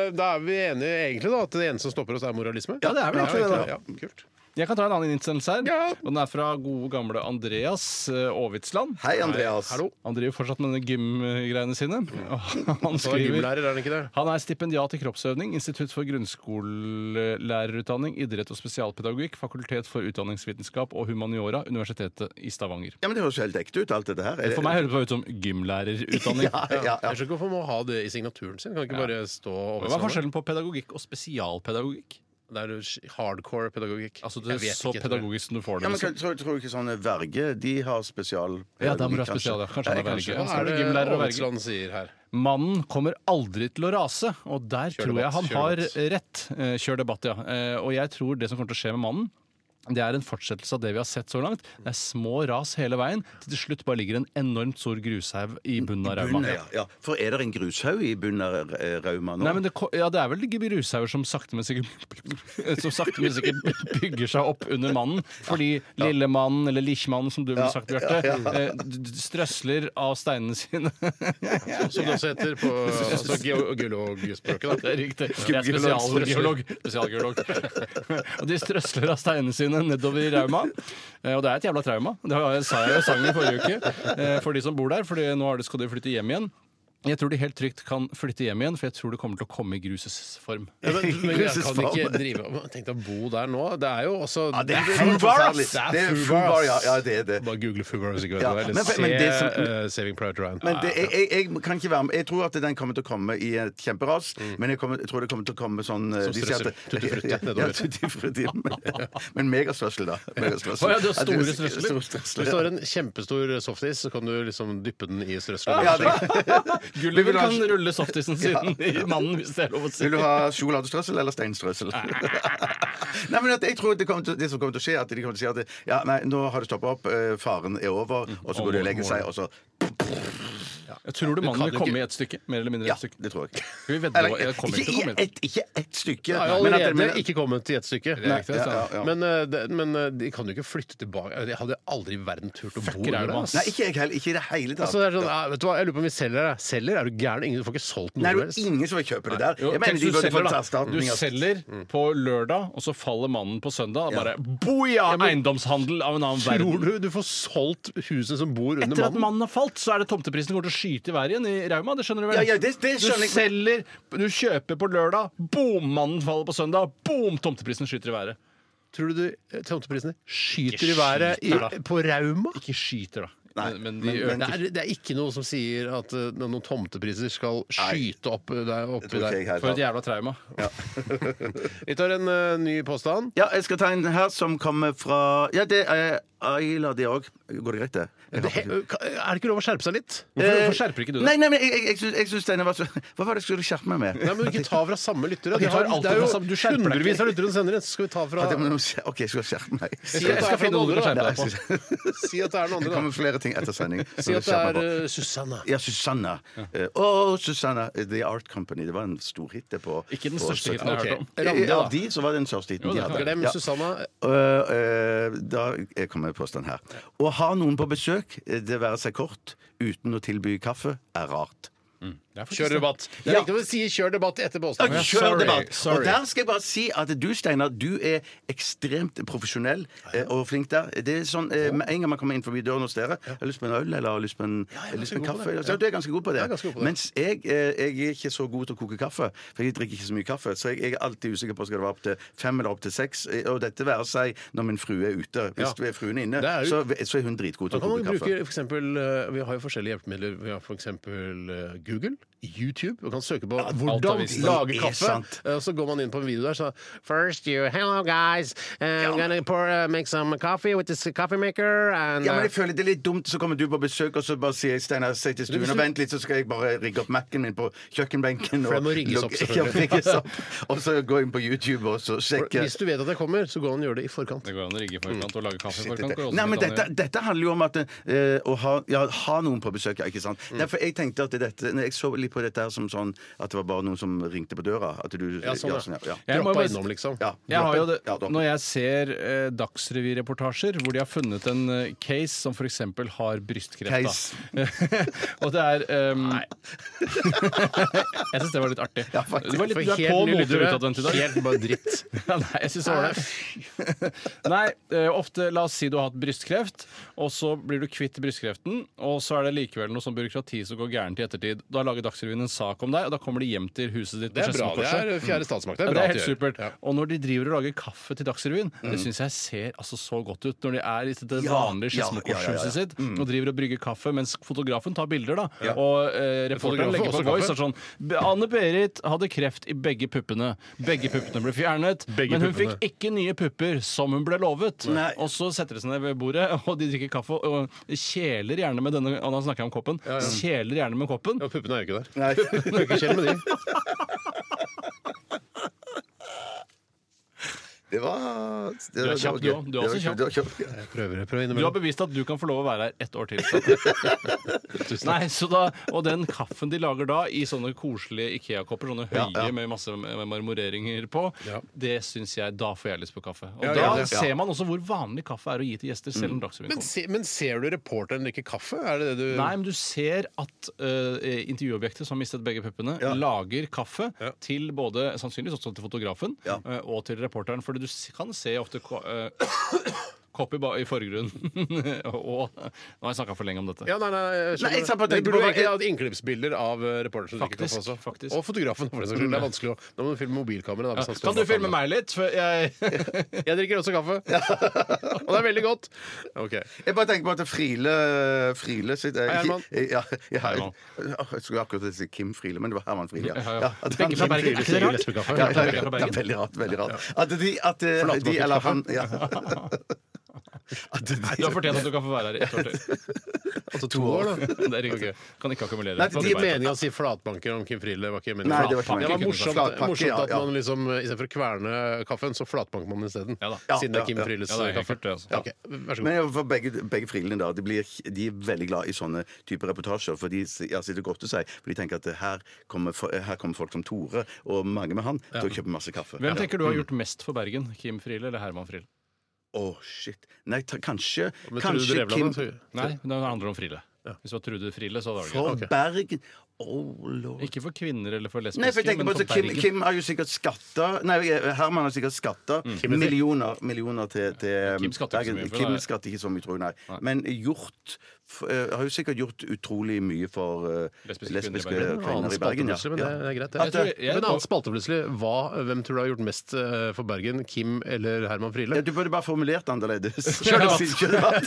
Speaker 1: eh, da er vi enige egentlig da at det eneste som stopper oss, er moralisme?
Speaker 2: Ja, det er vel egentlig det, da.
Speaker 1: Ja, kult.
Speaker 2: Jeg kan ta en annen innsendelse her.
Speaker 1: Ja.
Speaker 2: Og Den er fra gode gamle Andreas eh, Aavitsland.
Speaker 3: Hei, Andreas.
Speaker 1: Hallo.
Speaker 2: Han driver fortsatt med denne gymgreiene sine. [laughs] Og Han
Speaker 1: Han er
Speaker 2: skriver
Speaker 1: gymlærer, er han ikke det?
Speaker 2: han er stipendiat i kroppsøvning, Institutt for grunnskolelærerutdanning, idrett og spesialpedagogikk, Fakultet for utdanningsvitenskap og humaniora, Universitetet i Stavanger.
Speaker 3: Ja, men Det høres jo helt ekte ut, alt dette her.
Speaker 2: For meg høres det bare ut som gymlærerutdanning.
Speaker 3: ja, ja, ja.
Speaker 1: Jeg skjønner ikke hvorfor man må ha det i signaturen sin. Kan ikke bare stå over
Speaker 2: Hva er forskjellen på pedagogikk og spesialpedagogikk?
Speaker 1: Det er jo sh- hardcore pedagogikk.
Speaker 2: Altså,
Speaker 1: Jeg
Speaker 2: det er
Speaker 1: vet
Speaker 2: så
Speaker 1: ikke.
Speaker 2: pedagogisk som du får det.
Speaker 3: Ja, men
Speaker 2: liksom.
Speaker 3: kan- tror, tror ikke sånne verger de har spesial eh,
Speaker 2: Ja, da må du ha spesial, ja. Kanskje han er verge.
Speaker 1: Hva er det
Speaker 2: gymlærer og verge?
Speaker 1: Aavitsland sier her?
Speaker 2: Mannen kommer aldri til å rase, og der
Speaker 1: Kjør
Speaker 2: tror jeg
Speaker 1: debatt,
Speaker 2: han
Speaker 1: kjør
Speaker 2: har
Speaker 1: debatt.
Speaker 2: rett. Eh, Kjør debatt, ja. Eh, Og jeg tror det som kommer til å skje med mannen, det er en fortsettelse av det vi har sett så langt. Det er små ras hele veien. Til til slutt bare ligger en enormt stor grushaug i bunnen av rauma.
Speaker 3: Bunnen, ja. ja. For er det en grushaug i bunnen av eh, Rauma nå?
Speaker 2: Nei, men det, ko- ja, det er vel ikke grushauger som sakte, men sikkert [laughs] Som sakte, men sikkert bygger seg opp under mannen. Fordi lille mannen, eller lichmannen, som du ville sagt, Bjarte, eh, d- d- strøsler av steinene sine. [laughs]
Speaker 1: Som det også heter på altså, geo- geologspråket. da.
Speaker 2: Det er riktig. Jeg er spesialgeolog. spesialgeolog. [laughs] og de strøsler av steinene sine nedover i Rauma. Eh, Og det er et jævla trauma. Det har jeg- sa jeg jo i sangen i forrige uke eh, for de som bor der, for nå er det- skal de flytte hjem igjen. Jeg tror de helt trygt kan flytte hjem igjen, for jeg tror det kommer til å komme i grusets form.
Speaker 1: Ja, men, men jeg kan
Speaker 3: Russesfaen.
Speaker 1: ikke drive Tenk deg å bo der nå. Det er jo også
Speaker 3: ja, det er
Speaker 1: helt
Speaker 3: fubar,
Speaker 1: forferdelig.
Speaker 3: ass! Det er fubar, ja, ja, det er det.
Speaker 1: Bare google Fubar hvis ikke vet
Speaker 3: Ja,
Speaker 1: hva det er.
Speaker 3: men-
Speaker 1: Eller se
Speaker 3: men det som-
Speaker 1: eh, Saving Private Ryan.
Speaker 3: Men det, jeg, jeg, jeg kan ikke være med. Jeg tror at den kommer til å komme i et kjemperas,
Speaker 2: Mm.
Speaker 3: men jeg, kommer, jeg tror det kommer til å komme sånn eh,
Speaker 1: Som
Speaker 3: de sier at-
Speaker 1: strøssel. Tutti-frutti
Speaker 3: Ja,
Speaker 1: nedover.
Speaker 3: Ja,
Speaker 2: [laughs]
Speaker 3: tutti-frutti. Men, [laughs] men megastrøssel, da. Megastrøssel.
Speaker 2: Å, ja, det er store
Speaker 3: Ja, det
Speaker 2: strøsler.
Speaker 3: er store
Speaker 1: Hvis
Speaker 3: strøsler.
Speaker 1: du har en kjempestor softis, så kan du liksom dyppe den i strøsselet.
Speaker 3: Ja, det,
Speaker 2: Gulliver kan rulle softisen siden i mannen, hvis det er lov å si.
Speaker 3: [laughs] Vil du ha sjokoladestrøssel
Speaker 2: [laughs]
Speaker 3: eller steinstrøssel? [laughs] nei, men at jeg tror det, kommer til, det som kommer til å skje, er at de kommer til å si at ja, nei, nå har det stoppa opp, eh, faren er over,
Speaker 2: Mm.
Speaker 3: og så går de og legger seg, og så
Speaker 2: Jeg tror du
Speaker 1: Du kan
Speaker 2: mannen vil
Speaker 1: jo
Speaker 2: komme
Speaker 1: ikke-
Speaker 2: i et stykke. Mer eller mindre
Speaker 3: Ja,
Speaker 2: et stykke.
Speaker 3: det tror jeg.
Speaker 2: Skal vi vedde
Speaker 3: [laughs] Eller,
Speaker 2: på- jeg kommer ikke til å
Speaker 3: ikke,
Speaker 2: komme i
Speaker 3: i
Speaker 2: det.
Speaker 3: ett, ikke ett stykke.
Speaker 1: Jeg har
Speaker 3: men at-
Speaker 1: allerede
Speaker 3: men-
Speaker 1: ikke kommet til et stykke.
Speaker 2: Nei, det er sant.
Speaker 3: ja, ja, ja.
Speaker 1: Men, eh, det- men eh, de kan jo ikke flytte tilbake. Jeg hadde aldri i verden turt å bo
Speaker 2: er
Speaker 1: der.
Speaker 2: det,
Speaker 1: da.
Speaker 2: ass.
Speaker 3: Nei, ikke jeg heller. Ikke i det hele tatt.
Speaker 1: Altså, det er sånn, ja, vet du hva, Jeg lurer på om vi selger det. Selger? Er du gæren? Ingen, du får ikke solgt noe
Speaker 3: Nei,
Speaker 1: som
Speaker 3: det er
Speaker 1: helst.
Speaker 3: jo ingen som vil kjøpe det der.
Speaker 2: Jo,
Speaker 3: Jeg mener
Speaker 2: tenk, du,
Speaker 3: de burde
Speaker 2: selger,
Speaker 3: fått
Speaker 2: da. du
Speaker 3: erstatning. altså.
Speaker 2: selger på lørdag, og så faller mannen på søndag. Og bare boja! Eiendomshandel av en annen verden.
Speaker 1: Tror du du får solgt huset som bor under
Speaker 2: Etter at
Speaker 1: mannen?
Speaker 2: mannen har falt, så er det tomteprisen som går til å skyte i været igjen i Rauma. Det skjønner du vel?
Speaker 3: Ja, ja, det- det skjønner
Speaker 2: du
Speaker 3: jeg.
Speaker 2: selger, du kjøper på lørdag, boom, mannen faller på søndag, boom, tomteprisen skyter i været.
Speaker 1: Tror du de- eh, tomteprisene skyter i
Speaker 2: Ikke
Speaker 1: været i,
Speaker 2: skyter, da.
Speaker 1: på Rauma?
Speaker 2: Ikke skyter, da.
Speaker 3: Nei,
Speaker 2: men, men de
Speaker 3: men-
Speaker 2: øker.
Speaker 3: men-
Speaker 1: Det er, det er ikke noe som sier at eh, noen tomtepriser skal skyte opp eh, der,
Speaker 3: Det
Speaker 1: oppi
Speaker 3: tror ikke
Speaker 1: der.
Speaker 3: jeg heller.
Speaker 2: For et jævla trauma.
Speaker 1: Vi tar en eh, ny påstand.
Speaker 3: Ja, jeg skal ta en her som kommer fra Ja, det er Ayla, det òg. Går det greit, det? Jeg
Speaker 1: Det,
Speaker 3: har
Speaker 1: er
Speaker 3: ikke-
Speaker 1: det ikke lov å skjerpe seg litt?
Speaker 2: Hvorfor, hvorfor skjerper ikke du
Speaker 3: Eh, Nei,
Speaker 2: deg?
Speaker 3: nei, men jeg, jeg, jeg, syns- jeg syns denne var så Hva var det jeg skulle skjerpe meg med?
Speaker 1: Nei, men Ikke ta fra samme lyttere.
Speaker 2: Ok,
Speaker 1: De har,
Speaker 2: tar alt
Speaker 1: det er
Speaker 2: fra samme- du
Speaker 1: jo
Speaker 2: skjerper deg ikke.
Speaker 1: hundrevis av lyttere som sender inn. Så skal vi ta fra
Speaker 3: At jeg må- OK, jeg skal skjerpe meg.
Speaker 1: Si at det
Speaker 2: Jeg
Speaker 1: er
Speaker 2: skal
Speaker 1: fra
Speaker 2: finne noe du
Speaker 1: noen
Speaker 2: kan skjerpe
Speaker 1: andre, da.
Speaker 2: deg på.
Speaker 1: Si at det er noen
Speaker 3: [laughs] Det
Speaker 1: andre,
Speaker 3: kommer flere ting etter sending.
Speaker 1: da. Si at det er eh, Susanna.
Speaker 3: Ja, Susanna. Eh, Å, Susanna. eh, The Art Company. Det var en stor hit det på
Speaker 2: Ikke den
Speaker 3: på
Speaker 2: største hiten
Speaker 3: 17.
Speaker 2: jeg har hørt om.
Speaker 3: Eh,
Speaker 2: Rande, da.
Speaker 3: Av de så var det den største hiten de hadde.
Speaker 1: Glem
Speaker 3: Ja.
Speaker 1: Susanna.
Speaker 3: Øh, øh, da jeg kommer med påstand her. Å ha noen på besøk, eh, det være seg kort, uten å tilby kaffe, er rart.
Speaker 2: Kjør debatt.
Speaker 1: Det er viktig å si 'kjør debatt' etter påstanden.
Speaker 2: ja, sorry,
Speaker 3: Kjør debatt!
Speaker 2: sorry.
Speaker 3: Og der skal jeg bare si at du, Steinar, du er ekstremt profesjonell eh, og flink der. Det er sånn, eh, Med en gang man kommer inn forbi døren hos dere, jeg har lyst på en øl eller har lyst på en, jeg har lyst på en kaffe eller- ja, Du er ganske god på det.
Speaker 1: Jeg er ganske god på det.
Speaker 3: Mens jeg, eh, jeg er ikke så god til å koke kaffe, for jeg drikker ikke så mye kaffe. Så jeg, jeg er alltid usikker på skal det være opp til fem eller opp til seks. eh, Og dette være seg når min frue er ute. Hvis
Speaker 1: Ja.
Speaker 3: fruen er inne,
Speaker 1: Det er jo-
Speaker 3: så, så er hun dritgod
Speaker 1: Da
Speaker 3: til å
Speaker 1: kan man bruke
Speaker 3: koke kaffe.
Speaker 1: for eksempel, eh, Vi har jo forskjellige hjelpemidler. Vi har f.eks. Google, YouTube. Man kan søke på 'hvordan
Speaker 2: avisen.
Speaker 1: lage
Speaker 3: Det er
Speaker 1: kaffe'.
Speaker 3: sant.
Speaker 1: Eh, og Så går man inn på en video der, så First you, hello guys, Eh, I'm gonna pour, eh, make some coffee with this coffee maker and
Speaker 3: Ja, men
Speaker 1: eh,
Speaker 3: jeg føler Det er litt dumt, så kommer du på besøk, og så bare sier jeg Steinar, si til stuen og vent litt, så skal jeg bare rigge opp Mac-en min på kjøkkenbenken.
Speaker 1: For det må
Speaker 3: og
Speaker 1: rigges opp,
Speaker 3: logge-
Speaker 1: selvfølgelig.
Speaker 3: [laughs] Ja, rigges opp. Og så gå inn på YouTube og så sjekke.
Speaker 1: Hvis du vet at jeg kommer, så går han og gjør det i forkant.
Speaker 2: Det går an å rigge i forkant og lage kaffe i forkant. går også
Speaker 3: Mm. Nei, men
Speaker 2: litt an å
Speaker 3: dette, dette handler jo om at eh, å ha, ja, ha noen på besøk, ja, ikke sant. Derfor jeg tenkte at dette Når jeg så litt på dette her som sånn at det var bare noen som ringte på døra. At du
Speaker 1: Ja, sånn, ja.
Speaker 3: ja.
Speaker 2: [laughs] Jeg må
Speaker 1: Droppa
Speaker 2: bare-
Speaker 1: innom, liksom.
Speaker 3: Ja,
Speaker 2: Jeg har jo det,
Speaker 3: Ja, droppen.
Speaker 2: når jeg ser eh, Dagsrevy-reportasjer hvor de har funnet en eh, case som f.eks. har brystkreft.
Speaker 3: Case.
Speaker 2: da. [laughs] og det er ehm, [laughs] Jeg syns det var litt artig.
Speaker 3: Ja, faktisk.
Speaker 2: du var litt
Speaker 1: For
Speaker 2: du er
Speaker 1: helt
Speaker 2: på
Speaker 1: ny
Speaker 2: modig
Speaker 1: lyttere,
Speaker 2: utadvendt i dag.
Speaker 1: helt bare dritt.
Speaker 2: ja, nei, jeg syns det var det. nei, [laughs] eh, ofte La oss si du har hatt brystkreft, og så blir du kvitt brystkreften, og så er det likevel noe sånn byråkrati som går gærent i ettertid. Da lager Dagsrevyen en sak om deg, og da kommer de hjem til huset ditt. på
Speaker 1: Det er bra. Det
Speaker 2: Skedsmokorset.
Speaker 1: er fjerde statsmakt. Det
Speaker 2: Mm. Ja,
Speaker 1: er
Speaker 2: Det
Speaker 1: bra
Speaker 2: er
Speaker 1: at
Speaker 2: helt
Speaker 1: de gjør.
Speaker 2: supert.
Speaker 1: Ja. Mm.
Speaker 2: Og når de driver og lager kaffe til Dagsrevyen, det syns jeg ser altså så godt ut. Når de er i det
Speaker 3: Ja,
Speaker 2: vanlige
Speaker 3: ja, ja, ja,
Speaker 2: skismokorshuset
Speaker 3: ja.
Speaker 2: sitt
Speaker 1: Mm.
Speaker 2: og driver og brygger kaffe, mens fotografen tar bilder, da. Og eh,
Speaker 1: Fotografen
Speaker 2: reporteren legger
Speaker 1: også
Speaker 2: på voice og sånn Anne-Berit hadde kreft i begge puppene. Begge puppene ble fjernet,
Speaker 1: Begge
Speaker 2: men hun
Speaker 1: puppene.
Speaker 2: fikk ikke nye pupper, som hun ble lovet.
Speaker 3: Nei.
Speaker 2: Og så setter de seg ned ved bordet, [laughs] og de drikker kaffe og kjeler gjerne med denne Og da snakker jeg om koppen. Kjeler gjerne med koppen.
Speaker 1: Ja, puppene er jo ikke der.
Speaker 3: Nei.
Speaker 1: Du kan ikke kjelle med de.
Speaker 3: Det var det,
Speaker 2: Du er kjapp, du også. Du er også kjapp.
Speaker 1: Jeg prøver, jeg prøver
Speaker 2: Du har
Speaker 1: innimellom.
Speaker 2: bevist at du kan få lov å være her ett år til.
Speaker 1: [laughs]
Speaker 2: Steinar. Nei, så da, og den kaffen de lager da, i sånne koselige Ikea-kopper, sånne høye
Speaker 3: ja.
Speaker 2: med masse med marmoreringer på,
Speaker 1: Ja.
Speaker 2: det syns jeg Da får jeg lyst på kaffe. Og
Speaker 1: Ja,
Speaker 2: da
Speaker 1: ja, Mm. det-
Speaker 2: ser man også hvor vanlig kaffe er å gi til gjester, selv om Dagsrevyen
Speaker 1: Men,
Speaker 2: kommer.
Speaker 1: se, men ser du reporteren drikke kaffe? Er det det du
Speaker 2: Nei, men du ser at uh, intervjuobjektet, som har mistet begge puppene, lager kaffe til både sannsynligvis også til fotografen
Speaker 3: Ja.
Speaker 2: eh, og til reporteren. For du s- kan se ofte ko eh, [coughs] kopp i, ba- i forgrunnen. [laughs] og Nå har jeg snakka for lenge om dette.
Speaker 1: Ja, nei, nei, jeg skjønner
Speaker 3: Nei, jeg sa bare
Speaker 1: det. Det
Speaker 3: tenkte
Speaker 1: burde
Speaker 3: på-
Speaker 1: vært ja, innklippsbilder av eh, reporteren som drikker kaffe
Speaker 2: Faktisk,
Speaker 1: også.
Speaker 2: faktisk.
Speaker 1: Og fotografen, for den saks skyld. Det er vanskelig å Da må du filme mobilkameraet. da,
Speaker 2: Ja,
Speaker 1: hvis han
Speaker 3: Sånn
Speaker 1: står
Speaker 2: Kan du
Speaker 1: bak
Speaker 2: filme
Speaker 1: kameraet.
Speaker 2: meg litt? For jeg
Speaker 3: [laughs]
Speaker 1: Jeg drikker også
Speaker 2: [laughs]
Speaker 1: kaffe. og det er veldig godt. Ok.
Speaker 3: Jeg bare tenker på at Friele, Friele sitt
Speaker 1: Hei, Herman.
Speaker 3: Ja, ja,
Speaker 2: Herman.
Speaker 3: Åh, jeg skulle akkurat si Kim Friele, men det var Herman Friele.
Speaker 2: Ja, ja.
Speaker 3: at
Speaker 2: Begge
Speaker 3: han
Speaker 2: fra Bergen. Er
Speaker 3: Kim
Speaker 2: ikke det
Speaker 3: Friele-
Speaker 2: rart?
Speaker 3: Ja,
Speaker 2: Lesbekaffe.
Speaker 3: ja, ja,
Speaker 2: Begge fra
Speaker 3: ja,
Speaker 2: Bergen.
Speaker 3: veldig rart. veldig rart. At de, at eh,
Speaker 1: Forlater
Speaker 3: de
Speaker 1: meg
Speaker 3: eller han
Speaker 2: [laughs]
Speaker 3: ja. At de,
Speaker 2: Du har fortjent at du kan få være her i ett
Speaker 3: [laughs]
Speaker 2: år til.
Speaker 1: Altså to år, da.
Speaker 2: Det er riktig. Kan ikke akkumulere.
Speaker 3: Nei,
Speaker 2: På
Speaker 1: De
Speaker 2: arbeid.
Speaker 1: meningen å si flatbanker om Kim Friele var ikke meningen.
Speaker 3: Nei, det var ikke
Speaker 1: det var
Speaker 3: meningen.
Speaker 1: morsomt,
Speaker 3: Flatpakke,
Speaker 1: morsomt
Speaker 3: ja,
Speaker 1: at
Speaker 3: ja.
Speaker 1: man liksom eh, istedenfor å kverne kaffen, så flatbanker man isteden.
Speaker 2: Ja da.
Speaker 1: Siden det er
Speaker 3: Ja,
Speaker 1: Kim
Speaker 3: ja, ja.
Speaker 1: Frieles
Speaker 2: Ja, det er helt
Speaker 1: kaffe.
Speaker 2: klart det, altså.
Speaker 1: Ja, ok. Vær så god.
Speaker 3: Men jeg- for begge, begge Frielene da, de, blir, de er veldig glad i sånne typer reportasjer. For de s- ja, sitter og godter seg. For de tenker at eh, her kommer, fo- eh, her kommer folk som Tore og mange med han til å kjøpe masse kaffe.
Speaker 2: Hvem
Speaker 3: Ja. Mm.
Speaker 2: tenker du har gjort mest for Bergen? Kim Friele eller Herman Friele?
Speaker 3: Å, shit. Nei, ta, kanskje
Speaker 1: Men Trude
Speaker 3: Kanskje
Speaker 1: Drevland,
Speaker 3: Kim
Speaker 1: da, sier-
Speaker 2: Nei, det handler om Friele. Hvis det var Trude Friele, så hadde det vært
Speaker 3: For Bergen Oh, lord.
Speaker 2: gøy. Ikke for kvinner eller for lesbiske,
Speaker 3: Nei, for jeg tenker
Speaker 2: men
Speaker 3: på
Speaker 2: for
Speaker 3: at Kim,
Speaker 2: Bergen.
Speaker 3: Kim har jo sikkert skatta Nei, Herman har sikkert skatta millioner, millioner til, til
Speaker 2: Kim skatter ikke så mye,
Speaker 3: Bergen.
Speaker 2: for
Speaker 3: Kim
Speaker 2: da-
Speaker 3: skatter ikke så mye, tror jeg, nei. Men gjort f- eh, Har jo sikkert gjort utrolig mye for eh,
Speaker 2: Lesbiske
Speaker 3: lesbiske
Speaker 2: kvinner i Bergen.
Speaker 1: Annen
Speaker 3: kvinner i
Speaker 1: spalte
Speaker 3: Bergen.
Speaker 1: plutselig, men det det er greit. det.
Speaker 2: Jeg
Speaker 3: eh,
Speaker 2: tror jeg-
Speaker 1: Men en annen spalte plutselig. Hva, hvem tror du har gjort mest eh, for Bergen? Kim eller Herman
Speaker 3: Ja,
Speaker 1: Friele?
Speaker 3: du burde bare formulert det annerledes.
Speaker 2: Kjør debatt.
Speaker 3: [laughs] Kjør
Speaker 2: [laughs]
Speaker 3: debatt.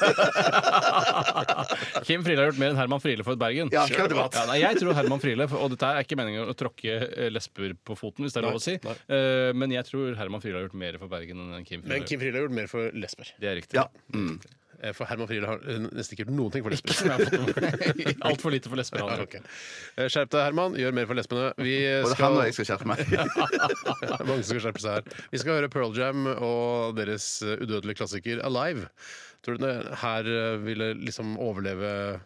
Speaker 2: [laughs] Kim Friele har gjort mer enn Herman Friele for Bergen.
Speaker 3: Ja, kjør debatt.
Speaker 2: Ja, nei, jeg tror Herman Friele, og dette er ikke meningen å tråkke eh, lesber på foten, hvis det er lov å si, Eh, men jeg tror Herman Friele har gjort mer for Bergen enn Kim Friele. [laughs]
Speaker 1: Men Kim Friele har gjort mer for lesber.
Speaker 2: Det er riktig.
Speaker 3: Ja. Mm.
Speaker 1: Eh, For Herman Friele har eh, nesten ikke gjort noen ting for lesber.
Speaker 3: [laughs]
Speaker 2: Altfor lite for lesber.
Speaker 1: [laughs]
Speaker 2: altså.
Speaker 1: Ja,
Speaker 2: han.
Speaker 1: ok. Eh, Skjerp deg, Herman. Gjør mer for lesbene. Vi eh,
Speaker 3: Både han
Speaker 1: skal
Speaker 3: liksom? og jeg skal skjerpe meg.
Speaker 1: [laughs] Mange som skal skjerpe seg her. Vi skal høre Pearl Jam og deres eh, udødelige klassiker Alive. Tror du det her eh, ville liksom overleve eh,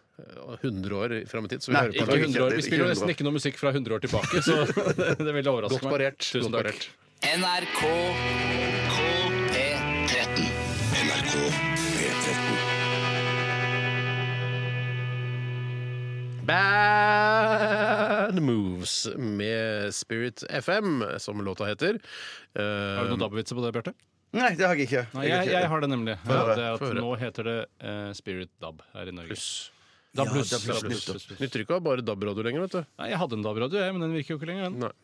Speaker 1: 100 år fram i tid? Så vi
Speaker 3: Nei,
Speaker 1: hører på
Speaker 2: Ikke
Speaker 1: Alive.
Speaker 2: 100 år. Vi
Speaker 3: Ikke
Speaker 2: spiller jo
Speaker 3: 100 år.
Speaker 2: nesten ikke noe musikk fra 100 år tilbake, så [laughs] det det ville overraske
Speaker 1: Godt parert.
Speaker 2: meg.
Speaker 1: Godt parert.
Speaker 5: NRK P13.
Speaker 4: NRK P13.
Speaker 1: Bad Moves med Spirit FM, som låta heter. Eh,
Speaker 2: Har du noen dabbevitser på det, Bjarte?
Speaker 3: Nei, det har jeg ikke.
Speaker 2: Nei, jeg, jeg har det nemlig. Ja,
Speaker 3: høre,
Speaker 2: det er at
Speaker 1: få høre.
Speaker 2: nå heter det eh, Spirit Dab her i Norge.
Speaker 3: Ja,
Speaker 2: Dab pluss.
Speaker 3: DAB+,
Speaker 2: Dab pluss,
Speaker 3: nettopp.
Speaker 2: pluss, pluss.
Speaker 1: Nytter ikke å ha bare DAB-radio lenger, vet du.
Speaker 2: Nei, jeg hadde en DAB-radio, jeg, men den virker jo ikke lenger. Den.
Speaker 1: Nei.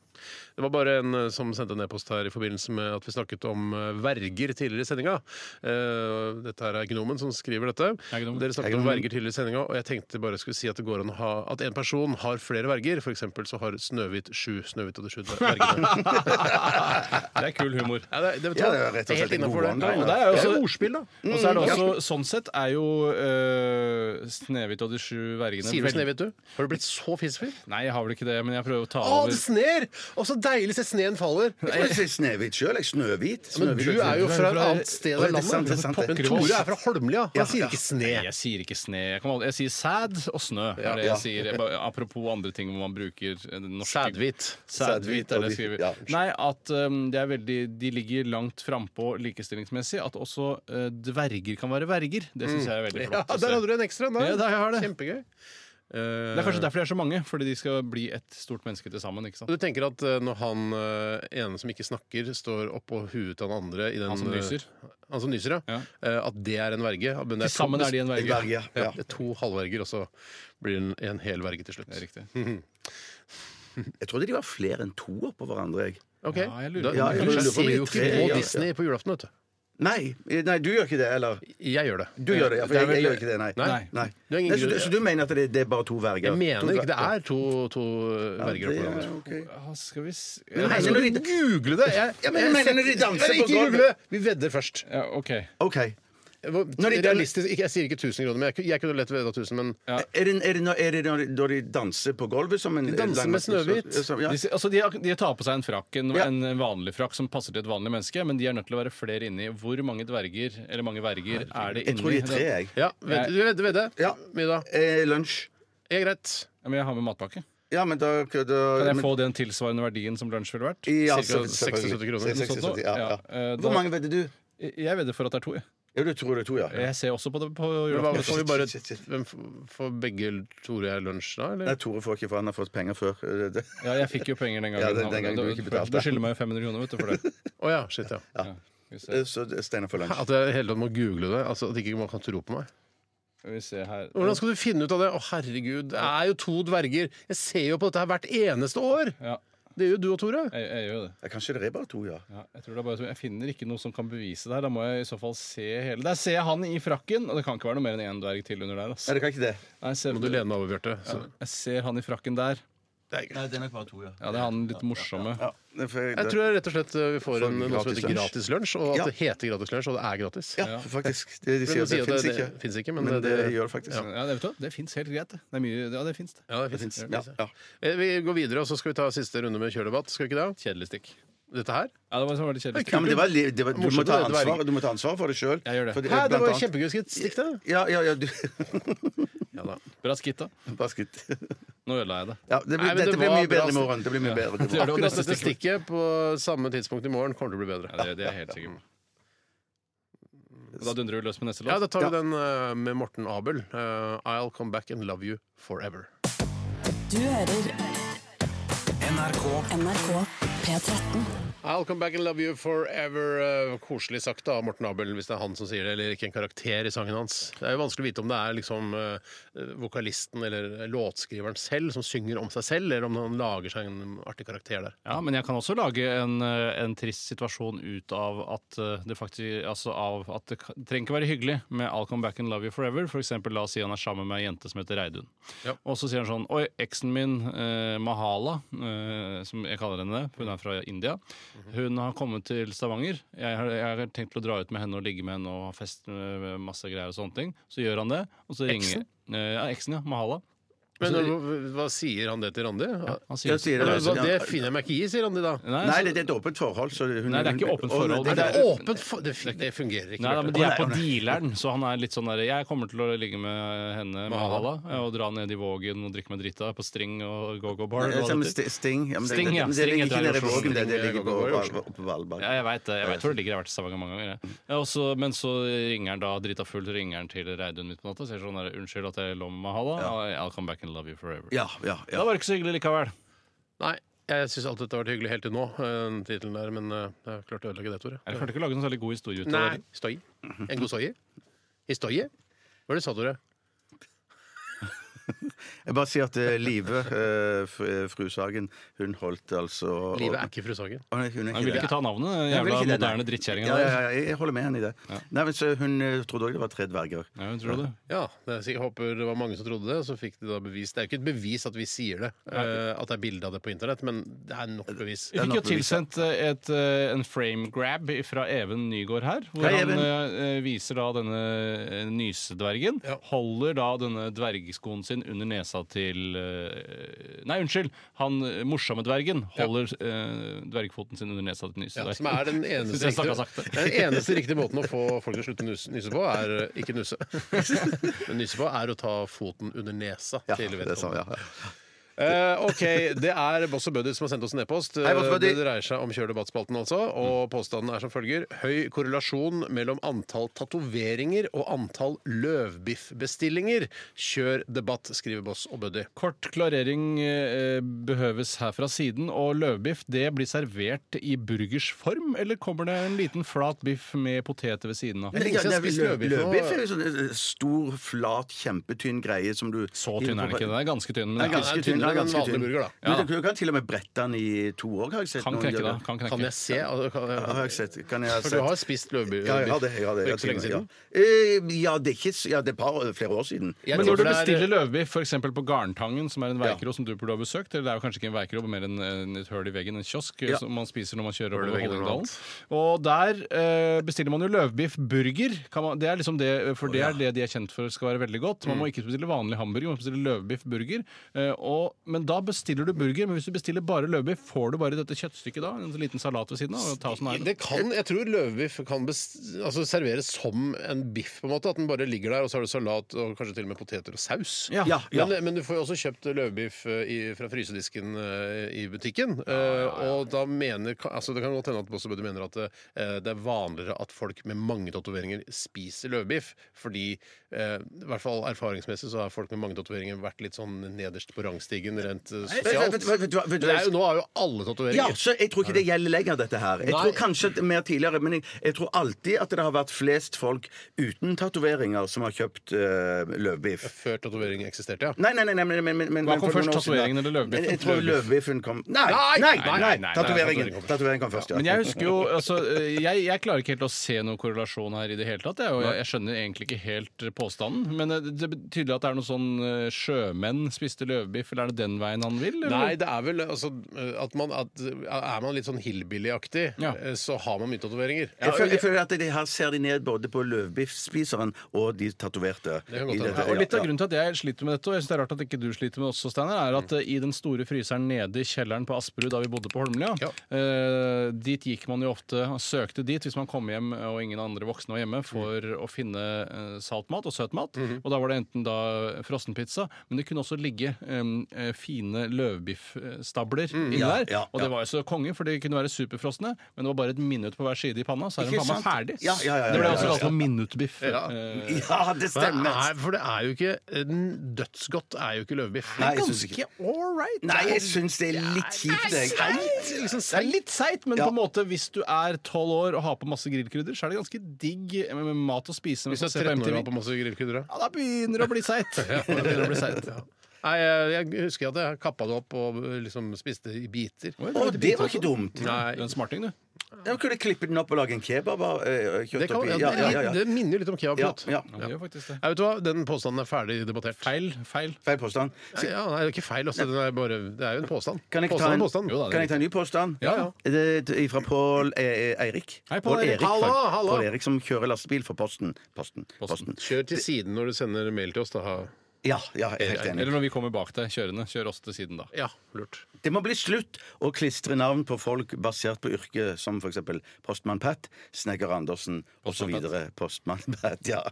Speaker 1: Det var bare en eh, som sendte en e-post her i forbindelse med at vi snakket om eh, verger tidligere i sendinga. Eh, Dette her er Gnomen som skriver dette.
Speaker 2: Er Gnomen.
Speaker 1: Dere snakket
Speaker 3: Er
Speaker 1: om
Speaker 3: Gnomen.
Speaker 1: verger tidligere i sendinga, og jeg tenkte bare jeg skulle si at det går an å ha at en person har flere verger. For eksempel så har Snøhvit sju Snøhvit og de sju [laughs] vergene.
Speaker 2: [laughs] Det er kul humor.
Speaker 1: Ja, det, det,
Speaker 3: Ja, det er rett og slett
Speaker 1: helt
Speaker 3: en
Speaker 1: innenfor
Speaker 3: god one-liner.
Speaker 1: det.
Speaker 2: er jo
Speaker 1: Det er
Speaker 2: også-
Speaker 1: jo ordspill, da. Mm,
Speaker 2: Og så er det også, Sånn sett er jo eh, Snehvit og de sju vergene
Speaker 1: Sier du
Speaker 2: veldig-
Speaker 1: Snøhvit, du? Har du blitt så fisefyr?
Speaker 2: Nei, jeg har vel ikke det, men jeg prøver å ta
Speaker 1: Å,
Speaker 2: over.
Speaker 1: det sner! Å, så deilig se sneen faller.
Speaker 3: Jeg tror jeg sier Snehvit sjøl. Snøhvit.
Speaker 1: Men
Speaker 3: Snøhvit.
Speaker 1: du er jo fra et
Speaker 2: fra-
Speaker 1: annet sted
Speaker 3: Oi, det
Speaker 1: i
Speaker 3: er sant,
Speaker 1: landet.
Speaker 3: det er sant, det.
Speaker 1: Men Tore er fra Holmlia.
Speaker 3: Ja,
Speaker 1: Han sier
Speaker 3: ja.
Speaker 1: ikke sne.
Speaker 2: Nei, Jeg sier ikke sne. Jeg, kan aldri, jeg sier sæd og snø.
Speaker 1: Ja,
Speaker 2: er det
Speaker 3: ja.
Speaker 2: jeg sier. Jeg, bare- apropos andre ting hvor man bruker eh, den norske
Speaker 1: Sædhvit.
Speaker 2: Sædhvit er det jeg skriver.
Speaker 3: Ja.
Speaker 2: Nei, at um, det er veldig, de ligger langt frampå likestillingsmessig. At også eh, dverger kan være verger. Det syns jeg er veldig
Speaker 1: Ja,
Speaker 2: flott. å
Speaker 1: der
Speaker 2: se.
Speaker 1: hadde du en ekstra. Da.
Speaker 2: Ja, der har jeg det.
Speaker 1: Kjempegøy. Eh,
Speaker 2: Det er kanskje derfor det er så mange, fordi de skal bli et stort menneske til sammen.
Speaker 3: Mm.
Speaker 2: ikke sant?
Speaker 1: Du tenker at eh, når han eh, ene som ikke snakker, står oppå huet til han andre i den,
Speaker 2: Han som
Speaker 1: eh,
Speaker 2: nyser.
Speaker 1: Han som nyser, ja.
Speaker 2: Ja.
Speaker 1: Eh, At det er en verge. Men det
Speaker 2: Til sammen er de en verge.
Speaker 3: Berge, ja.
Speaker 1: Ja, det er to halvverger, og så blir det en, en hel verge til slutt.
Speaker 2: Det er riktig.
Speaker 3: Mm. Jeg trodde de var flere enn to oppå hverandre. jeg.
Speaker 1: Ok,
Speaker 2: Ja, jeg lurer
Speaker 1: da,
Speaker 2: på-
Speaker 3: Ja, jeg
Speaker 1: kanskje
Speaker 3: lurer på om
Speaker 1: ser
Speaker 3: det er
Speaker 1: jo ikke
Speaker 3: tre,
Speaker 1: på
Speaker 3: ja.
Speaker 1: Disney på julaften, vet du.
Speaker 3: Nei, nei, du gjør ikke det, eller?
Speaker 1: Jeg gjør det.
Speaker 3: Du gjør det, ja, for
Speaker 2: Det er
Speaker 3: jeg,
Speaker 2: vel-
Speaker 3: jeg gjør ikke det, nei.
Speaker 2: Nei.
Speaker 3: Nei.
Speaker 1: Du har ingen
Speaker 3: Nei, så, du,
Speaker 1: grunn-
Speaker 3: så du mener at det, det er bare to verger?
Speaker 1: Jeg mener
Speaker 3: To
Speaker 1: ikke det
Speaker 3: verger.
Speaker 1: er to, to verger oppå hverandre.
Speaker 2: Ja, skal vi s...
Speaker 3: Men
Speaker 1: Nei, skal
Speaker 3: mener du
Speaker 1: altså, du google det? Jeg,
Speaker 3: Ja, men mener du de danser
Speaker 1: Nei,
Speaker 3: på
Speaker 1: ikke
Speaker 3: gulvet?
Speaker 1: google det! Vi vedder først.
Speaker 2: Ja, OK.
Speaker 3: OK. Er
Speaker 1: Hvor-
Speaker 3: Når de-
Speaker 1: Realistisk, ikke- jeg sier ikke 1000 kroner, men jeg, ku- jeg kunne lett vedda 1000. Men
Speaker 3: det, er, det, når- er det når de- når de danser på gulvet som en
Speaker 1: De danser
Speaker 3: lang-
Speaker 1: med Snøhvit.
Speaker 3: så- så- Ja.
Speaker 2: De, s- altså de, har- de tar på seg en frakk, en,
Speaker 3: Ja.
Speaker 2: en vanlig frakk som passer til et vanlig menneske, men de er nødt til å være flere inni. Hvor mange dverger, eller mange verger, er det inni?
Speaker 3: Jeg tror de er tre, jeg.
Speaker 1: ja, ved, du vedder, vedder.
Speaker 3: Ja.
Speaker 1: Middag.
Speaker 3: Eh, lunsj.
Speaker 1: Er greit.
Speaker 2: Ja, men jeg har med matpakke.
Speaker 3: Ja, men da, da
Speaker 2: Kan jeg
Speaker 3: men-
Speaker 2: få den tilsvarende verdien som lunsj ville vært?
Speaker 3: Ja,
Speaker 1: Cirka 76
Speaker 3: selvfølgelig.
Speaker 1: kroner, noe
Speaker 2: sånt
Speaker 3: 76, ja,
Speaker 2: nå?
Speaker 3: ja.
Speaker 2: Ja, eh, da-
Speaker 3: Hvor mange vedder du?
Speaker 2: Jeg vedder for at det er to. jeg.
Speaker 3: Ja, du tror det er to, ja.
Speaker 2: Jeg ser også på det på
Speaker 1: Men Hva, får vi
Speaker 2: julaften.
Speaker 1: bare,
Speaker 3: Shit, shit, shit.
Speaker 1: hvem f- får begge Tore jeg lunsj da?
Speaker 3: Nei,
Speaker 1: Eller?
Speaker 3: Tore får ikke, for han har fått penger før. [laughs] Eh, det-
Speaker 2: Ja, jeg fikk jo penger den gangen.
Speaker 3: Ja, den- den gangen du ikke betalte.
Speaker 2: Du skylder meg jo 500 kroner, vet du, for det.
Speaker 1: Å ja, shit, ja.
Speaker 2: Ja. Skal vi se,
Speaker 3: Eh, Så Steinar får lunsj.
Speaker 1: At jeg hele tatt må google det. Altså, at ikke man kan tro på meg.
Speaker 2: Skal vi se her.
Speaker 1: Hvordan skal du finne ut av det? Å, herregud, det er jo to dverger. Jeg ser jo på dette her hvert eneste år!
Speaker 2: Ja,
Speaker 1: Det gjør jo du og Tore.
Speaker 2: jeg, jeg gjør jo det.
Speaker 3: Ja, Kanskje det er bare to, ja.
Speaker 2: Ja, jeg, tror det er bare, jeg finner ikke noe som kan bevise det her. Da må jeg i så fall se hele Der ser jeg han i frakken, og det kan ikke være noe mer enn én dverg til under der.
Speaker 3: Nei,
Speaker 2: Altså.
Speaker 3: det kan ikke det.
Speaker 2: Nei, jeg, ser,
Speaker 1: Må du lene deg over, Bjarte. Så-
Speaker 2: jeg ser han i frakken der.
Speaker 3: Nei, det er nok bare to, ja.
Speaker 2: Ja, det er han litt morsomme.
Speaker 3: Ja, det får
Speaker 1: Jeg tror rett og slett eh, vi får
Speaker 3: Får
Speaker 1: en, noe som
Speaker 3: gratis
Speaker 1: heter
Speaker 3: lunsj.
Speaker 1: gratis lunsj, og at
Speaker 3: Ja.
Speaker 1: det heter gratis lunsj, og det er gratis.
Speaker 3: Ja, faktisk. De, de
Speaker 1: Men
Speaker 3: sier
Speaker 1: de
Speaker 3: at det
Speaker 1: sier at
Speaker 3: fins
Speaker 1: det-
Speaker 3: ikke.
Speaker 1: det finnes ikke, men
Speaker 3: det,
Speaker 1: det-
Speaker 3: gjør det faktisk.
Speaker 2: Ja, det, vet du, det fins helt greit, det. Det er mye, ja, det fins det.
Speaker 1: Ja, det
Speaker 3: Det
Speaker 1: finnes.
Speaker 3: finnes. Ja, ja.
Speaker 1: Eh, Vi går videre, og så skal vi ta siste runde med kjørdebatt. Skal vi ikke det?
Speaker 2: Kjedelig stikk.
Speaker 1: Dette her?
Speaker 2: Ja, det var sånn veldig kjedelig stikk.
Speaker 3: Ja, men det var, li- det var, du, må
Speaker 1: Morsomt,
Speaker 3: ta
Speaker 1: det er dverg.
Speaker 3: ansvar, du må ta ansvar for det sjøl.
Speaker 2: Jeg gjør det.
Speaker 1: Hæ, det var kjempegøy skritt. Stikk det.
Speaker 3: Ja, ja, ja, du [laughs]
Speaker 2: Bra skitta.
Speaker 3: Bare skritt.
Speaker 2: Nå ødela jeg det.
Speaker 3: Ja, det blir,
Speaker 1: Nei, men det
Speaker 3: dette blir
Speaker 1: var
Speaker 3: mye
Speaker 1: bra
Speaker 3: bedre i morgen. Det blir mye bedre.
Speaker 2: Ja, det var
Speaker 1: Akkurat
Speaker 2: neste
Speaker 1: dette
Speaker 2: stikkord.
Speaker 1: stikket på samme tidspunkt i morgen kommer til å bli bedre.
Speaker 2: Ja, det, det er jeg helt sikker på. Da dundrer vi løs med neste låt.
Speaker 1: Ja, da tar vi
Speaker 3: Ja.
Speaker 1: den eh, med Morten Abel. Eh, I'll come back and love you forever.
Speaker 5: Du hører
Speaker 6: NRK
Speaker 5: NRK P13.
Speaker 1: I'll come back and love you forever. eh, koselig sagt av Morten Abel, hvis det er han som sier det, eller ikke en karakter i sangen hans. Det er jo vanskelig å vite om det er liksom eh, vokalisten eller låtskriveren selv som synger om seg selv, eller om han lager seg en artig karakter der.
Speaker 2: Ja, men jeg kan også lage en, eh, en trist situasjon ut av at eh, det faktisk Altså av at det ka- det trenger ikke være hyggelig med I'll come back and love you forever. For eksempel, la oss si han er sammen med ei jente som heter Reidun.
Speaker 1: Ja.
Speaker 2: Og så sier han sånn Oi, eksen min eh, Mahala, eh, som jeg kaller henne det, for hun er er fra India. Hun har kommet til Stavanger. Jeg har, jeg har tenkt til å dra ut med henne og ligge med henne og ha fest med masse greier og sånne ting. Så gjør han det, og så ringer
Speaker 1: Eksen?
Speaker 2: Eh, Ja, eksen, ja. Mahala.
Speaker 1: Men
Speaker 2: Altså,
Speaker 1: hva- hva sier han det til Randi?
Speaker 2: Han sier
Speaker 3: Jeg sier
Speaker 1: Eller, hva,
Speaker 3: det.
Speaker 1: det finner jeg meg ikke i, sier Randi da.
Speaker 3: Nei,
Speaker 2: så-
Speaker 3: det det er et åpent forhold. Så hun,
Speaker 2: Nei, det er ikke åpent forhold.
Speaker 3: Å, nei,
Speaker 1: Er
Speaker 3: det
Speaker 1: det
Speaker 3: er-
Speaker 1: åpent for Det, fin- det fungerer ikke.
Speaker 2: Nei, da, men de er
Speaker 1: Bjarte.
Speaker 2: på dealeren, så han er litt sånn der Jeg kommer til å ligge med henne Mahala, og dra ned i Vågen og drikke meg drita på String og go-go-bar.
Speaker 3: Jeg
Speaker 2: og
Speaker 3: ser
Speaker 2: hva
Speaker 3: med
Speaker 2: det heter.
Speaker 3: sti- Sting. Ja, men det-
Speaker 2: Sting, ja.
Speaker 3: men Det
Speaker 2: Sting
Speaker 3: ligger
Speaker 2: heter det i
Speaker 3: ikke nede i
Speaker 2: Oslo.
Speaker 3: Vågen, det,
Speaker 1: Sting
Speaker 3: det ligger
Speaker 1: går- går i
Speaker 3: på-
Speaker 1: Oslo.
Speaker 3: på- på Valberg.
Speaker 2: Ja, jeg veit det. Jeg vet hvor det ligger. Jeg har vært i Stavanger mange ganger. Jeg. Ja, og så- men så ringer han da drita full ringer han til Reidun midt på natta og sier sånn der, 'Unnskyld at jeg lå med Mahala. og I'll come back and love you forever'.
Speaker 3: Ja, ja, ja.
Speaker 2: Da var det ikke så hyggelig likevel.
Speaker 1: Nei, jeg syns alt dette har vært hyggelig helt til nå, eh, den tittelen der, men eh, jeg har klart å ødelegge det, Tore.
Speaker 2: Jeg klarte ikke å lage noen særlig god historie ut av
Speaker 1: Nei.
Speaker 2: det.
Speaker 1: Stoi. En god soie? Historie? Hva var det du sa, Tore?
Speaker 3: Jeg bare sier at eh, Live, eh, fr- eh, fru Sagen, hun holdt altså
Speaker 1: Livet er ikke Fru Sagen.
Speaker 3: Å, nei, hun er
Speaker 2: Han ville ikke ta navnet, den
Speaker 3: Nei, hun vil
Speaker 2: jævla
Speaker 3: ikke det, nei.
Speaker 2: moderne drittkjerringa
Speaker 3: Ja, ja,
Speaker 2: der.
Speaker 3: ja, jeg holder med henne i det. Nei, men så Hun eh, trodde òg det var tre dverger.
Speaker 2: Ja, hun tror det.
Speaker 1: Ja, det er sikkert, håper det var mange som trodde det, og så fikk de da bevis. Det er jo ikke et bevis at vi sier det, eh, at det er bilde av det på internett, men det er nok bevis.
Speaker 2: Vi fikk
Speaker 3: Det er
Speaker 2: jo
Speaker 3: nok bevis, ja.
Speaker 2: tilsendt eh, et, eh, en frame grab fra Even Nygaard her. Hvor
Speaker 3: Hei,
Speaker 2: han
Speaker 3: Even.
Speaker 2: eh, viser da denne eh, nysedvergen.
Speaker 1: Ja.
Speaker 2: Holder da denne dvergskoen sin under nesa til eh, Nei, unnskyld! Han eh, morsomme dvergen holder eh, dvergfoten sin under nesa til
Speaker 1: Ja,
Speaker 2: nysedvergen.
Speaker 1: som
Speaker 2: [laughs]
Speaker 1: er den eneste,
Speaker 2: Jeg snakket
Speaker 1: riktige,
Speaker 2: sakte.
Speaker 1: den eneste riktige måten å få folk til å slutte å nuse, nyse på, er eh, ikke nuse. Men nyse på er å ta foten under nesa
Speaker 3: Ja,
Speaker 1: til
Speaker 3: det er sånn,
Speaker 1: vedkommende.
Speaker 3: ja.
Speaker 1: Eh, ok, Det er Boss og Buddy som har sendt oss en e-post. Eh,
Speaker 3: Hei, Boss og Buddy.
Speaker 1: det dreier seg om Kjør debattspalten, altså. Og påstanden er som følger. Høy korrelasjon mellom antall tatoveringer og antall løvbiffbestillinger. Kjør debatt, skriver Boss og Buddy.
Speaker 2: Kort klarering eh, behøves her fra siden, og løvbiff det blir servert i burgers form, eller kommer det en liten flat biff med poteter ved siden av?
Speaker 1: lenge
Speaker 3: Ja,
Speaker 1: siden jeg
Speaker 3: det er
Speaker 1: spiste
Speaker 3: løv-
Speaker 1: løvbiff nå.
Speaker 3: Løvbiff er jo sånn eh, stor, flat, kjempetynn greie som du
Speaker 2: Så tynn er den ikke. Den er ganske tynn. men
Speaker 3: Den er ganske tynn.
Speaker 1: tynnere
Speaker 3: Den er
Speaker 1: enn
Speaker 3: ganske
Speaker 1: vanlig
Speaker 3: tynn.
Speaker 1: burger, da.
Speaker 3: Men Du, du kan til og med brette den i to år, har jeg sett.
Speaker 2: Kan
Speaker 3: noen
Speaker 2: knekke,
Speaker 3: gjøre
Speaker 2: da.
Speaker 3: det.
Speaker 2: Kan
Speaker 1: Kan
Speaker 2: knekke.
Speaker 1: jeg se? Altså,
Speaker 3: Har
Speaker 1: kan,
Speaker 3: jeg sett. Kan jeg ha
Speaker 1: for du har
Speaker 3: sett.
Speaker 1: spist løvbiff
Speaker 3: Ja, jeg har det. Jeg har det.
Speaker 1: for ikke så lenge siden?
Speaker 3: Ja, Eh, ja det er ikke s- Ja, det er et par, eh, flere år siden.
Speaker 1: Jeg
Speaker 2: Men
Speaker 1: tror
Speaker 2: når du
Speaker 1: det er-
Speaker 2: bestiller løvbiff f.eks. på Garntangen, som er en veikro som du burde ha besøkt Eller det er jo kanskje ikke en veikro, men mer en, en, et høl i veggen, en kiosk, eh,
Speaker 3: Ja.
Speaker 2: som man spiser når man kjører
Speaker 1: Høl i
Speaker 2: over
Speaker 1: veggen og
Speaker 2: Hallingdalen. Og der eh, bestiller man jo løvbiffburger. Kan man- Det er liksom det, for det er det de er kjent for skal være veldig godt.
Speaker 1: Mm.
Speaker 2: Man må ikke bestille vanlig hamburger, man må bestille løvbiffburger. Eh, og- men da bestiller du burger, men hvis du bestiller bare løvbiff, får du bare dette kjøttstykket da? En liten salat ved siden av? og Ta oss en
Speaker 1: Det kan, jeg tror løvbiff kan bes- altså, serveres som en biff, på en måte. At den bare ligger der, og så har du salat og kanskje til og med poteter og saus.
Speaker 2: Ja.
Speaker 3: Ja, ja.
Speaker 1: Men, men du får jo også kjøpt løvbiff eh, i, fra frysedisken eh, i butikken. Eh, Og da mener ka- altså, Det kan godt hende at Bosse Buddy mener at eh, det er vanligere at folk med mange tatoveringer spiser løvbiff, fordi eh, i hvert fall erfaringsmessig så har folk med mange tatoveringer vært litt sånn nederst på rangstigen rent eh,
Speaker 3: Vet-
Speaker 1: sosialt.
Speaker 3: vet- vet- vet du hva- vet
Speaker 1: Men
Speaker 3: du
Speaker 1: det
Speaker 3: hva-
Speaker 1: er jo, nå har jo alle
Speaker 3: Ja,
Speaker 1: tatoveringer.
Speaker 3: så Jeg tror ikke det gjelder lenger, dette her. Jeg
Speaker 1: Nei.
Speaker 3: tror kanskje at det er mer tidligere, men jeg, jeg tror alltid at det har vært flest folk uten tatoveringer som har kjøpt eh, løvbiff.
Speaker 1: Før tatovering eksisterte, ja.
Speaker 3: Nei, nei, nei, nei, men, men, men
Speaker 2: Hva kom
Speaker 3: for
Speaker 2: først,
Speaker 3: noen år siden-
Speaker 2: tatoveringen eller løvbiffen?
Speaker 3: Jeg, jeg tror løvbiffen kom Nei!
Speaker 1: Nei,
Speaker 3: nei,
Speaker 1: nei,
Speaker 3: nei,
Speaker 2: nei, nei,
Speaker 3: Tatoveringen
Speaker 1: tatoveringen kom først.
Speaker 3: Tatoveringen kom først, ja.
Speaker 2: Men jeg husker jo altså, eh, jeg, jeg klarer ikke helt å se noen korrelasjon her i det hele tatt. Jeg, og jeg, jeg skjønner egentlig ikke helt eh, påstanden. Men eh, det er tydelig at det er noe sånn eh, sjømenn spiste løvbiff, eller er det den veien han vil? Eller?
Speaker 1: Nei, det er vel altså, at man, at, Er man litt sånn hillbilly-aktig, eh,
Speaker 2: Ja.
Speaker 1: så har man mye tatoveringer.
Speaker 3: jeg, føler, jeg føler at det her ser de ned både på løvbiffspiseren og de tatoverte.
Speaker 1: kan godt
Speaker 3: i
Speaker 1: hende.
Speaker 3: dette,
Speaker 2: Og
Speaker 3: ja,
Speaker 2: Litt av
Speaker 3: ja.
Speaker 2: grunnen til at jeg sliter med dette, og jeg synes det er rart at ikke du sliter med det også, Steiner, er
Speaker 3: Mm.
Speaker 2: at eh, i den store fryseren nede i kjelleren på Asperud da vi bodde på Holmlia,
Speaker 1: Ja.
Speaker 2: eh, dit gikk man jo ofte og søkte dit hvis man kom hjem og ingen andre voksne var hjemme, for
Speaker 3: Mm.
Speaker 2: å finne eh, saltmat og søtmat.
Speaker 3: Mm-hmm.
Speaker 2: Og da var det enten da frossenpizza, men det kunne også ligge eh, eh, fine løvbiffstabler inni
Speaker 3: Mm, ja,
Speaker 2: der.
Speaker 3: ja,
Speaker 2: og det
Speaker 3: ja.
Speaker 2: var jo så konge, for de kunne være superfrosne, men det var bare et minutt på hver side i panna, så er den
Speaker 3: Ikke
Speaker 2: panna
Speaker 3: sant?
Speaker 2: ferdig.
Speaker 3: Ja, ja, ja, ja,
Speaker 2: det ble
Speaker 3: ja,
Speaker 2: også
Speaker 3: ja,
Speaker 2: kalt for minuttbiff.
Speaker 1: Ja.
Speaker 2: Eh,
Speaker 3: Ja,
Speaker 1: Men
Speaker 3: det
Speaker 1: det
Speaker 3: stemmer!
Speaker 1: er, for det er jo ikke en Dødsgodt er jo ikke løvbiff.
Speaker 3: Nei, jeg synes ikke.
Speaker 1: all right.
Speaker 3: Nei, jeg syns det er litt kjipt,
Speaker 1: Det er
Speaker 3: jeg.
Speaker 1: seigt, liksom
Speaker 2: Det er
Speaker 1: seigt.
Speaker 2: litt seigt, men
Speaker 3: Ja.
Speaker 2: på en måte hvis du er tolv år og har på masse grillkrydder, så er det ganske digg med- med mat å spise. mens
Speaker 1: Hvis du
Speaker 2: man
Speaker 1: er
Speaker 2: ser på
Speaker 1: 13 år og har
Speaker 2: MTV.
Speaker 1: på masse grillkrydder, da.
Speaker 2: Ja, da begynner det å bli seigt.
Speaker 1: [laughs] Ja, det begynner å bli seigt.
Speaker 2: Ja.
Speaker 1: Nei, jeg jeg husker at jeg kappa det opp og liksom eh, spiste i biter.
Speaker 3: Å, det var ikke dumt!
Speaker 2: Du er en smarting, du.
Speaker 3: Ja, men kunne klippet den opp og lage en kebab av eh, kjøtt
Speaker 1: Det, kan,
Speaker 3: oppi.
Speaker 1: ja,
Speaker 3: Ja, ja, ja, ja.
Speaker 1: det minner jo litt om kebabkjøtt.
Speaker 3: Ja,
Speaker 2: Ja, det gjør faktisk det.
Speaker 1: Nei, vet du hva? Den påstanden er ferdig debattert.
Speaker 2: Feil. Feil.
Speaker 3: Feil påstand.
Speaker 1: Nei, Ja, nei, det er ikke feil. Altså, det, er bare, det er jo en påstand.
Speaker 3: Kan jeg, ta
Speaker 1: påstand
Speaker 3: en,
Speaker 1: er påstand.
Speaker 2: Jo da, det er
Speaker 3: kan jeg ta en ny påstand?
Speaker 2: Ja, ja.
Speaker 3: Det er fra Pål eh, Eirik.
Speaker 2: Hei, Pål Eirik.
Speaker 3: Eirik,
Speaker 1: Hallo,
Speaker 3: faktisk.
Speaker 1: hallo.
Speaker 3: Pål Eirik som kjører lastebil for Posten. Posten. posten.
Speaker 1: Kjør til siden når du sender mail til oss. Da.
Speaker 3: Ja, ja, jeg er helt enig.
Speaker 2: Eller når vi kommer bak deg kjørende. Kjør oss til siden, da.
Speaker 1: Ja, lurt.
Speaker 3: Det må bli slutt å klistre navn på folk basert på yrke, som f.eks. postmann Pat, snekker Andersen osv.
Speaker 2: Postmann
Speaker 3: Postmann Pat, ja.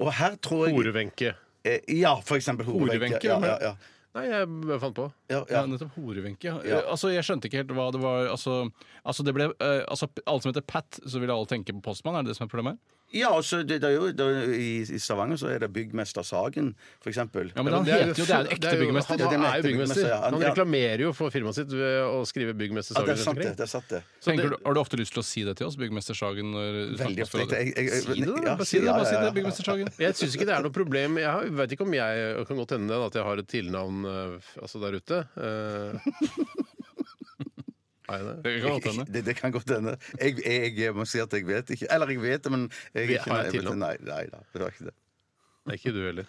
Speaker 3: Og her tror jeg
Speaker 1: Horevenke.
Speaker 3: eh, Ja, for eksempel Horevenke.
Speaker 2: Horevenke,
Speaker 3: Ja,
Speaker 2: men-
Speaker 3: ja, ja,
Speaker 1: Nei, jeg bare fant på.
Speaker 3: ja,
Speaker 2: Ja,
Speaker 3: ja.
Speaker 2: nettopp. Horevenke. ja.
Speaker 3: Ja.
Speaker 2: Eh, Altså, jeg skjønte ikke helt hva det var Altså, altså det ble eh, Altså, alle som heter Pat, så vil alle tenke på postmann? Er det det som er problemet? her?
Speaker 3: ja altså, det, det er jo, det er, jo- i, I Stavanger så er det byggmester Sagen, for eksempel.
Speaker 2: Ja, men han
Speaker 1: det er
Speaker 2: heter jo Det er en
Speaker 1: det
Speaker 2: ekte
Speaker 1: er jo-
Speaker 2: byggmester.
Speaker 3: Ja, det er
Speaker 1: Han er
Speaker 3: en
Speaker 1: jo
Speaker 3: ekte
Speaker 1: byggmester.
Speaker 3: byggmester, ja.
Speaker 1: Han
Speaker 3: Ja.
Speaker 1: reklamerer jo for firmaet sitt ved å skrive byggmester
Speaker 3: Ja,
Speaker 1: Sagen
Speaker 3: det er
Speaker 1: rundt
Speaker 3: sant, det.
Speaker 1: omkring.
Speaker 3: det er sant det.
Speaker 2: Tenker
Speaker 1: det-
Speaker 2: du, har du ofte lyst til å si det til oss, byggmester Sagen? når du snakker
Speaker 3: Veldig
Speaker 2: på
Speaker 3: ofte.
Speaker 2: radio?
Speaker 3: Jeg- jeg- jeg-
Speaker 2: Si det, da.
Speaker 3: ja,
Speaker 2: Bare si det,
Speaker 3: ja,
Speaker 2: bare si
Speaker 3: ja,
Speaker 2: det,
Speaker 3: ja.
Speaker 2: byggmester Sagen.
Speaker 1: Jeg syns ikke det er noe problem. Jeg har- vet ikke om jeg kan godt hende det, da, at jeg har et tilnavn eh, f- altså der ute. Eh, Har jeg det?
Speaker 2: Det kan godt hende.
Speaker 3: [laughs] Det, det kan godt hende. Jeg, jeg, må si at jeg vet ikke. Eller jeg vet det, men jeg,
Speaker 1: Vi har
Speaker 3: nei,
Speaker 1: et
Speaker 3: jeg vet-
Speaker 1: tilnavn.
Speaker 3: Nei, nei da. Det var ikke det.
Speaker 1: Nei, ikke du heller.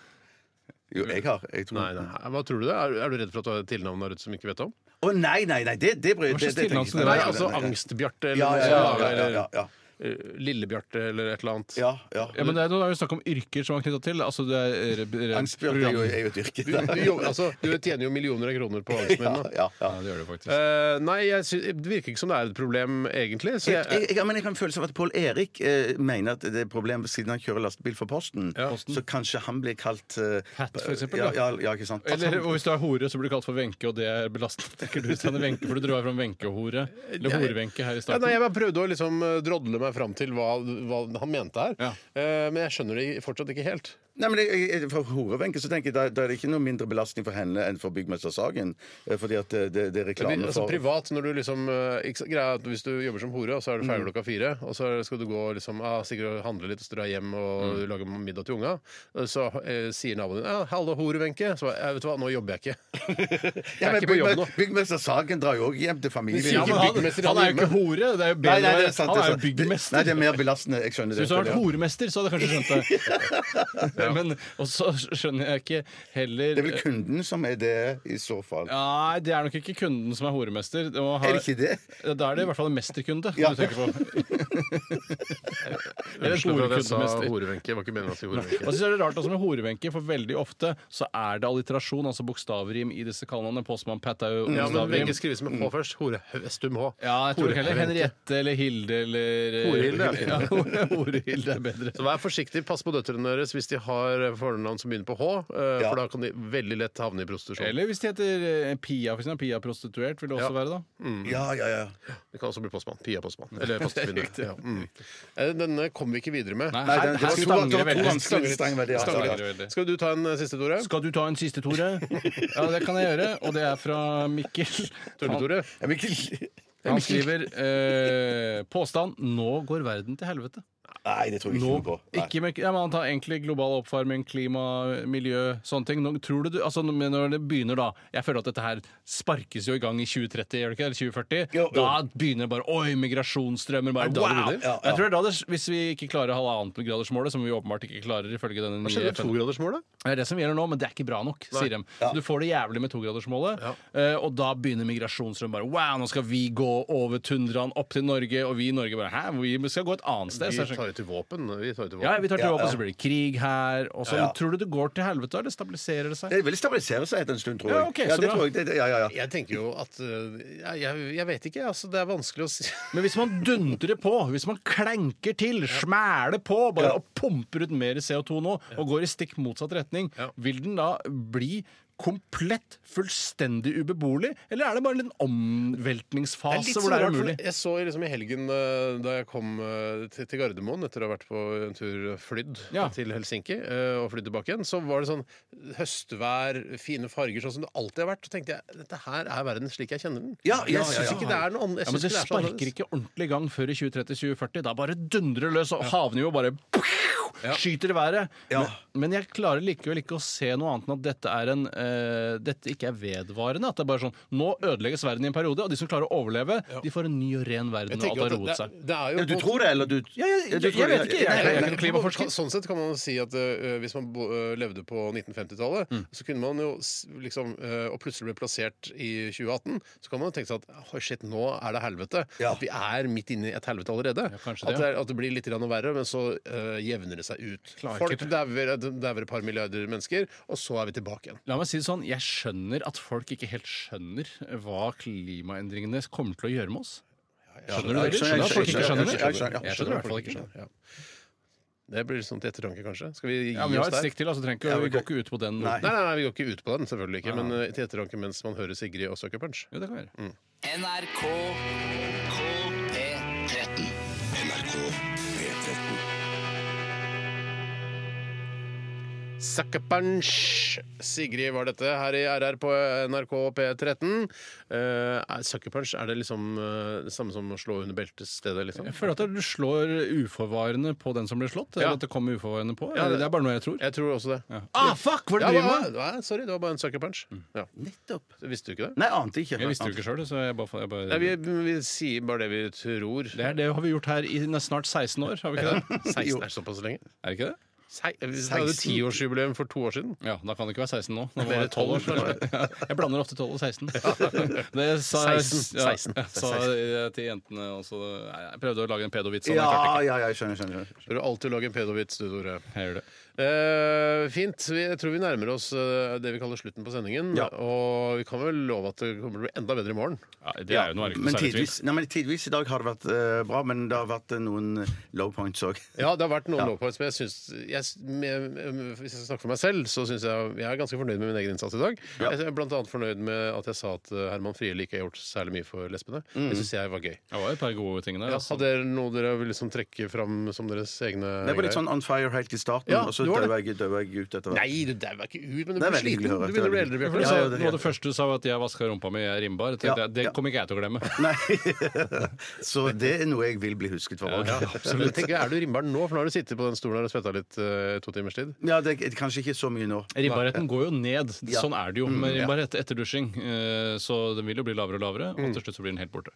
Speaker 3: Jo, jeg har. Jeg tror
Speaker 1: Nei, nei. Hva tror du det? Er, er du redd for at du har et tilnavn der ute som ikke vet om?
Speaker 3: Å nei, nei, nei! Det, det bryr
Speaker 2: Hva
Speaker 3: det-
Speaker 2: slags
Speaker 3: det
Speaker 2: tilnavn
Speaker 3: tenker jeg
Speaker 2: som
Speaker 3: ikke.
Speaker 2: det
Speaker 1: Nei,
Speaker 2: er?
Speaker 1: altså Angstbjarte eller,
Speaker 3: Ja,
Speaker 1: noe
Speaker 3: ja,
Speaker 1: sånt,
Speaker 3: ja, ja,
Speaker 1: eller
Speaker 3: ja, ja.
Speaker 1: eh, Lillebjarte eller et eller annet.
Speaker 3: Ja, ja.
Speaker 2: Ja, men det er, det er jo snakk om yrker som er knytta til. Altså, det er re- re-
Speaker 3: Angstbjørn er jo er jo et yrke.
Speaker 1: Du, du, jo, altså, du tjener jo millioner av kroner
Speaker 3: [laughs]
Speaker 1: på angsten
Speaker 3: Ja,
Speaker 1: din. da.
Speaker 3: ja, ja.
Speaker 2: Ja, det gjør det faktisk.
Speaker 1: Eh, nei, jeg sy det virker ikke som det er et problem, egentlig. Så
Speaker 3: Jeg, jeg,
Speaker 1: jeg,
Speaker 3: jeg, men jeg kan føle seg av at Pål Erik eh, mener at det er et problem siden han kjører lastebil for Posten. Så kanskje han blir kalt eh,
Speaker 2: Pat, for eksempel,
Speaker 3: Ja,
Speaker 2: da.
Speaker 3: ja, ja, ikke sant.
Speaker 2: Eller og hvis du er hore, så blir du kalt for Wenche, og det er belastende. Tenker du Steiner Wenche, for du drar fram Wenche og hore. Eller Hore-Wenche her i
Speaker 1: ja, nei,
Speaker 2: starten.
Speaker 1: jeg bare prøvde å liksom eh, drodle meg fram til hva, hva han mente her.
Speaker 2: Ja.
Speaker 1: Eh, men jeg skjønner det fortsatt ikke helt.
Speaker 3: Nei, men jeg, jeg, Fra Horebenken så tenker jeg da, da er det ikke noe mindre belastning for henne enn for byggmester Sagen. eh, Fordi at det, det, det er
Speaker 1: Det blir,
Speaker 3: reklame
Speaker 1: altså,
Speaker 3: for
Speaker 1: privat, når du liksom eh, ikke, sant, greia er at Hvis du jobber som hore, og så er du ferdig klokka fire, og så skal du gå liksom, ah, sikkert og handle litt, og så dra hjem og lage middag til unga, så eh, sier naboen din ah, 'Hallo, hore, Wenche'. Så bare, «Eh, vet du hva, nå jobber [laughs] jeg ikke. Jeg
Speaker 3: Ja,
Speaker 1: er
Speaker 3: men
Speaker 1: ikke på jobb
Speaker 3: byggme-
Speaker 1: nå.
Speaker 3: Byggmester Sagen drar jo òg hjem til familien.
Speaker 1: sier
Speaker 2: Ja, men han,
Speaker 1: byggmester,
Speaker 2: han er jo
Speaker 1: han
Speaker 2: ikke hore. Det er jo
Speaker 3: Nei,
Speaker 2: bedre
Speaker 3: nei,
Speaker 2: å
Speaker 3: det
Speaker 2: være-
Speaker 3: er sant.
Speaker 2: Han
Speaker 3: det
Speaker 2: er jo
Speaker 3: sant. Nei,
Speaker 2: byggmester.
Speaker 3: det er mer belastende. Jeg skjønner det.
Speaker 2: Hvis du hadde vært horemester, så hadde jeg kanskje skjønt det. Ja,
Speaker 3: [laughs]
Speaker 2: Men og så skjønner jeg ikke heller
Speaker 3: Det er vel kunden som er det, i så fall.
Speaker 2: Nei, det er nok ikke kunden som er horemester. Det må ha-
Speaker 3: Er det ikke det?
Speaker 2: Ja, Da er det i hvert fall en mesterkunde
Speaker 3: Ja.
Speaker 2: du
Speaker 3: [laughs]
Speaker 2: tenker på. Eller en horekundemester.
Speaker 1: horevenke. Det var ikke meningen å si [laughs]
Speaker 2: Og så er det rart også med horevenker, for veldig ofte så er det alliterasjon, altså bokstavrim, i disse kallenavnene. Postmann Pat er jo
Speaker 1: Ja, men
Speaker 2: bokstavrim.
Speaker 1: Wenche skrives med H først. Hore, stum H.
Speaker 2: Ja, jeg tror ikke heller
Speaker 1: Horevenke.
Speaker 2: Henriette eller Hilde eller
Speaker 1: Horehilde.
Speaker 2: Ja, Hore- Horehilde er bedre.
Speaker 1: Så vær forsiktig, pass på døtrene deres hvis de har fornavn som begynner på H, eh,
Speaker 3: Ja.
Speaker 1: for da kan de veldig lett havne i prostitusjon.
Speaker 2: Eller hvis de heter eh, Pia, for eksempel. Pia prostituert vil det også
Speaker 1: Ja.
Speaker 2: være, da.
Speaker 3: Ja, ja, ja.
Speaker 1: Det kan også bli postmann. Pia
Speaker 2: [laughs]
Speaker 1: postmann. Eller postkvinne. ja. mm. Eh, Denne kom vi ikke videre med.
Speaker 2: Nei,
Speaker 3: Nei,
Speaker 2: her,
Speaker 3: det-
Speaker 2: her
Speaker 3: det-
Speaker 2: stanger
Speaker 3: det
Speaker 2: det
Speaker 3: var to
Speaker 2: veldig.
Speaker 3: vanskelige stanger veldig, ja.
Speaker 2: Stanger
Speaker 3: Ja,
Speaker 2: det
Speaker 3: ja.
Speaker 2: veldig.
Speaker 1: Skal du ta en eh, siste, Tore?
Speaker 2: Skal du ta en siste, Tore? Ja, det kan jeg gjøre. Og det er fra Mikkel.
Speaker 1: Tore?
Speaker 3: Ja, men ikke-
Speaker 2: Han, han skriver eh, påstand 'Nå går verden til helvete'.
Speaker 3: Nei, det tror jeg ikke noe på. Nei.
Speaker 2: Ikke med, ja, men Han tar egentlig global oppvarming, klima, miljø, sånne ting. Nå, tror du, du- altså, men når det begynner da Jeg føler at dette her sparkes jo i gang i 2030, gjør det ikke? Eller 2040?
Speaker 3: Jo, jo.
Speaker 2: Da begynner det bare Oi, migrasjonsstrømmer! Bare,
Speaker 1: det da det
Speaker 2: wow!
Speaker 1: begynner?
Speaker 3: Ja, ja.
Speaker 2: Jeg tror det er da det, Hvis vi ikke klarer halvannengradersmålet, som vi åpenbart ikke klarer ifølge denne
Speaker 1: Hva
Speaker 2: nye
Speaker 1: skjedde med
Speaker 2: FN
Speaker 1: togradersmålet?
Speaker 2: det er det som gjelder nå, men det er ikke bra nok, sier de. Så du får det jævlig med togradersmålet, eh, og da begynner migrasjonsstrømmen bare Wow, nå skal vi gå over tundraen opp til Norge, og vi i Norge bare Hæ, vi skal gå et annet sted? Så
Speaker 1: Vi
Speaker 2: jeg skjønner-
Speaker 1: tar jo til våpen. Vi tar jo til våpen.
Speaker 2: ja, vi tar til
Speaker 3: Ja,
Speaker 2: våpen,
Speaker 3: ja.
Speaker 2: så blir det krig her. Og så
Speaker 3: Ja, ja.
Speaker 2: Tror du det går til helvete, eller stabiliserer det seg?
Speaker 3: Det vil stabilisere seg etter en stund, tror jeg.
Speaker 2: Ja, ok, så
Speaker 3: det
Speaker 2: bra.
Speaker 3: tror jeg. Det, det- ja, ja, ja.
Speaker 1: Jeg tenker jo at eh, jeg, jeg, jeg vet ikke. Altså, det er vanskelig å si.
Speaker 2: Men hvis man dundrer på, hvis man klenker til, smæler på bare og pumper ut mer CO2 nå, og går i stikk motsatt retning,
Speaker 1: Ja.
Speaker 2: vil den da bli komplett, fullstendig ubeboelig? Eller er det bare en liten omveltningsfase
Speaker 1: Det er litt
Speaker 2: hvor det er
Speaker 1: sånn rart,
Speaker 2: umulig?
Speaker 1: for Jeg så liksom i helgen eh, da jeg kom eh, til, til Gardermoen etter å ha vært på en tur eh, flydd
Speaker 2: Ja.
Speaker 1: til Helsinki eh, og flydd tilbake igjen, så var det sånn høstvær, fine farger, sånn som det alltid har vært. Så tenkte jeg dette her er verden slik jeg kjenner den.
Speaker 3: Ja, ja,
Speaker 1: Jeg syns
Speaker 3: ja, ja.
Speaker 1: ikke det er noe annet. jeg
Speaker 2: Ja, men
Speaker 1: synes
Speaker 2: Det
Speaker 1: ikke det er sånn så
Speaker 2: sparker
Speaker 1: annerledes.
Speaker 2: ikke ordentlig i gang før i 2030-2040. Da bare dundrer det løs, og havnivået bare skyter i været.
Speaker 3: Ja.
Speaker 2: Men, men jeg klarer likevel ikke å se noe annet enn at dette, er en, eh, dette ikke er vedvarende. At det er bare sånn Nå ødelegges verden i en periode, og de som klarer å overleve, de får en ny og ren verden. Og alt har roet seg.
Speaker 1: det er
Speaker 3: Ja,
Speaker 1: jo
Speaker 3: Du tror det, eller du
Speaker 2: Ja, jeg-
Speaker 3: Ja, du
Speaker 2: jeg
Speaker 3: tror det.
Speaker 2: vet ikke, jeg-
Speaker 3: Nei, nei,
Speaker 2: jeg-
Speaker 3: nei.
Speaker 2: jeg-
Speaker 1: Men
Speaker 2: klimaforsker.
Speaker 1: Sånn sett kan man jo si at øh, hvis man bo, øh, levde på 1950-tallet, så kunne man jo s- liksom øh, Og plutselig ble plassert i 2018, så kan man jo tenke seg at oh, shit, nå er det helvete.
Speaker 3: Ja.
Speaker 1: At vi er midt inne i et helvete allerede.
Speaker 2: kanskje
Speaker 1: at,
Speaker 2: det.
Speaker 1: det er, at det blir litt grann verre, men så øh, jevner det seg ut.
Speaker 2: Klarer ikke
Speaker 1: Folk dauer eh, dauer et par milliarder mennesker, og så er vi tilbake igjen.
Speaker 2: La meg si det sånn, Jeg skjønner at folk ikke helt skjønner hva klimaendringene kommer til å gjøre med oss. Skjønner du det?
Speaker 3: jeg
Speaker 2: Skjønner
Speaker 3: skjønner,
Speaker 2: at folk ikke
Speaker 3: jeg
Speaker 2: skjønner
Speaker 3: skjønner,
Speaker 2: det?
Speaker 3: jeg skjønner, ja.
Speaker 2: Jeg skjønner i hvert fall ikke.
Speaker 1: skjønner. Ja. Det blir sånn til ettertanke, kanskje. Skal vi gi
Speaker 2: Ja, men Vi har
Speaker 1: oss
Speaker 2: et
Speaker 1: der?
Speaker 2: stikk til, altså trenger ikke, vi går ikke ut på den.
Speaker 3: Nei.
Speaker 1: Nei, nei, nei, vi går ikke ut på den, selvfølgelig ikke.
Speaker 2: Ah.
Speaker 1: Men øh, til ettertanke mens man hører Sigrid og Sucker Punch.
Speaker 2: Jo, det kan vi gjøre.
Speaker 5: NRK
Speaker 4: P13. NRK P13.
Speaker 1: Sucker Punch! Sigrid var dette her i RR på eh, NRK P13. Uh, Sucker Punch, er det liksom eh, det samme som å slå under beltestedet, liksom?
Speaker 2: Jeg føler at du slår uforvarende på den som blir slått.
Speaker 1: Ja.
Speaker 2: Eller at det kommer uforvarende på.
Speaker 1: Ja,
Speaker 2: det,
Speaker 1: det-
Speaker 2: er bare noe jeg tror.
Speaker 1: Jeg tror også det.
Speaker 2: Ja. Mm. Ah, fuck! Hva er det du
Speaker 1: Ja,
Speaker 2: driver
Speaker 1: hva-
Speaker 2: med?
Speaker 1: hva- sorry, det var bare en Sucker Punch. Ja.
Speaker 3: Nettopp.
Speaker 1: Visste du ikke det?
Speaker 3: Nei, ante ikke.
Speaker 2: Jeg visste jo ikke sjøl, så jeg bare, jeg bare
Speaker 1: Nei, vi, vi sier bare det vi tror.
Speaker 2: [laughs] Det er det har vi gjort her i nesten snart 16 år, har vi ikke det?
Speaker 1: 16 er såpass lenge.
Speaker 2: Er det ikke det?
Speaker 1: Sei, vi hadde
Speaker 3: 16.
Speaker 1: tiårsjubileum for to år siden.
Speaker 2: Ja, Da kan det ikke være 16 nå. Da må
Speaker 1: Mer
Speaker 2: det være 12 år.
Speaker 1: tolv.
Speaker 2: kanskje. Ja, Jeg blander ofte 12 og 16. Det sa,
Speaker 1: 16,
Speaker 2: Ja,
Speaker 1: 16.
Speaker 2: jeg sa jeg til jentene også Nei, Jeg prøvde å lage en pedovits. men jeg
Speaker 3: Ja,
Speaker 2: klarte ikke.
Speaker 3: ja, ja, jeg skjønner, skjønner. skjønner.
Speaker 1: Prøver alltid å lage en pedovits, du, Tore.
Speaker 2: Jeg gjør det.
Speaker 1: Eh, fint. Vi- Jeg tror vi nærmer oss eh, det vi kaller slutten på sendingen.
Speaker 3: Ja.
Speaker 1: Og vi kan vel love at det kommer til å bli enda bedre i morgen.
Speaker 2: Ja, det er jo noe er det ikke
Speaker 3: Men
Speaker 2: noe særlig tvil.
Speaker 3: tidvis, nei, men tidvis i dag har det vært eh, bra, men det har vært eh, noen low points òg.
Speaker 1: Ja, det har vært noen low points, men jeg synes, jeg, med, med- hvis jeg skal snakke for meg selv, så syns jeg jeg er ganske fornøyd med min egen innsats i dag.
Speaker 3: Ja.
Speaker 1: Jeg er blant annet fornøyd med at jeg sa at eh, Herman Friele ikke har gjort særlig mye for lesbene.
Speaker 3: Mm.
Speaker 1: Det syns jeg var gøy.
Speaker 2: Det var jo et par gode ting der.
Speaker 1: Ja,
Speaker 2: altså.
Speaker 1: hadde dere noe dere vil liksom trekke fram som deres egne
Speaker 3: Jeg var litt
Speaker 1: greier?
Speaker 3: sånn on fire helt i starten,
Speaker 1: Ja,
Speaker 3: og så
Speaker 1: du var det.
Speaker 3: døver jeg, døver jeg ut etter hvert.
Speaker 1: Nei, du dauer ikke ut, men du
Speaker 3: Det er
Speaker 1: blir
Speaker 3: veldig
Speaker 1: sliten.
Speaker 3: hyggelig å høre.
Speaker 1: Du begynner å bli eldre.
Speaker 2: For du
Speaker 1: Bjørte.
Speaker 3: Ja,
Speaker 2: sa,
Speaker 3: ja, det-
Speaker 2: noe av det første du sa, var at jeg vaska rumpa mi, jeg er rimbar. Jeg tenkte,
Speaker 3: Ja,
Speaker 2: jeg, det
Speaker 3: ja.
Speaker 2: kommer ikke jeg til å glemme.
Speaker 3: Nei. [laughs] Så det er noe jeg vil bli husket for. også.
Speaker 1: Absolutt. Tenk, er du rimbarn nå? For nå har du sittet på den stolen her og svetta litt eh, to timers tid.
Speaker 3: Ja, det er kanskje ikke så mye nå.
Speaker 2: Ribbarheten går jo ned.
Speaker 3: Ja.
Speaker 2: Sånn er det jo med ribbarhet etter dusjing. Eh, Så den vil jo bli lavere og lavere,
Speaker 3: Mm.
Speaker 2: og til slutt så blir den helt borte.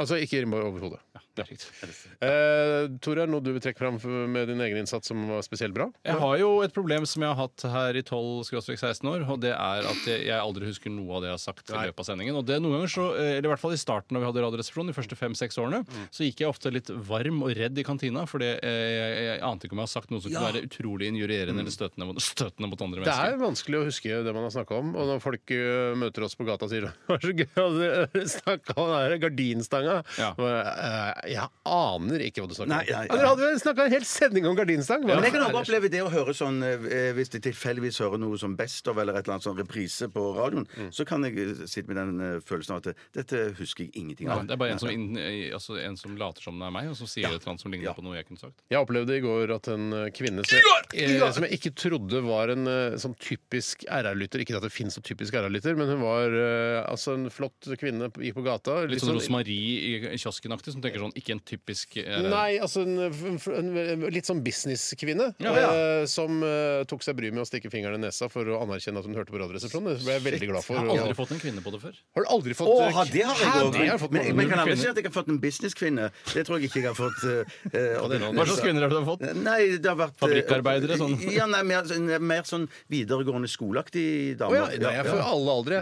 Speaker 1: Altså ikke rimbar overhodet.
Speaker 2: Det er riktig.
Speaker 1: Eh, Tore, er det noe du vil trekke fram for- med din egen innsats som var spesielt bra?
Speaker 2: Jeg har jo et problem som jeg har hatt her i 12-16 år, og det er at jeg jeg aldri husker noe av det jeg har sagt i løpet av sendingen. Og det noen ganger så, eh, eller i hvert fall i starten da vi hadde Radioresepsjonen, de første fem-seks årene,
Speaker 3: Mm.
Speaker 2: så gikk jeg ofte litt varm og redd i kantina, fordi jeg, jeg, jeg ante ikke om jeg har sagt noe som kunne være utrolig
Speaker 3: Mm.
Speaker 2: injurierende eller støtende mot, støtende mot andre
Speaker 1: Det er
Speaker 2: mennesker.
Speaker 1: vanskelig å huske det man har snakka om. Og når folk eh, møter oss på gata og sier [laughs] 'Det var så gøy at dere snakka om den der gardinstanga',
Speaker 2: Ja.
Speaker 1: Og, eh, jeg aner ikke hva du snakker
Speaker 3: Nei,
Speaker 1: om.
Speaker 3: nei,
Speaker 1: Ja, Dere hadde snakka en hel sending om gardinstang!
Speaker 3: Men jeg kan også oppleve det å høre sånn eh, Hvis jeg tilfeldigvis hører noe som Best of eller et eller annet sånn reprise på radioen, så kan jeg eh, sitte med den eh, følelsen av at dette husker jeg ingenting
Speaker 2: Ja,
Speaker 3: av.
Speaker 2: det er bare en som, inn, eh, altså en som later som det er meg, og som sier et eller annet som ligner
Speaker 3: Ja.
Speaker 2: på noe jeg kunne sagt.
Speaker 1: Jeg opplevde i går at en eh, kvinne som jeg, eh, som jeg ikke trodde var en eh, sånn typisk RR-lytter Ikke at det finnes noen typisk RR-lytter, men hun var eh, altså en flott kvinne på- gikk på gata. litt
Speaker 2: Litt sånn
Speaker 1: sånn-
Speaker 2: rosmarie i kiosken-aktig, som tenker sånn ikke en typisk eh,
Speaker 1: Nei, altså en, en, en, en litt sånn businesskvinne
Speaker 2: Ja, ja.
Speaker 1: eh, som eh, tok seg bryet med å stikke fingeren i nesa for å anerkjenne at hun hørte på Radioresepsjonen. Det ble jeg veldig glad for.
Speaker 2: Jeg har aldri
Speaker 1: Og-
Speaker 2: fått en kvinne på det før.
Speaker 1: Har du aldri fått eh,
Speaker 3: Å, ha, det har jeg
Speaker 1: Hæ,
Speaker 3: òg!
Speaker 1: det har jeg fått
Speaker 3: Men,
Speaker 1: mange
Speaker 3: men kan
Speaker 1: ganger.
Speaker 3: aldri si at jeg har fått en businesskvinne. Det tror jeg ikke jeg har fått. eh, eh,
Speaker 2: Hva slags kvinner har du fått?
Speaker 3: Nei, det har vært eh,
Speaker 2: Fabrikkarbeidere, sånn.
Speaker 3: Ja, nei, mer, sånn- mer sånn videregående skoleaktig
Speaker 1: Å
Speaker 3: dame.
Speaker 1: ja, nei, jeg får alle aldre.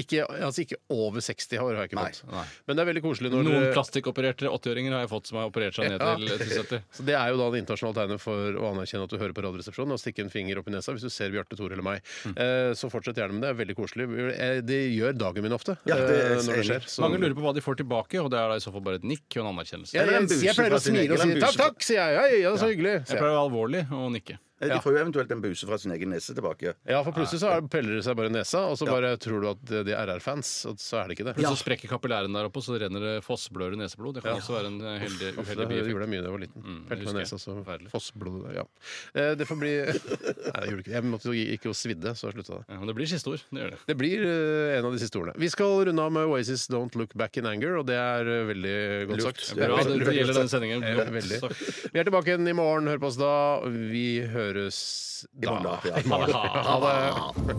Speaker 1: Ikke, altså ikke over 60 år har jeg ikke
Speaker 3: Nei,
Speaker 1: fått.
Speaker 2: nei.
Speaker 1: Men det er veldig koselig når
Speaker 2: Noen
Speaker 1: dere-
Speaker 2: plastikkopererte 80-åringer har jeg fått som har operert seg ned til,
Speaker 1: Ja.
Speaker 2: til 70.
Speaker 1: Så Det er jo da det internasjonale tegnet for å anerkjenne at du hører på Radioresepsjonen og stikke en finger opp i nesa hvis du ser Bjarte, Tore eller meg. Eh, Så fortsett gjerne med det. Det er veldig koselig. Eh, Det gjør dagen min ofte
Speaker 3: Ja, det er
Speaker 1: eh, når det
Speaker 3: enig.
Speaker 1: skjer. Så-
Speaker 2: [laughs] Mange lurer på hva de får tilbake, og det er da i så fall bare et nikk og en anerkjennelse.
Speaker 1: Jeg,
Speaker 3: Eller en
Speaker 1: jeg, jeg
Speaker 3: buse
Speaker 1: pleier
Speaker 3: fra
Speaker 1: å
Speaker 3: sin
Speaker 1: smile og
Speaker 3: egen-
Speaker 1: si
Speaker 3: eller en
Speaker 1: takk,
Speaker 3: buse fra-
Speaker 1: takk, sier jeg. Hei, ja, så hyggelig.
Speaker 2: Jeg
Speaker 1: sier jeg.
Speaker 2: pleier å være alvorlig og nikke.
Speaker 3: Eh,
Speaker 1: Ja.
Speaker 3: De får jo eventuelt en buse fra sin egen nese tilbake.
Speaker 1: Ja, for plutselig så er det- peller det seg bare i nesa, og så bare tror du at de er RR-fans, og så er det ikke det.
Speaker 2: Så sprekker kapillæren der oppe, og så renner det fossblør i neseblod. Det kan også være en eh, heldig,
Speaker 1: Uff,
Speaker 2: uheldig
Speaker 1: det
Speaker 2: bieffekt.
Speaker 1: gjorde jeg mye da jeg var liten. Pelte meg i
Speaker 2: husker jeg.
Speaker 1: nesa, så
Speaker 2: Forferdelig.
Speaker 1: fossblodet der. Ja. Eh, Det får bli [laughs] Nei, jeg gjorde ikke det. Jeg måtte jo gikk jo og svidde, så jeg slutta det.
Speaker 2: Ja, men det blir siste ord. Det gjør det.
Speaker 1: Det blir eh, en av de siste ordene. Vi skal runde av med Oasis 'Don't Look Back in Anger', og det er eh, veldig godt sagt.
Speaker 2: Bra, det, det gjelder denne sendingen.
Speaker 1: Ja, veldig. Vi er tilbake igjen i morgen. Hør på oss da. Vi høres da.
Speaker 3: morgen da, ja.
Speaker 1: Ha det.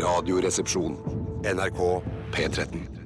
Speaker 4: Radioresepsjon. NRK P13.